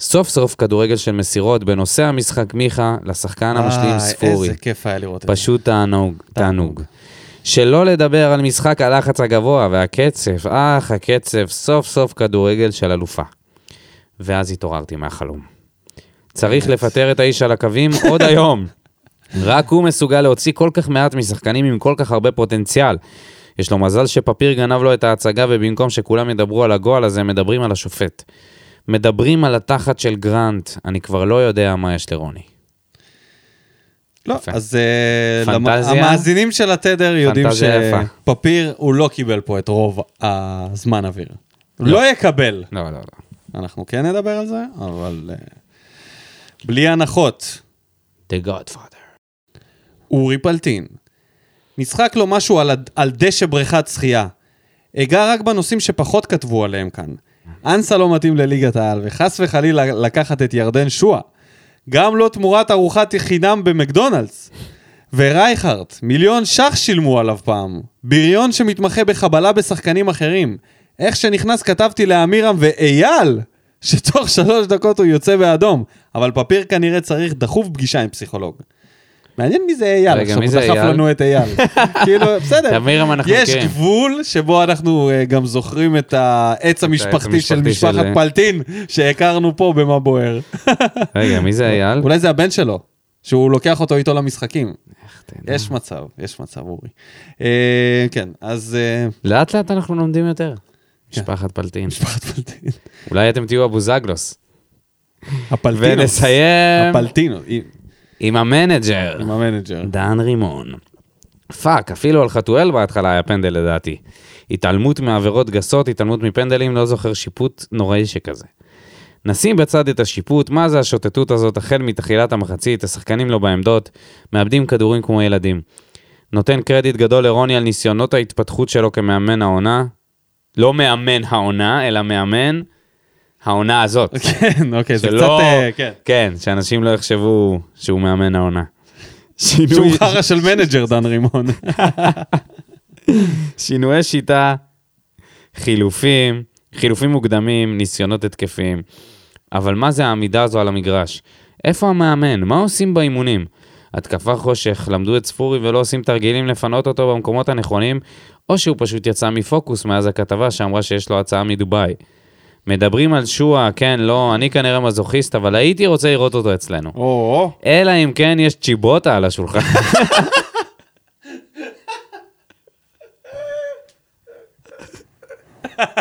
B: סוף סוף כדורגל של מסירות בנושא המשחק מיכה לשחקן המשלים ספורי.
A: אה, איזה כיף היה לראות את זה.
B: פשוט תענוג, תענוג. שלא לדבר על משחק הלחץ הגבוה והקצב, אך הקצב, סוף סוף כדורגל של אלופה. ואז התעוררתי מהחלום. צריך לפטר את האיש על הקווים עוד היום. רק הוא מסוגל להוציא כל כך מעט משחקנים עם כל כך הרבה פוטנציאל. יש לו מזל שפפיר גנב לו את ההצגה, ובמקום שכולם ידברו על הגועל הזה, מדברים על השופט. מדברים על התחת של גרנט, אני כבר לא יודע מה יש לרוני.
A: לא,
B: יפה.
A: אז אה, למ-
B: פנטזיה?
A: המאזינים של התדר יודעים
B: פנטזיה יפה.
A: שפפיר, הוא לא קיבל פה את רוב הזמן אוויר. לא יקבל.
B: לא, לא, לא.
A: אנחנו כן נדבר על זה, אבל אה, בלי הנחות.
B: The Godfather.
A: אורי פלטין. משחק לו משהו על, הד- על דשא בריכת שחייה. אגע רק בנושאים שפחות כתבו עליהם כאן. אנסה לא מתאים לליגת העל, וחס וחלילה לקחת את ירדן שואה. גם לא תמורת ארוחת חינם במקדונלדס. ורייכרט, מיליון ש"ח שילמו עליו פעם. בריון שמתמחה בחבלה בשחקנים אחרים. איך שנכנס כתבתי לאמירם ואייל, שתוך שלוש דקות הוא יוצא באדום. אבל פפיר כנראה צריך דחוף פגישה עם פסיכולוג. מעניין מי זה אייל,
B: רגע,
A: עכשיו
B: מי
A: הוא
B: זה
A: דחף
B: אייל?
A: לנו את אייל. כאילו, בסדר.
B: אמירם אנחנו
A: יש
B: מכירים.
A: גבול שבו אנחנו אה, גם זוכרים את העץ המשפחתי של
B: המשפחתי של,
A: משפחת
B: אה,
A: פלטין, שהכרנו פה במה בוער.
B: רגע, מי זה אייל?
A: אולי זה הבן שלו, שהוא לוקח אותו איתו למשחקים.
B: איך אתה יודע?
A: יש מצב, יש מצב, אורי. אה, כן, אז אה,
B: לאט לאט אנחנו לומדים יותר. משפחת פלטין.
A: משפחת פלטין.
B: אולי אתם תהיו הבוזגלוס.
A: הפלטינוס.
B: ונסיים
A: הפלטינוס, עם-
B: עם המנג'ר,
A: עם המנג'ר.
B: דן רימון. פאק, אפילו על חתואל בהתחלה היה פנדל לדעתי. התעלמות מעבירות גסות, התעלמות מפנדלים, לא זוכר שיפוט נוראי שכזה. נשים בצד את השיפוט, מה זה השוטטות הזאת החל מתחילת המחצית, השחקנים לא בעמדות, מאבדים כדורים כמו ילדים. נותן קרדיט גדול לרוני על ניסיונות ההתפתחות שלו כמאמן העונה. לא מאמן העונה, אלא מאמן. העונה הזאת.
A: כן, אוקיי, זה
B: שלא-
A: קצת... אה, כן.
B: כן, שאנשים לא יחשבו שהוא מאמן העונה.
A: שהוא
B: שינוי-
A: חרא של מנג'ר, דן רימון.
B: שינויי שיטה, חילופים, חילופים מוקדמים, ניסיונות התקפיים. אבל מה זה העמידה הזו על המגרש? איפה המאמן? מה עושים באימונים? התקפה חושך, למדו את ספורי ולא עושים תרגילים לפנות אותו במקומות הנכונים, או שהוא פשוט יצא מפוקוס מאז הכתבה שאמרה שיש לו הצעה מדובאי. מדברים על שועה, כן, לא, אני כנראה מזוכיסט, אבל הייתי רוצה לראות אותו אצלנו.
A: או,
B: אלא אם כן יש צ'יבוטה על השולחן.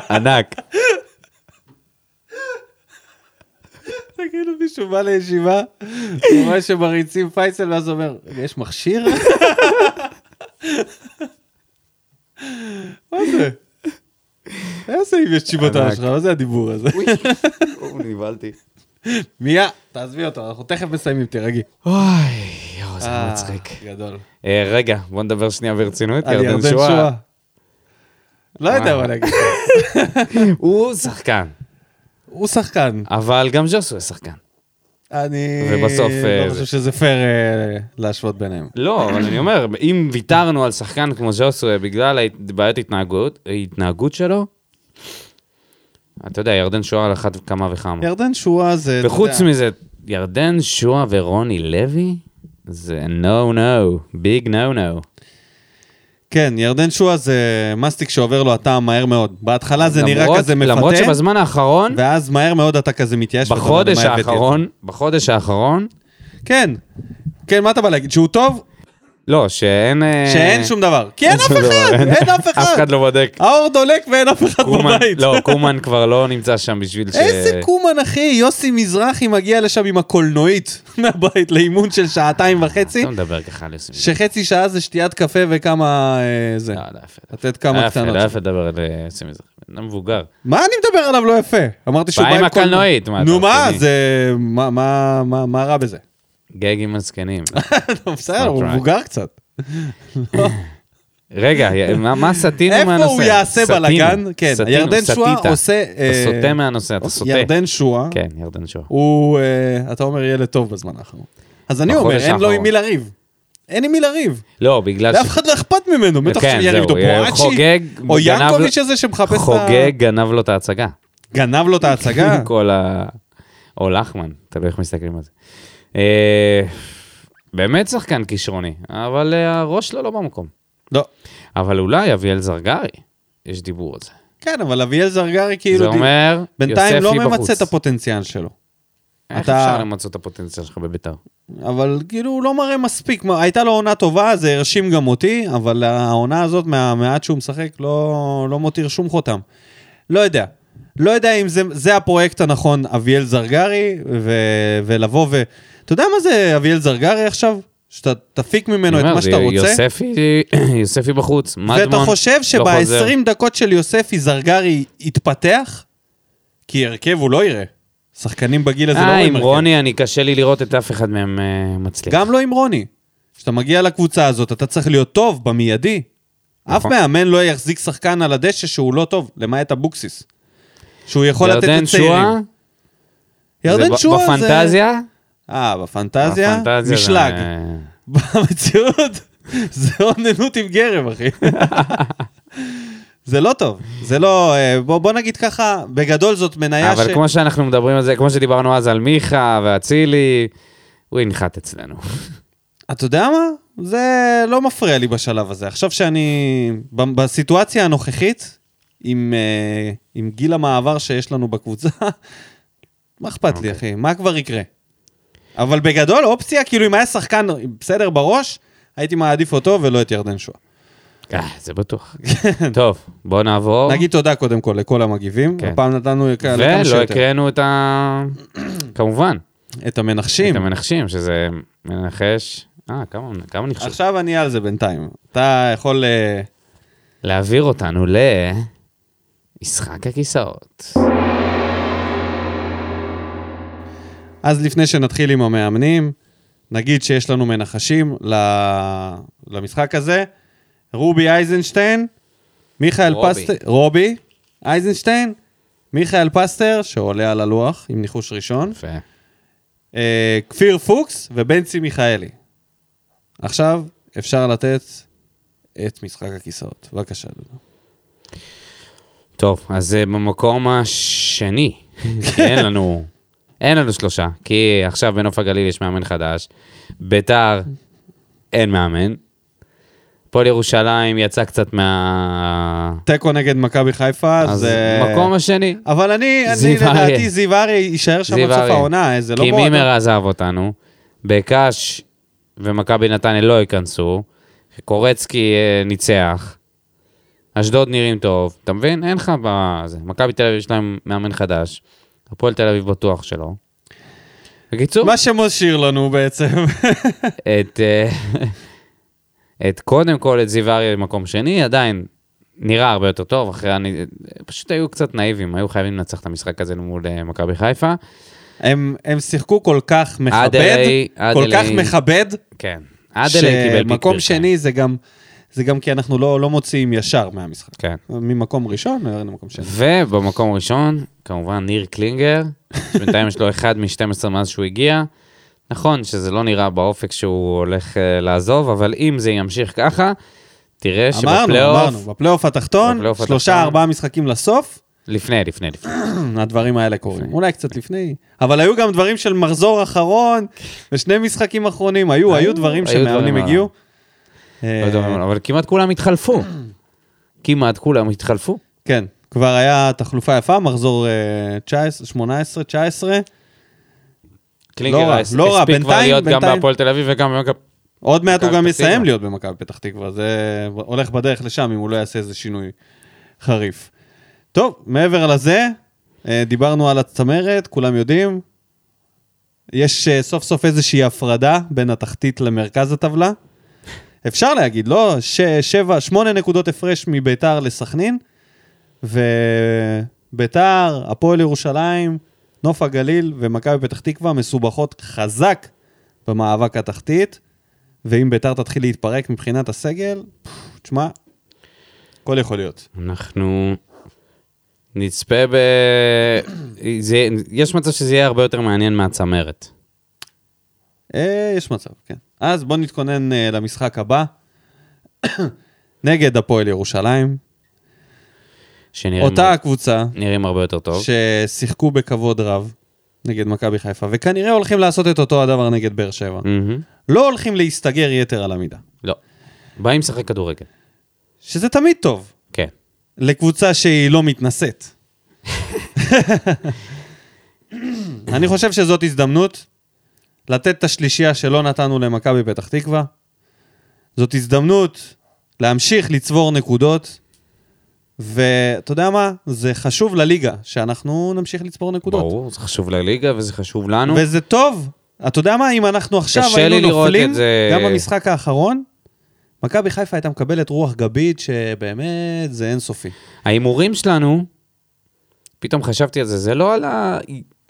B: ענק.
A: זה כאילו מישהו בא לישיבה, הוא רואה שמריצים פייסל, ואז אומר, יש מכשיר? מה זה? איזה אם יש תשיבותיו
B: ענק.
A: שלך, מה זה הדיבור הזה?
B: נבהלתי.
A: מיה, תעזבי אותו, אנחנו תכף מסיימים, תירגעי.
B: אוי, יואו, זה היה מצחיק.
A: אה, גדול.
B: אה, רגע, בוא נדבר שנייה ברצינות.
A: על ירדן שואה.
B: אה.
A: לא יודע מה להגיד.
B: הוא שחקן,
A: הוא שחקן.
B: אבל גם ז'וסו שחקן.
A: אני
B: ובסוף, אה,
A: לא חושב
B: זה.
A: שזה פייר אה, להשוות ביניהם.
B: לא, אבל אני אומר, אם ויתרנו על שחקן כמו ז'וסווה בגלל ההת- בעיות התנהגות, ההתנהגות שלו, אתה יודע, ירדן שואה על אחת כמה וכמה.
A: ירדן שואה זה... אתה
B: לא. וחוץ
A: יודע,
B: מזה, ירדן שואה ורוני לוי? זה no no, big no no.
A: כן, ירדן שואה זה מסטיק שעובר לו הטעם מהר מאוד. בהתחלה זה נראה
B: למרות-
A: כזה מפתה,
B: למרות שבזמן האחרון,
A: ואז מהר מאוד אתה כזה מתייאש. ואתה לא יודע
B: בחודש
A: מה הבאתי.
B: האחרון, בחודש האחרון,
A: כן. כן, מה אתה בא להגיד? שהוא טוב?
B: לא, שאין... אה,
A: שאין שום דבר. כי אין אף
B: שום דבר.
A: אחד! אין אף
B: אף
A: אחד!
B: אחד לא בודק.
A: האור דולק ואין אף אחד
B: קומן,
A: בבית.
B: לא, קומן כבר לא נמצא שם בשביל ש...
A: איזה קומן, אחי? יוסי מזרחי מגיע לשם עם הקולנועית מהבית לאימון של שעתיים וחצי,
B: אתה לא מדבר ככה על יוסי.
A: שחצי שעה זה שתיית קפה וכמה... אה, זה.
B: לא, לא יפה.
A: לתת
B: לא
A: כמה
B: יפה,
A: קטנות.
B: לא יפה לדבר על אה, יוסי מזרחי. בן אדם מבוגר.
A: מה אני מדבר עליו לא יפה? אמרתי שהוא
B: בא עם
A: קולנוע.
B: הקלנועית, מה,
A: נו
B: אתה
A: מה,
B: רציני?
A: זה... מה- מה- מה מה רע בזה?
B: גגים על זקנים.
A: לא, בסדר, הוא
B: right.
A: מבוגר קצת.
B: רגע, י- מה- מה סטינו
A: איפה
B: מהנושא?
A: הוא יעשה
B: סטינו,
A: בלאגן? כן,
B: סטינו,
A: ירדן שואה
B: סטיטה.
A: עושה,
B: אתה
A: אה,
B: סוטה מהנושא, אתה סוטה.
A: ירדן שואה,
B: כן, ירדן שואה.
A: הוא, אה, אתה אומר, ילד טוב בזמן האחרון. אז אני אומר,
B: בחודש
A: אין לו
B: האחרון.
A: עם מי לריב. אין עם מי לריב.
B: לא, בגלל
A: לאף אחד לא אכפת ממנו, בטח
B: כן,
A: שיריב איתו
B: זהו, אה, חוגג,
A: בואצ'י, או
B: גנב
A: ינקוביץ'
B: לו-
A: הזה שמחפש לא את ה...
B: חוגג גנב לו את ההצגה.
A: גנב לו את ההצגה.
B: כל ה... או לחמן, תלוי איך מסתכלים על זה. אה, באמת שחקן כישרוני, אבל אה, הראש שלו לא במקום.
A: לא.
B: אבל אולי אביאל זרגרי, יש דיבור על זה.
A: כן, אבל אביאל זרגרי
B: זה
A: כאילו... די-
B: אומר,
A: בינתיים לא
B: יוספי בחוץ.
A: ממצה את הפוטנציאל שלו.
B: איך
A: אתה-
B: אפשר למצות את הפוטנציאל שלך בביתר?
A: אבל כאילו הוא לא מראה מספיק, מה, הייתה לו עונה טובה, זה הרשים גם אותי, אבל העונה הזאת מהמעט שהוא משחק לא, לא מותיר שום חותם. לא יודע. לא יודע אם זה, זה הפרויקט הנכון, אביאל זרגרי, ו, ולבוא ו... אתה יודע מה זה אביאל זרגרי עכשיו? שאתה תפיק ממנו את
B: אני אומר,
A: מה שאתה
B: זה
A: רוצה,
B: יוספי, יוספי בחוץ, מדמון,
A: ואתה חושב
B: לא חוזר.
A: שב-20 דקות של יוספי זרגרי יתפתח? כי הרכב הוא לא יראה. שחקנים בגיל הזה לא
B: אה,
A: רואים
B: עם
A: הרכב.
B: רוני, אני קשה לי לראות את אף אחד מהם אה, מצליח.
A: גם לא עם רוני. כשאתה מגיע לקבוצה הזאת, אתה צריך להיות טוב במיידי. אף
B: נכון.
A: מאמן לא יחזיק שחקן על הדשא שהוא לא טוב, למעט אבוקסיס. שהוא יכול לתת
B: ירדן שואה,
A: לצעירים. ירדן
B: זה ב-
A: שואה זה...
B: בפנטזיה?
A: אה, בפנטזיה?
B: בפנטזיה זה- אה,
A: משלג. במציאות זה אוננות עם גרם, אחי. זה לא טוב. זה לא... אה, בוא בוא נגיד ככה, בגדול זאת מניה ש...
B: אבל כמו שאנחנו מדברים על זה, כמו שדיברנו אז על מיכה ואצילי, הוא ינחת אצלנו.
A: אתה יודע מה? זה לא מפריע לי בשלב הזה. עכשיו שאני... ב- בסיטואציה הנוכחית, עם, אה, עם גיל המעבר שיש לנו בקבוצה, מה אכפת לי,
B: אוקיי.
A: אחי? מה כבר יקרה? אבל בגדול, אופציה, כאילו, אם היה שחקן בסדר בראש, הייתי מעדיף אותו ולא את ירדן שואה.
B: אה, זה בטוח. טוב, בוא נעבור.
A: נגיד תודה קודם כל לכל המגיבים.
B: אוקיי. כן.
A: הפעם נתנו לכ- לכמה
B: ולא
A: שיותר.
B: הקראנו את ה... כמובן,
A: את המנחשים.
B: את המנחשים, שזה מנחש. אה, כמה- כמה נחשו.
A: עכשיו אני על זה בינתיים. אתה יכול... אה,
B: להעביר אותנו ל... משחק הכיסאות.
A: אז לפני שנתחיל עם המאמנים, נגיד שיש לנו מנחשים ל- למשחק הזה. רובי אייזנשטיין, מיכאל
B: רובי.
A: פסטר, רובי אייזנשטיין, מיכאל פסטר, שעולה על הלוח עם ניחוש ראשון,
B: יפה.
A: אה, כפיר פוקס ובנצי מיכאלי. עכשיו אפשר לתת את משחק הכיסאות. בבקשה, דודו.
B: טוב, אז אה, במקום השני, כי אין לנו, אין לנו שלושה, כי עכשיו בנוף הגליל יש מאמן חדש, ביתר אין מאמן, הפועל ירושלים יצא קצת מה...
A: תיקו נגד מכבי חיפה,
B: אז
A: זה...
B: מקום השני.
A: אבל אני, אני
B: זיו אריה.
A: לדעתי זיו אריה יישאר שם עד
B: זיו
A: סוף
B: אריה.
A: העונה, זה לא
B: כי
A: מועדון.
B: מימר עזב אותנו, בקאש ומכבי נתניה לא ייכנסו, קורצקי אה, ניצח, אשדוד נראים טוב, אתה מבין? אין לך בזה. מכבי תל אביב יש להם מאמן חדש, הפועל תל אביב בטוח שלא. בקיצור,
A: מה שמושאיר לנו בעצם.
B: את, אה, את קודם כל את זיו אריה במקום שני, עדיין נראה הרבה יותר טוב, אחרי אני... פשוט היו קצת נאיבים, היו חייבים לנצח את המשחק הזה מול אה, מכבי חיפה.
A: הם, הם שיחקו כל כך מכבד,
B: אדלי-
A: כל
B: אדלי-
A: כך מכבד,
B: כן. עד אלה קיבל כן. פיק
A: שמקום
B: ברכיים.
A: שני זה גם, זה גם כי אנחנו לא, לא מוציאים ישר מהמשחק.
B: כן.
A: ממקום ראשון, נעבור למקום שני.
B: ובמקום הראשון, כמובן ניר קלינגר, שבינתיים יש לו אחד מ-12 מאז שהוא הגיע. נכון שזה לא נראה באופק שהוא הולך אה, לעזוב, אבל אם זה ימשיך ככה, תראה
A: אמרנו, אמרנו,
B: שבפלייאוף,
A: בפלייאוף התחתון,
B: בפלייאוף
A: שלושה
B: התחתון.
A: ארבעה משחקים לסוף,
B: לפני, לפני, לפני.
A: הדברים האלה קורים. אולי קצת לפני, אבל היו גם דברים של מחזור אחרון, ושני משחקים אחרונים, היו, היו דברים
B: היו דברים
A: שמאמנים
B: עליו.
A: הגיעו.
B: לא
A: אה,
B: יודע מה, אבל כמעט כולם התחלפו. כמעט כולם התחלפו.
A: כן, כבר היה תחלופה יפה, מחזור אה, 19, 18, 19.
B: קלינגר
A: רע,
B: הס-
A: לא רע,
B: הספיק כבר
A: בינתיים-
B: להיות גם
A: בינתיים.
B: בהפועל תל אביב וגם במכבי...
A: עוד מעט הוא
B: מכבי
A: גם
B: פתח תקווה.
A: יסיים להיות במכבי פתח תקווה, זה הולך בדרך לשם אם הוא לא יעשה איזה שינוי חריף. טוב, מעבר לזה, אה, דיברנו על הצמרת, כולם יודעים. יש אה, סוף סוף איזושהי הפרדה בין התחתית למרכז הטבלה. אפשר להגיד, לא? ש- שבע, שמונה נקודות הפרש מביתר לסכנין, וביתר, הפועל ירושלים, נוף הגליל ומכבי פתח תקווה מסובכות חזק במאבק התחתית. ואם ביתר תתחיל להתפרק מבחינת הסגל, פפ, תשמע, הכל יכול להיות.
B: אנחנו נצפה ב... זה... יש מצב שזה יהיה הרבה יותר מעניין מהצמרת.
A: אה, יש מצב, כן. אז בואו נתכונן אה, למשחק הבא. נגד הפועל ירושלים,
B: שנראים,
A: אותה הקבוצה
B: נראים הרבה יותר כן. טוב. ש...
A: ששיחקו בכבוד רב נגד מכבי חיפה, וכנראה הולכים לעשות את אותו הדבר נגד באר שבע.
B: Mm.
A: לא הולכים להסתגר יתר על המידה,
B: לא. באים לשחק כדורגל.
A: שזה תמיד טוב
B: כן.
A: לקבוצה שהיא לא מתנשאת. אני חושב שזאת הזדמנות לתת את השלישייה שלא נתנו למכבי פתח תקווה. זאת הזדמנות להמשיך לצבור נקודות, ואתה יודע מה? זה חשוב לליגה, שאנחנו נמשיך לצבור נקודות.
B: ברור, זה חשוב לליגה וזה חשוב לנו.
A: וזה טוב. אתה יודע מה? אם אנחנו עכשיו
B: קשה לי
A: היינו
B: לראות
A: נופלים,
B: את זה-
A: גם במשחק האחרון, מכבי חיפה הייתה מקבלת רוח גבית שבאמת זה אינסופי.
B: ההימורים שלנו, פתאום חשבתי על זה, זה לא על, ה...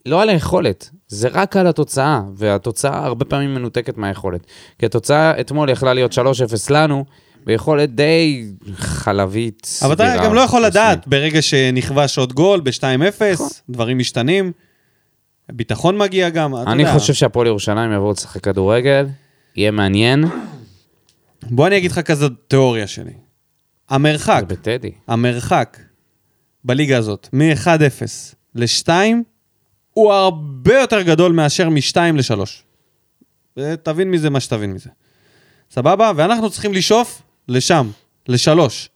B: לא על היכולת, זה רק על התוצאה, והתוצאה הרבה פעמים מנותקת מהיכולת. כי התוצאה אתמול יכלה להיות 3-0 לנו, ביכולת די חלבית,
A: אבל אתה
B: סבירה,
A: גם לא יכול
B: חוץ
A: לדעת, ברגע שנכבש עוד גול ב-2-0,
B: נכון.
A: דברים משתנים, ביטחון מגיע גם, אתה
B: אני
A: יודע.
B: חושב שהפועל ירושלים יבואו לשחק כדורגל, יהיה מעניין.
A: בוא אני אגיד לך כזה תיאוריה שלי. המרחק,
B: זה בטדי.
A: המרחק בליגה הזאת, מ-1-0 ל-2, הוא הרבה יותר גדול מאשר מ-2 ל-3. תבין מזה מה שתבין מזה. סבבה? ואנחנו צריכים לשאוף לשם, לשלוש.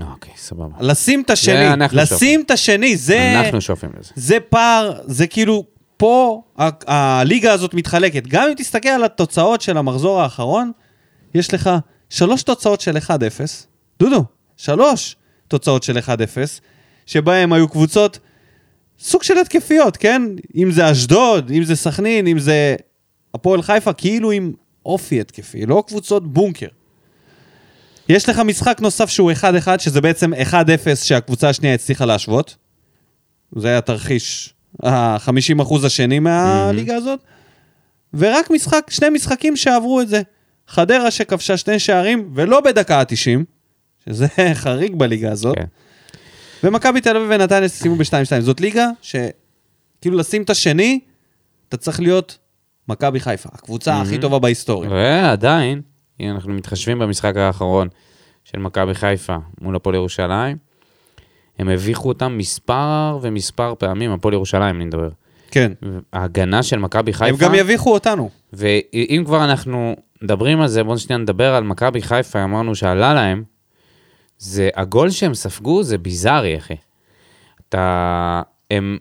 B: אוקיי, סבבה.
A: לשים את השני,
B: זה אנחנו
A: לשים את השני, זה...
B: אנחנו שואפים לזה.
A: זה פער, זה כאילו, פה ה- הליגה הזאת מתחלקת. גם אם תסתכל על התוצאות של המחזור האחרון, יש לך שלוש תוצאות של 1-0, דודו, שלוש תוצאות של 1-0, שבהם היו קבוצות סוג של התקפיות, כן? אם זה אשדוד, אם זה סכנין, אם זה הפועל חיפה, כאילו עם אופי התקפי, לא קבוצות בונקר. יש לך משחק נוסף שהוא 1-1, שזה בעצם 1-0 שהקבוצה השנייה הצליחה להשוות. זה היה תרחיש ה-50% השני מהליגה הזאת. ורק משחק, שני משחקים שעברו את זה. חדרה שכבשה שני שערים, ולא בדקה ה-90, שזה חריג בליגה הזאת.
B: כן.
A: ומכבי תל אביב ונתניה סיימו ב-2-2. זאת ליגה שכאילו לשים את השני, אתה צריך להיות מכבי חיפה, הקבוצה הכי טובה בהיסטוריה.
B: כן. ועדיין, הנה, אנחנו מתחשבים במשחק האחרון של מכבי חיפה מול הפועל ירושלים. הם הביכו אותם מספר ומספר פעמים, הפועל ירושלים, אני מדבר.
A: כן.
B: ההגנה של מכבי חיפה...
A: הם גם יביכו אותנו.
B: ואם כבר אנחנו מדברים על זה, בואו שנייה נדבר על מכבי חיפה, אמרנו שעלה להם, זה הגול שהם ספגו זה ביזארי, אחי. אתה... הם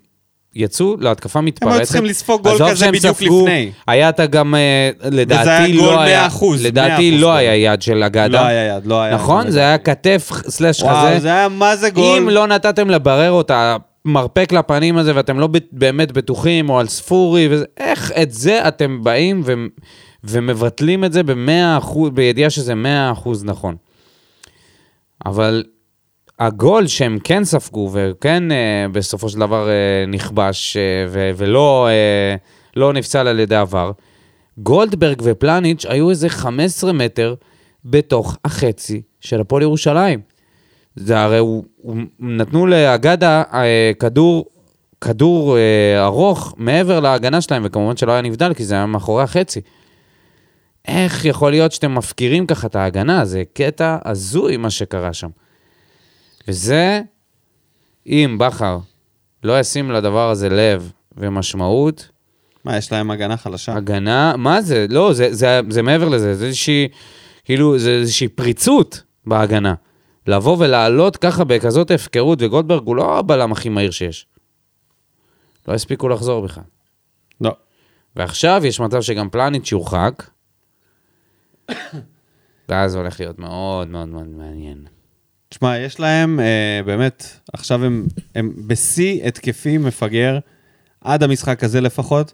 B: יצאו להתקפה מתפרצת.
A: צריכים לספוג גול
B: עזוב
A: כזה
B: שהם
A: בדיוק
B: ספגו,
A: לפני.
B: היה אתה גם, אה, לדעתי
A: גול
B: לא היה,
A: 100%,
B: לדעתי
A: 100%
B: לא
A: גול.
B: היה יד של אגדה.
A: כן. לא היה יד, לא היה.
B: נכון?
A: יד.
B: זה היה כתף סלאש חזה.
A: וואו, זה היה מה זה גול.
B: אם לא נתתם לברר אותה, מרפק לפנים הזה, ואתם לא ב- באמת בטוחים, או על ספורי, וזה, איך את זה אתם באים ו... ומבטלים את זה במאה אחוז, בידיעה שזה מאה אחוז נכון. אבל הגול שהם כן ספגו, וכן אה, בסופו של דבר אה, נכבש, אה, ו- ולא אה, לא נפסל על ידי עבר, גולדברג ופלניץ' היו איזה 15 מטר בתוך החצי של הפועל ירושלים. זה הרי הוא, הוא נתנו לאגדה אה, כדור, כדור אה, ארוך מעבר להגנה שלהם, וכמובן שלא היה נבדל, כי זה היה מאחורי החצי. איך יכול להיות שאתם מפקירים ככה את ההגנה? זה קטע הזוי מה שקרה שם. וזה, אם בכר לא ישים לדבר הזה לב ומשמעות,
A: מה, יש להם הגנה חלשה.
B: הגנה, מה זה? לא, זה, זה, זה מעבר לזה, זה איזושהי, כאילו, זה איזושהי פריצות בהגנה. לבוא ולעלות ככה בכזאת הפקרות, וגולדברג הוא לא הבלם הכי מהיר שיש. לא הספיקו לחזור בכלל.
A: לא.
B: ועכשיו יש מצב שגם פלניץ' יורחק, ואז זה הולך להיות מאוד מאוד מאוד מעניין.
A: תשמע, יש להם, אה, באמת, עכשיו הם, הם בשיא התקפי מפגר, עד המשחק הזה לפחות.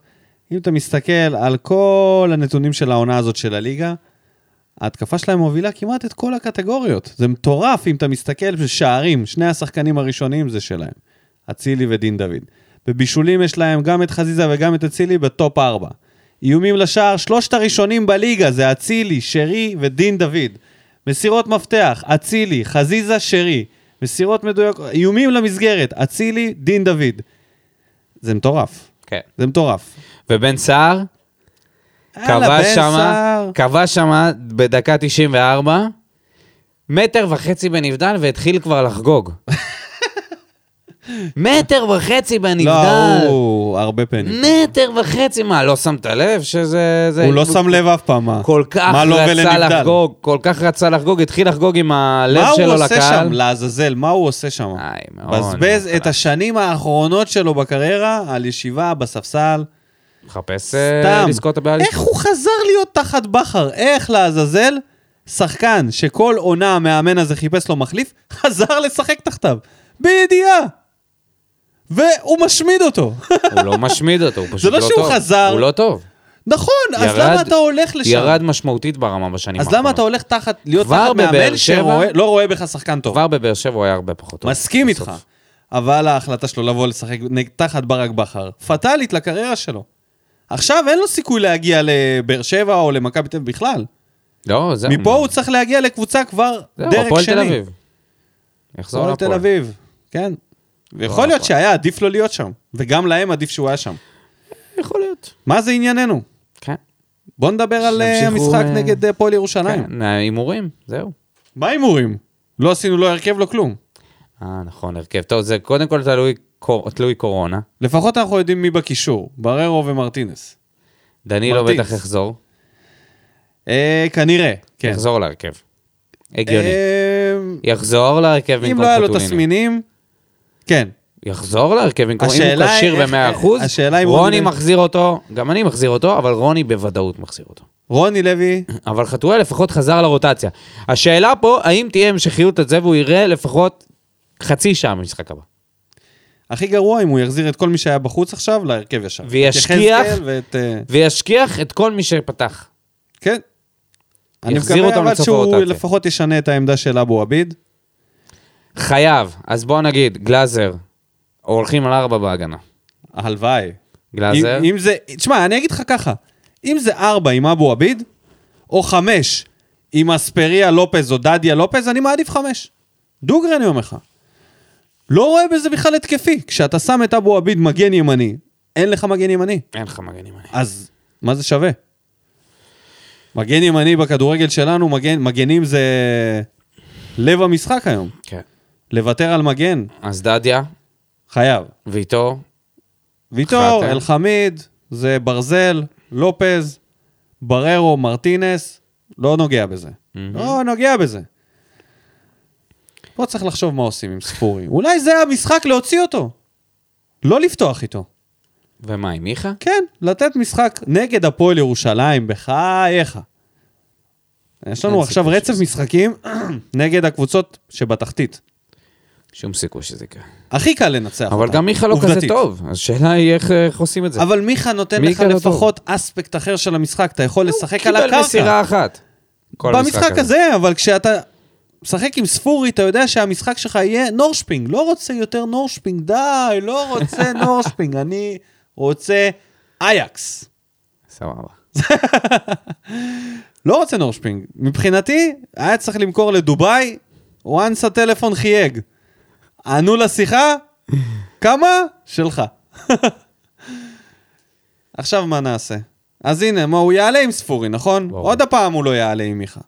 A: אם אתה מסתכל על כל הנתונים של העונה הזאת של הליגה, ההתקפה שלהם מובילה כמעט את כל הקטגוריות. זה מטורף אם אתה מסתכל בשערים, שני השחקנים הראשונים זה שלהם, אצילי ודין דוד. בבישולים יש להם גם את חזיזה וגם את אצילי בטופ ארבע. איומים לשער, שלושת הראשונים בליגה זה אצילי, שרי ודין דוד. מסירות מפתח, אצילי, חזיזה, שרי. מסירות מדויקות, איומים למסגרת, אצילי, דין דוד. זה מטורף,
B: כן.
A: זה מטורף.
B: ובן סער,
A: יאללה, בן
B: כבש שמה,
A: סער.
B: כבש שמה בדקה 94, מטר וחצי בנבדל והתחיל כבר לחגוג. מטר וחצי
A: לא,
B: בנבדל.
A: הוא הרבה פנים.
B: מטר וחצי, מה, לא שמת לב שזה... זה-
A: הוא לא שם לב אף פעם מה.
B: כל כך
A: מה לא לו
B: רצה
A: ולנבדל?
B: לחגוג, כל כך רצה לחגוג, התחיל לחגוג עם הלב
A: מה הוא
B: שלו לקהל.
A: עושה שם, לעזאזל? מה הוא עושה שם?
B: איי, נכון, לא, מאוד,
A: בזבז
B: מאוד
A: את השנים האחרונות שלו בקריירה על ישיבה בספסל.
B: מחפש אה,
A: סתם.
B: לזכות הבעלים.
A: איך הוא חזר להיות תחת בכר? איך לעזאזל? שחקן שכל עונה המאמן הזה חיפש לו מחליף, חזר לשחק תחתיו. בידיעה. והוא משמיד אותו.
B: הוא לא משמיד אותו, הוא פשוט
A: לא
B: לא טוב.
A: שהוא חזר.
B: הוא לא טוב.
A: נכון, אז
B: ירד-
A: למה אתה הולך לשם?
B: ירד משמעותית ברמה בשנים
A: אז למה אתה הולך תחת, להיות
B: כבר
A: תחת
B: בבאר
A: מאמן
B: שבע?
A: שלא רואה בך שחקן טוב?
B: כבר בבאר שבע הוא היה הרבה פחות טוב.
A: מסכים
B: בסוף.
A: איתך. אבל ההחלטה שלו לבוא לשחק נג- תחת ברק בכר, פטאלית לקריירה שלו. עכשיו אין לו סיכוי להגיע לבאר שבע או למכבי תל אביב בכלל.
B: לא, זהו.
A: מפה הוא צריך להגיע לקבוצה כבר
B: זהו,
A: דרג
B: הפועל
A: שני.
B: תל אביב. יחזור
A: הפועל תל
B: להפועל.
A: אביב, כן. ויכול להיות
B: הפועל.
A: שהיה עדיף לו להיות שם, וגם להם עדיף שהוא היה שם.
B: יכול להיות.
A: מה זה ענייננו?
B: כן.
A: בוא נדבר על אה,
B: שימשיכו,
A: המשחק
B: אה,
A: נגד אה, הפועל ירושלים.
B: כן, הימורים, זהו.
A: מה ההימורים? לא עשינו לא הרכב, לא כלום.
B: אה, נכון, הרכב. טוב, זה קודם כל תלוי קור- תלוי קורונה.
A: לפחות אנחנו יודעים מי בקישור, בררו ומרטינס.
B: דנילו
A: מרטינס.
B: בטח יחזור.
A: אה, כנראה, כן.
B: יחזור להרכב. הגיוני.
A: אה,
B: יחזור להרכב במקום
A: אם
B: חתוליני.
A: לא היה לו תסמינים, כן.
B: יחזור להרכב במקום, אם הוא
A: השאלה היא
B: כשיר
A: איך-
B: ב-100%,
A: השאלה אם רוני
B: רוני
A: לוי-
B: מחזיר אותו, גם אני מחזיר אותו, אבל רוני בוודאות מחזיר אותו.
A: רוני לוי,
B: אבל חתואל לפחות חזר לרוטציה. השאלה פה, האם תהיה המשכיות את זה והוא יראה לפחות חצי שעה במשחק הבא.
A: הכי גרוע אם הוא יחזיר את כל מי שהיה בחוץ עכשיו להרכב ישר.
B: וישכיח.
A: את יחזקאל ואת... אה,
B: וישכיח את כל מי שפתח.
A: כן. אני
B: יחזיר
A: מקווה
B: אותם
A: אבל
B: לסוף
A: שהוא
B: הרוטציה.
A: לפחות ישנה את העמדה של אבו עביד.
B: חייב. אז בואו נגיד, גלאזר, הולכים על ארבע בהגנה.
A: הלוואי.
B: גלאזר?
A: אם, אם זה... תשמע, אני אגיד לך ככה, אם זה ארבע עם אבו עביד, או חמש עם אספריה לופז או דדיה לופז, אני מעדיף חמש. דוגרי אני אומר לך. לא רואה בזה בכלל התקפי. כשאתה שם את אבו עביד מגן ימני, אין לך מגן ימני.
B: אין לך מגן ימני.
A: אז מה זה שווה? מגן ימני בכדורגל שלנו, מגן, מגנים זה לב המשחק היום.
B: כן.
A: לוותר על מגן,
B: אז דדיה,
A: חייב.
B: ואיתו,
A: ויטור,
B: חתם.
A: אלחמיד, זה ברזל, לופז, בררו, מרטינס, לא נוגע בזה. לא נוגע בזה. פה צריך לחשוב מה עושים עם ספורי. אולי זה המשחק להוציא אותו. לא לפתוח איתו.
B: ומה עם מיכה?
A: כן, לתת משחק נגד הפועל ירושלים, בחייך. יש לנו
B: אין
A: עכשיו
B: סיכוי
A: רצף
B: שזה-
A: משחקים נגד הקבוצות שבתחתית.
B: שום סיכוי שזה יקרה.
A: הכי קל לנצח אותם.
B: אבל גם מיכה לא כזה
A: נכון. עובדתית.
B: טוב, אז השאלה היא איך אה, איך עושים את זה.
A: אבל מיכה נותן לך
B: מיכה לא טוב.
A: לפחות אספקט אחר של המשחק, אתה יכול לשחק על
B: קיבל
A: הקרקע.
B: מסירה אחת. כל
A: במשחק הזה, אבל כשאתה משחק עם ספורי, אתה יודע שהמשחק שלך יהיה נורשפינג. לא רוצה יותר נורשפינג, די, לא רוצה נורשפינג, אני רוצה אייקס.
B: סבבה.
A: לא רוצה נורשפינג. מבחינתי, היה צריך למכור לדובאי, once הטלפון חייג. ענו לשיחה, כמה? שלך. עכשיו מה נעשה? אז הנה, מה, הוא יעלה עם ספורי, נכון?
B: ברור.
A: עוד הפעם הוא לא יעלה עם מיכה.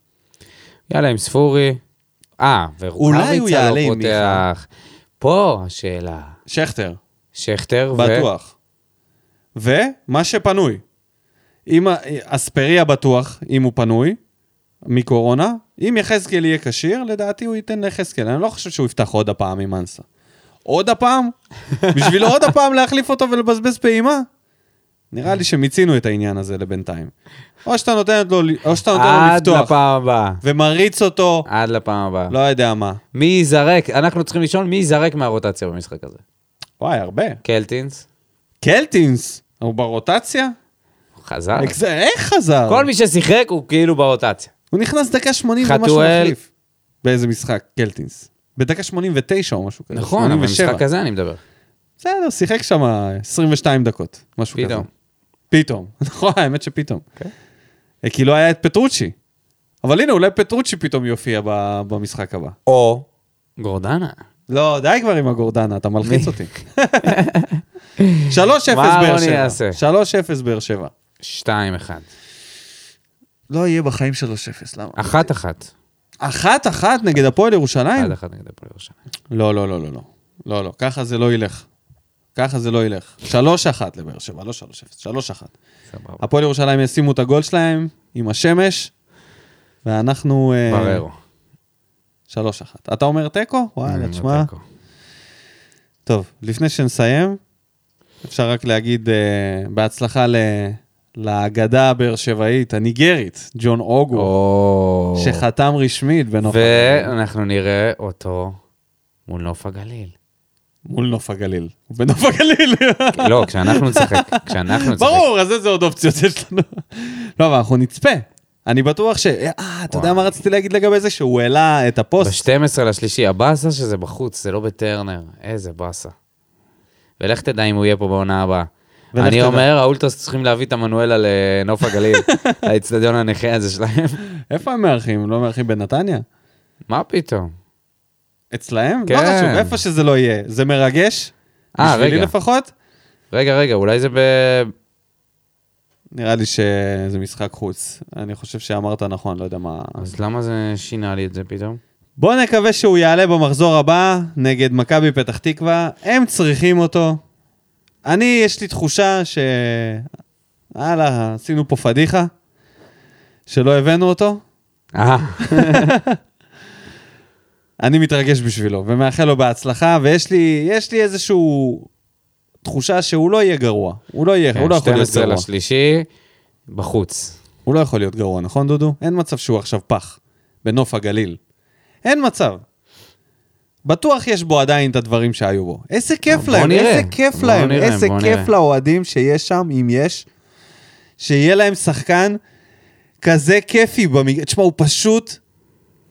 B: יאללה, עם ספורי. אה,
A: אולי הוא
B: ורוקאביצה
A: יעלה
B: לא
A: עם מיכה.
B: פותח. פה השאלה.
A: שכטר,
B: שכטר ו...
A: בטוח. ומה שפנוי. אם ה- אספריה בטוח, אם הוא פנוי, מקורונה, אם יחזקאל יהיה כשיר, לדעתי הוא ייתן ליחזקאל. אני לא חושב שהוא יפתח עוד הפעם עם אנסה. עוד הפעם? בשביל עוד הפעם להחליף אותו ולבזבז פעימה? נראה לי שמיצינו את העניין הזה לבינתיים. או שאתה נותן לו, או שאתה נותן לו
B: עד
A: לפתוח,
B: לפעם אה. הבאה.
A: ומריץ אותו,
B: עד לפעם הבאה.
A: לא יודע מה.
B: מי ייזרק? אנחנו צריכים לשאול מי ייזרק מהרוטציה במשחק הזה.
A: וואי, הרבה.
B: קלטינס?
A: קלטינס, הוא ברוטציה?
B: הוא חזר.
A: איך זה- איך חזר?
B: אה. כל מי ששיחק הוא כאילו ברוטציה.
A: הוא נכנס דקה 80 ומשהו
B: חתואל.
A: מחליף. באיזה משחק, קלטינס. בדקה 89 או משהו כזה.
B: נכון, אבל
A: 87.
B: במשחק הזה אני מדבר.
A: בסדר, שיחק שם 22 דקות, משהו כזה.
B: פתאום.
A: פתאום. נכון, האמת שפתאום.
B: כן.
A: אה, כי לא היה את פטרוצ'י. אבל הנה, אולי פטרוצ'י פתאום יופיע ב- במשחק הבא.
B: או גורדנה.
A: לא, די כבר עם הגורדנה, אתה מלחיץ אותי. 3-0
B: מה
A: באר
B: רוני
A: שבע.
B: יעשה?
A: 3-0 באר שבע.
B: 2-1.
A: לא יהיה בחיים 3-0, למה?
B: אחת אחת.
A: אחת אחת נגד הפועל ירושלים?
B: אחת אחת נגד הפועל ירושלים.
A: לא, לא, לא, לא, לא. לא, לא, ככה זה לא ילך. ככה זה לא ילך. 3-1 לבאר שבע, לא 3-0, 3-1.
B: סבבה.
A: הפועל ירושלים ישימו את הגול שלהם עם השמש, ואנחנו... אה,
B: בררו.
A: 3-1. אתה אומר תיקו? וואלה, תשמע. טוב, לפני שנסיים, אפשר רק להגיד אה, בהצלחה ל... לאגדה הבאר שבעית, הניגרית, ג'ון אוגו,
B: או...
A: שחתם רשמית בנוף הגליל.
B: ואנחנו נראה אותו מול נוף הגליל.
A: מול נוף הגליל. הוא בנוף הגליל.
B: לא, כשאנחנו נשחק, כשאנחנו נשחק.
A: ברור, אז איזה עוד אופציות יש לנו? לא, אבל אנחנו נצפה. אני בטוח ש... אה, אתה יודע
B: וואי.
A: מה רציתי להגיד לגבי זה? שהוא העלה את הפוסט.
B: ב-12 לשלישי, הבאסה שזה בחוץ, זה לא בטרנר, איזה באסה. ולך תדע אם הוא יהיה פה בעונה הבאה.
A: ולך
B: אני
A: תדע.
B: אומר, האולטוס צריכים להביא את המנואלה לנוף הגליל, לאצטדיון הנכה הזה שלהם.
A: איפה הם מארחים? הם לא מארחים בנתניה?
B: מה פתאום?
A: אצלהם? לא
B: כן.
A: חשוב, איפה שזה לא יהיה. זה מרגש?
B: אה,
A: בשבילי
B: רגע.
A: לפחות?
B: רגע, רגע, אולי זה ב...
A: נראה לי שזה משחק חוץ. אני חושב שאמרת נכון, לא יודע מה...
B: אז למה זה שינה לי את זה פתאום?
A: בואו נקווה שהוא יעלה במחזור הבא נגד מכבי פתח תקווה. הם צריכים אותו. אני, יש לי תחושה ש... הלאה, עשינו פה פדיחה, שלא הבאנו אותו.
B: אה,
A: אני מתרגש בשבילו, ומאחל לו בהצלחה, ויש לי, יש לי איזשהו תחושה שהוא לא יהיה גרוע. הוא לא יהיה, הוא לא יכול להיות
B: 12
A: גרוע.
B: כן, לשלישי, בחוץ.
A: הוא לא יכול להיות גרוע, נכון, דודו? אין מצב שהוא עכשיו פח, בנוף הגליל. אין מצב. בטוח יש בו עדיין את הדברים שהיו בו. איזה כיף
B: בוא
A: להם,
B: נראה.
A: איזה כיף
B: בוא
A: להם,
B: נראה,
A: איזה
B: בוא
A: כיף
B: נראה.
A: לאוהדים שיש שם, אם יש, שיהיה להם שחקן כזה כיפי במג... תשמע, הוא פשוט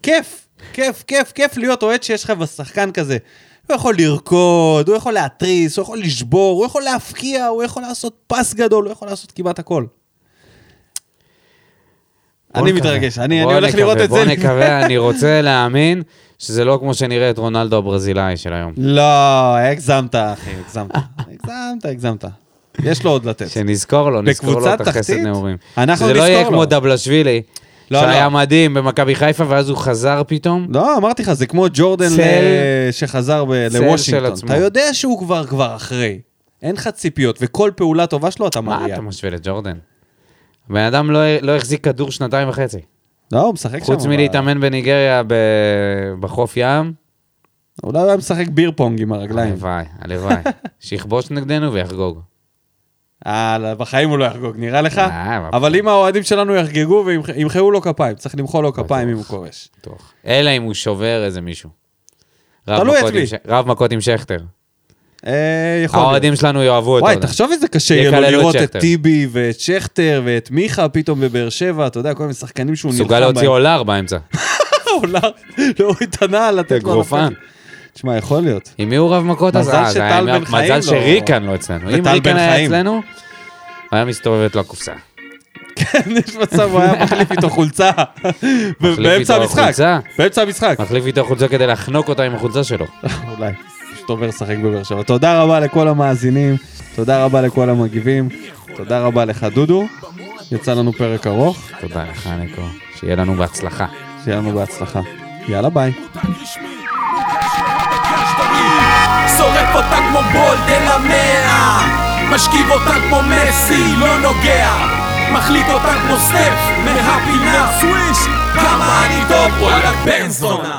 A: כיף, כיף, כיף, כיף להיות אוהד שיש לך בשחקן כזה. הוא יכול לרקוד, הוא יכול להתריס, הוא יכול לשבור, הוא יכול להפקיע, הוא יכול לעשות פס גדול, הוא יכול לעשות כמעט הכל. אני
B: נקווה.
A: מתרגש, אני
B: בוא
A: אני הולך
B: נקווה,
A: לראות את זה.
B: בוא נקווה, אני רוצה להאמין שזה לא כמו שנראה את רונלדו הברזילאי של היום.
A: לא, הגזמת, אחי, הגזמת. הגזמת, הגזמת. יש לו עוד לתת.
B: שנזכור לו, נזכור לו
A: בקבוצת
B: את החסד
A: תחתית?
B: נעורים.
A: אנחנו
B: שזה לא יהיה
A: נזכור לו.
B: כמו דבלשווילי,
A: לא,
B: שהיה
A: לא.
B: מדהים במכבי חיפה, ואז הוא חזר פתאום.
A: לא, אמרתי לך, זה כמו ג'ורדן
B: צל-
A: ל- שחזר ב-
B: צל של
A: לוושינגטון.
B: עצמו.
A: אתה יודע שהוא כבר כבר אחרי. אין לך ציפיות, וכל פעולה טובה שלו אתה
B: מה
A: מריע.
B: אתה משווה לג'ורדן? הבן אדם לא- לא החזיק כדור שנתיים וחצי.
A: לא, הוא משחק שם.
B: חוץ
A: אבל-
B: מלהתאמן בניגריה ב- בחוף ים,
A: אולי הוא לא היה משחק ביר פונג עם הרגליים.
B: הלוואי, הלוואי. שיכבוש נגדנו ויחגוג.
A: אה, לא, בחיים הוא לא יחגוג, נראה לך?
B: אה, מה
A: אבל אם האוהדים שלנו יחגגו וימחאו לו כפיים, צריך למחוא לו כפיים אם הוא כובש.
B: בטוח. אלא אם הוא שובר איזה מישהו. רב
A: תלוי את
B: מכות עם
A: מי.
B: ש- רב מכות עם שכטר.
A: אה, יכול להיות.
B: האוהדים שלנו יאהבו אותו.
A: וואי, תחשוב איזה קשה יהיה לו
B: יקללו את
A: לראות את
B: שכטר.
A: טיבי ואת שכטר ואת מיכה פתאום בבאר שבע, אתה יודע, כל מיני שחקנים שהוא נלחם לא-
B: מסוגל להוציא עולר באמצע.
A: עולה, להוריד את הנעל, לתת לו...
B: אגרופן.
A: לפנים. תשמע, יכול להיות.
B: עם מי הוא רב מכות אז?
A: מזל
B: אה, זה היה
A: שטל
B: עם-
A: בן חיים
B: מזל
A: לא-
B: שריקן לא אצלנו. אם
A: וטל בן
B: ריקן היה
A: חיים.
B: אצלנו, הוא היה מסתובבת לו הקופסה.
A: כן, יש מצב, הוא היה מחליף איתו חולצה. באמצע
B: איתו
A: המשחק.
B: חולצה?
A: באמצע המשחק.
B: מחליף איתו חולצה כדי לחנוק אותה עם החולצה שלו.
A: אולי. פשוט עובר לשחק בבאר שבע. תודה רבה לכל המאזינים, תודה רבה לכל המגיבים, תודה רבה לך דודו. יצא לנו פרק ארוך,
B: תודה לך, ניקו. שיהיה לנו בהצלחה.
A: שיהיה לנו בהצלחה. יאללה ביי.
C: שורף אותה כמו בולד אל המאה משכיב אותה כמו מסי, לא נוגע מחליט אותה כמו סטף מהפינה סוויש כמה אני טוב, וואלה בן זונה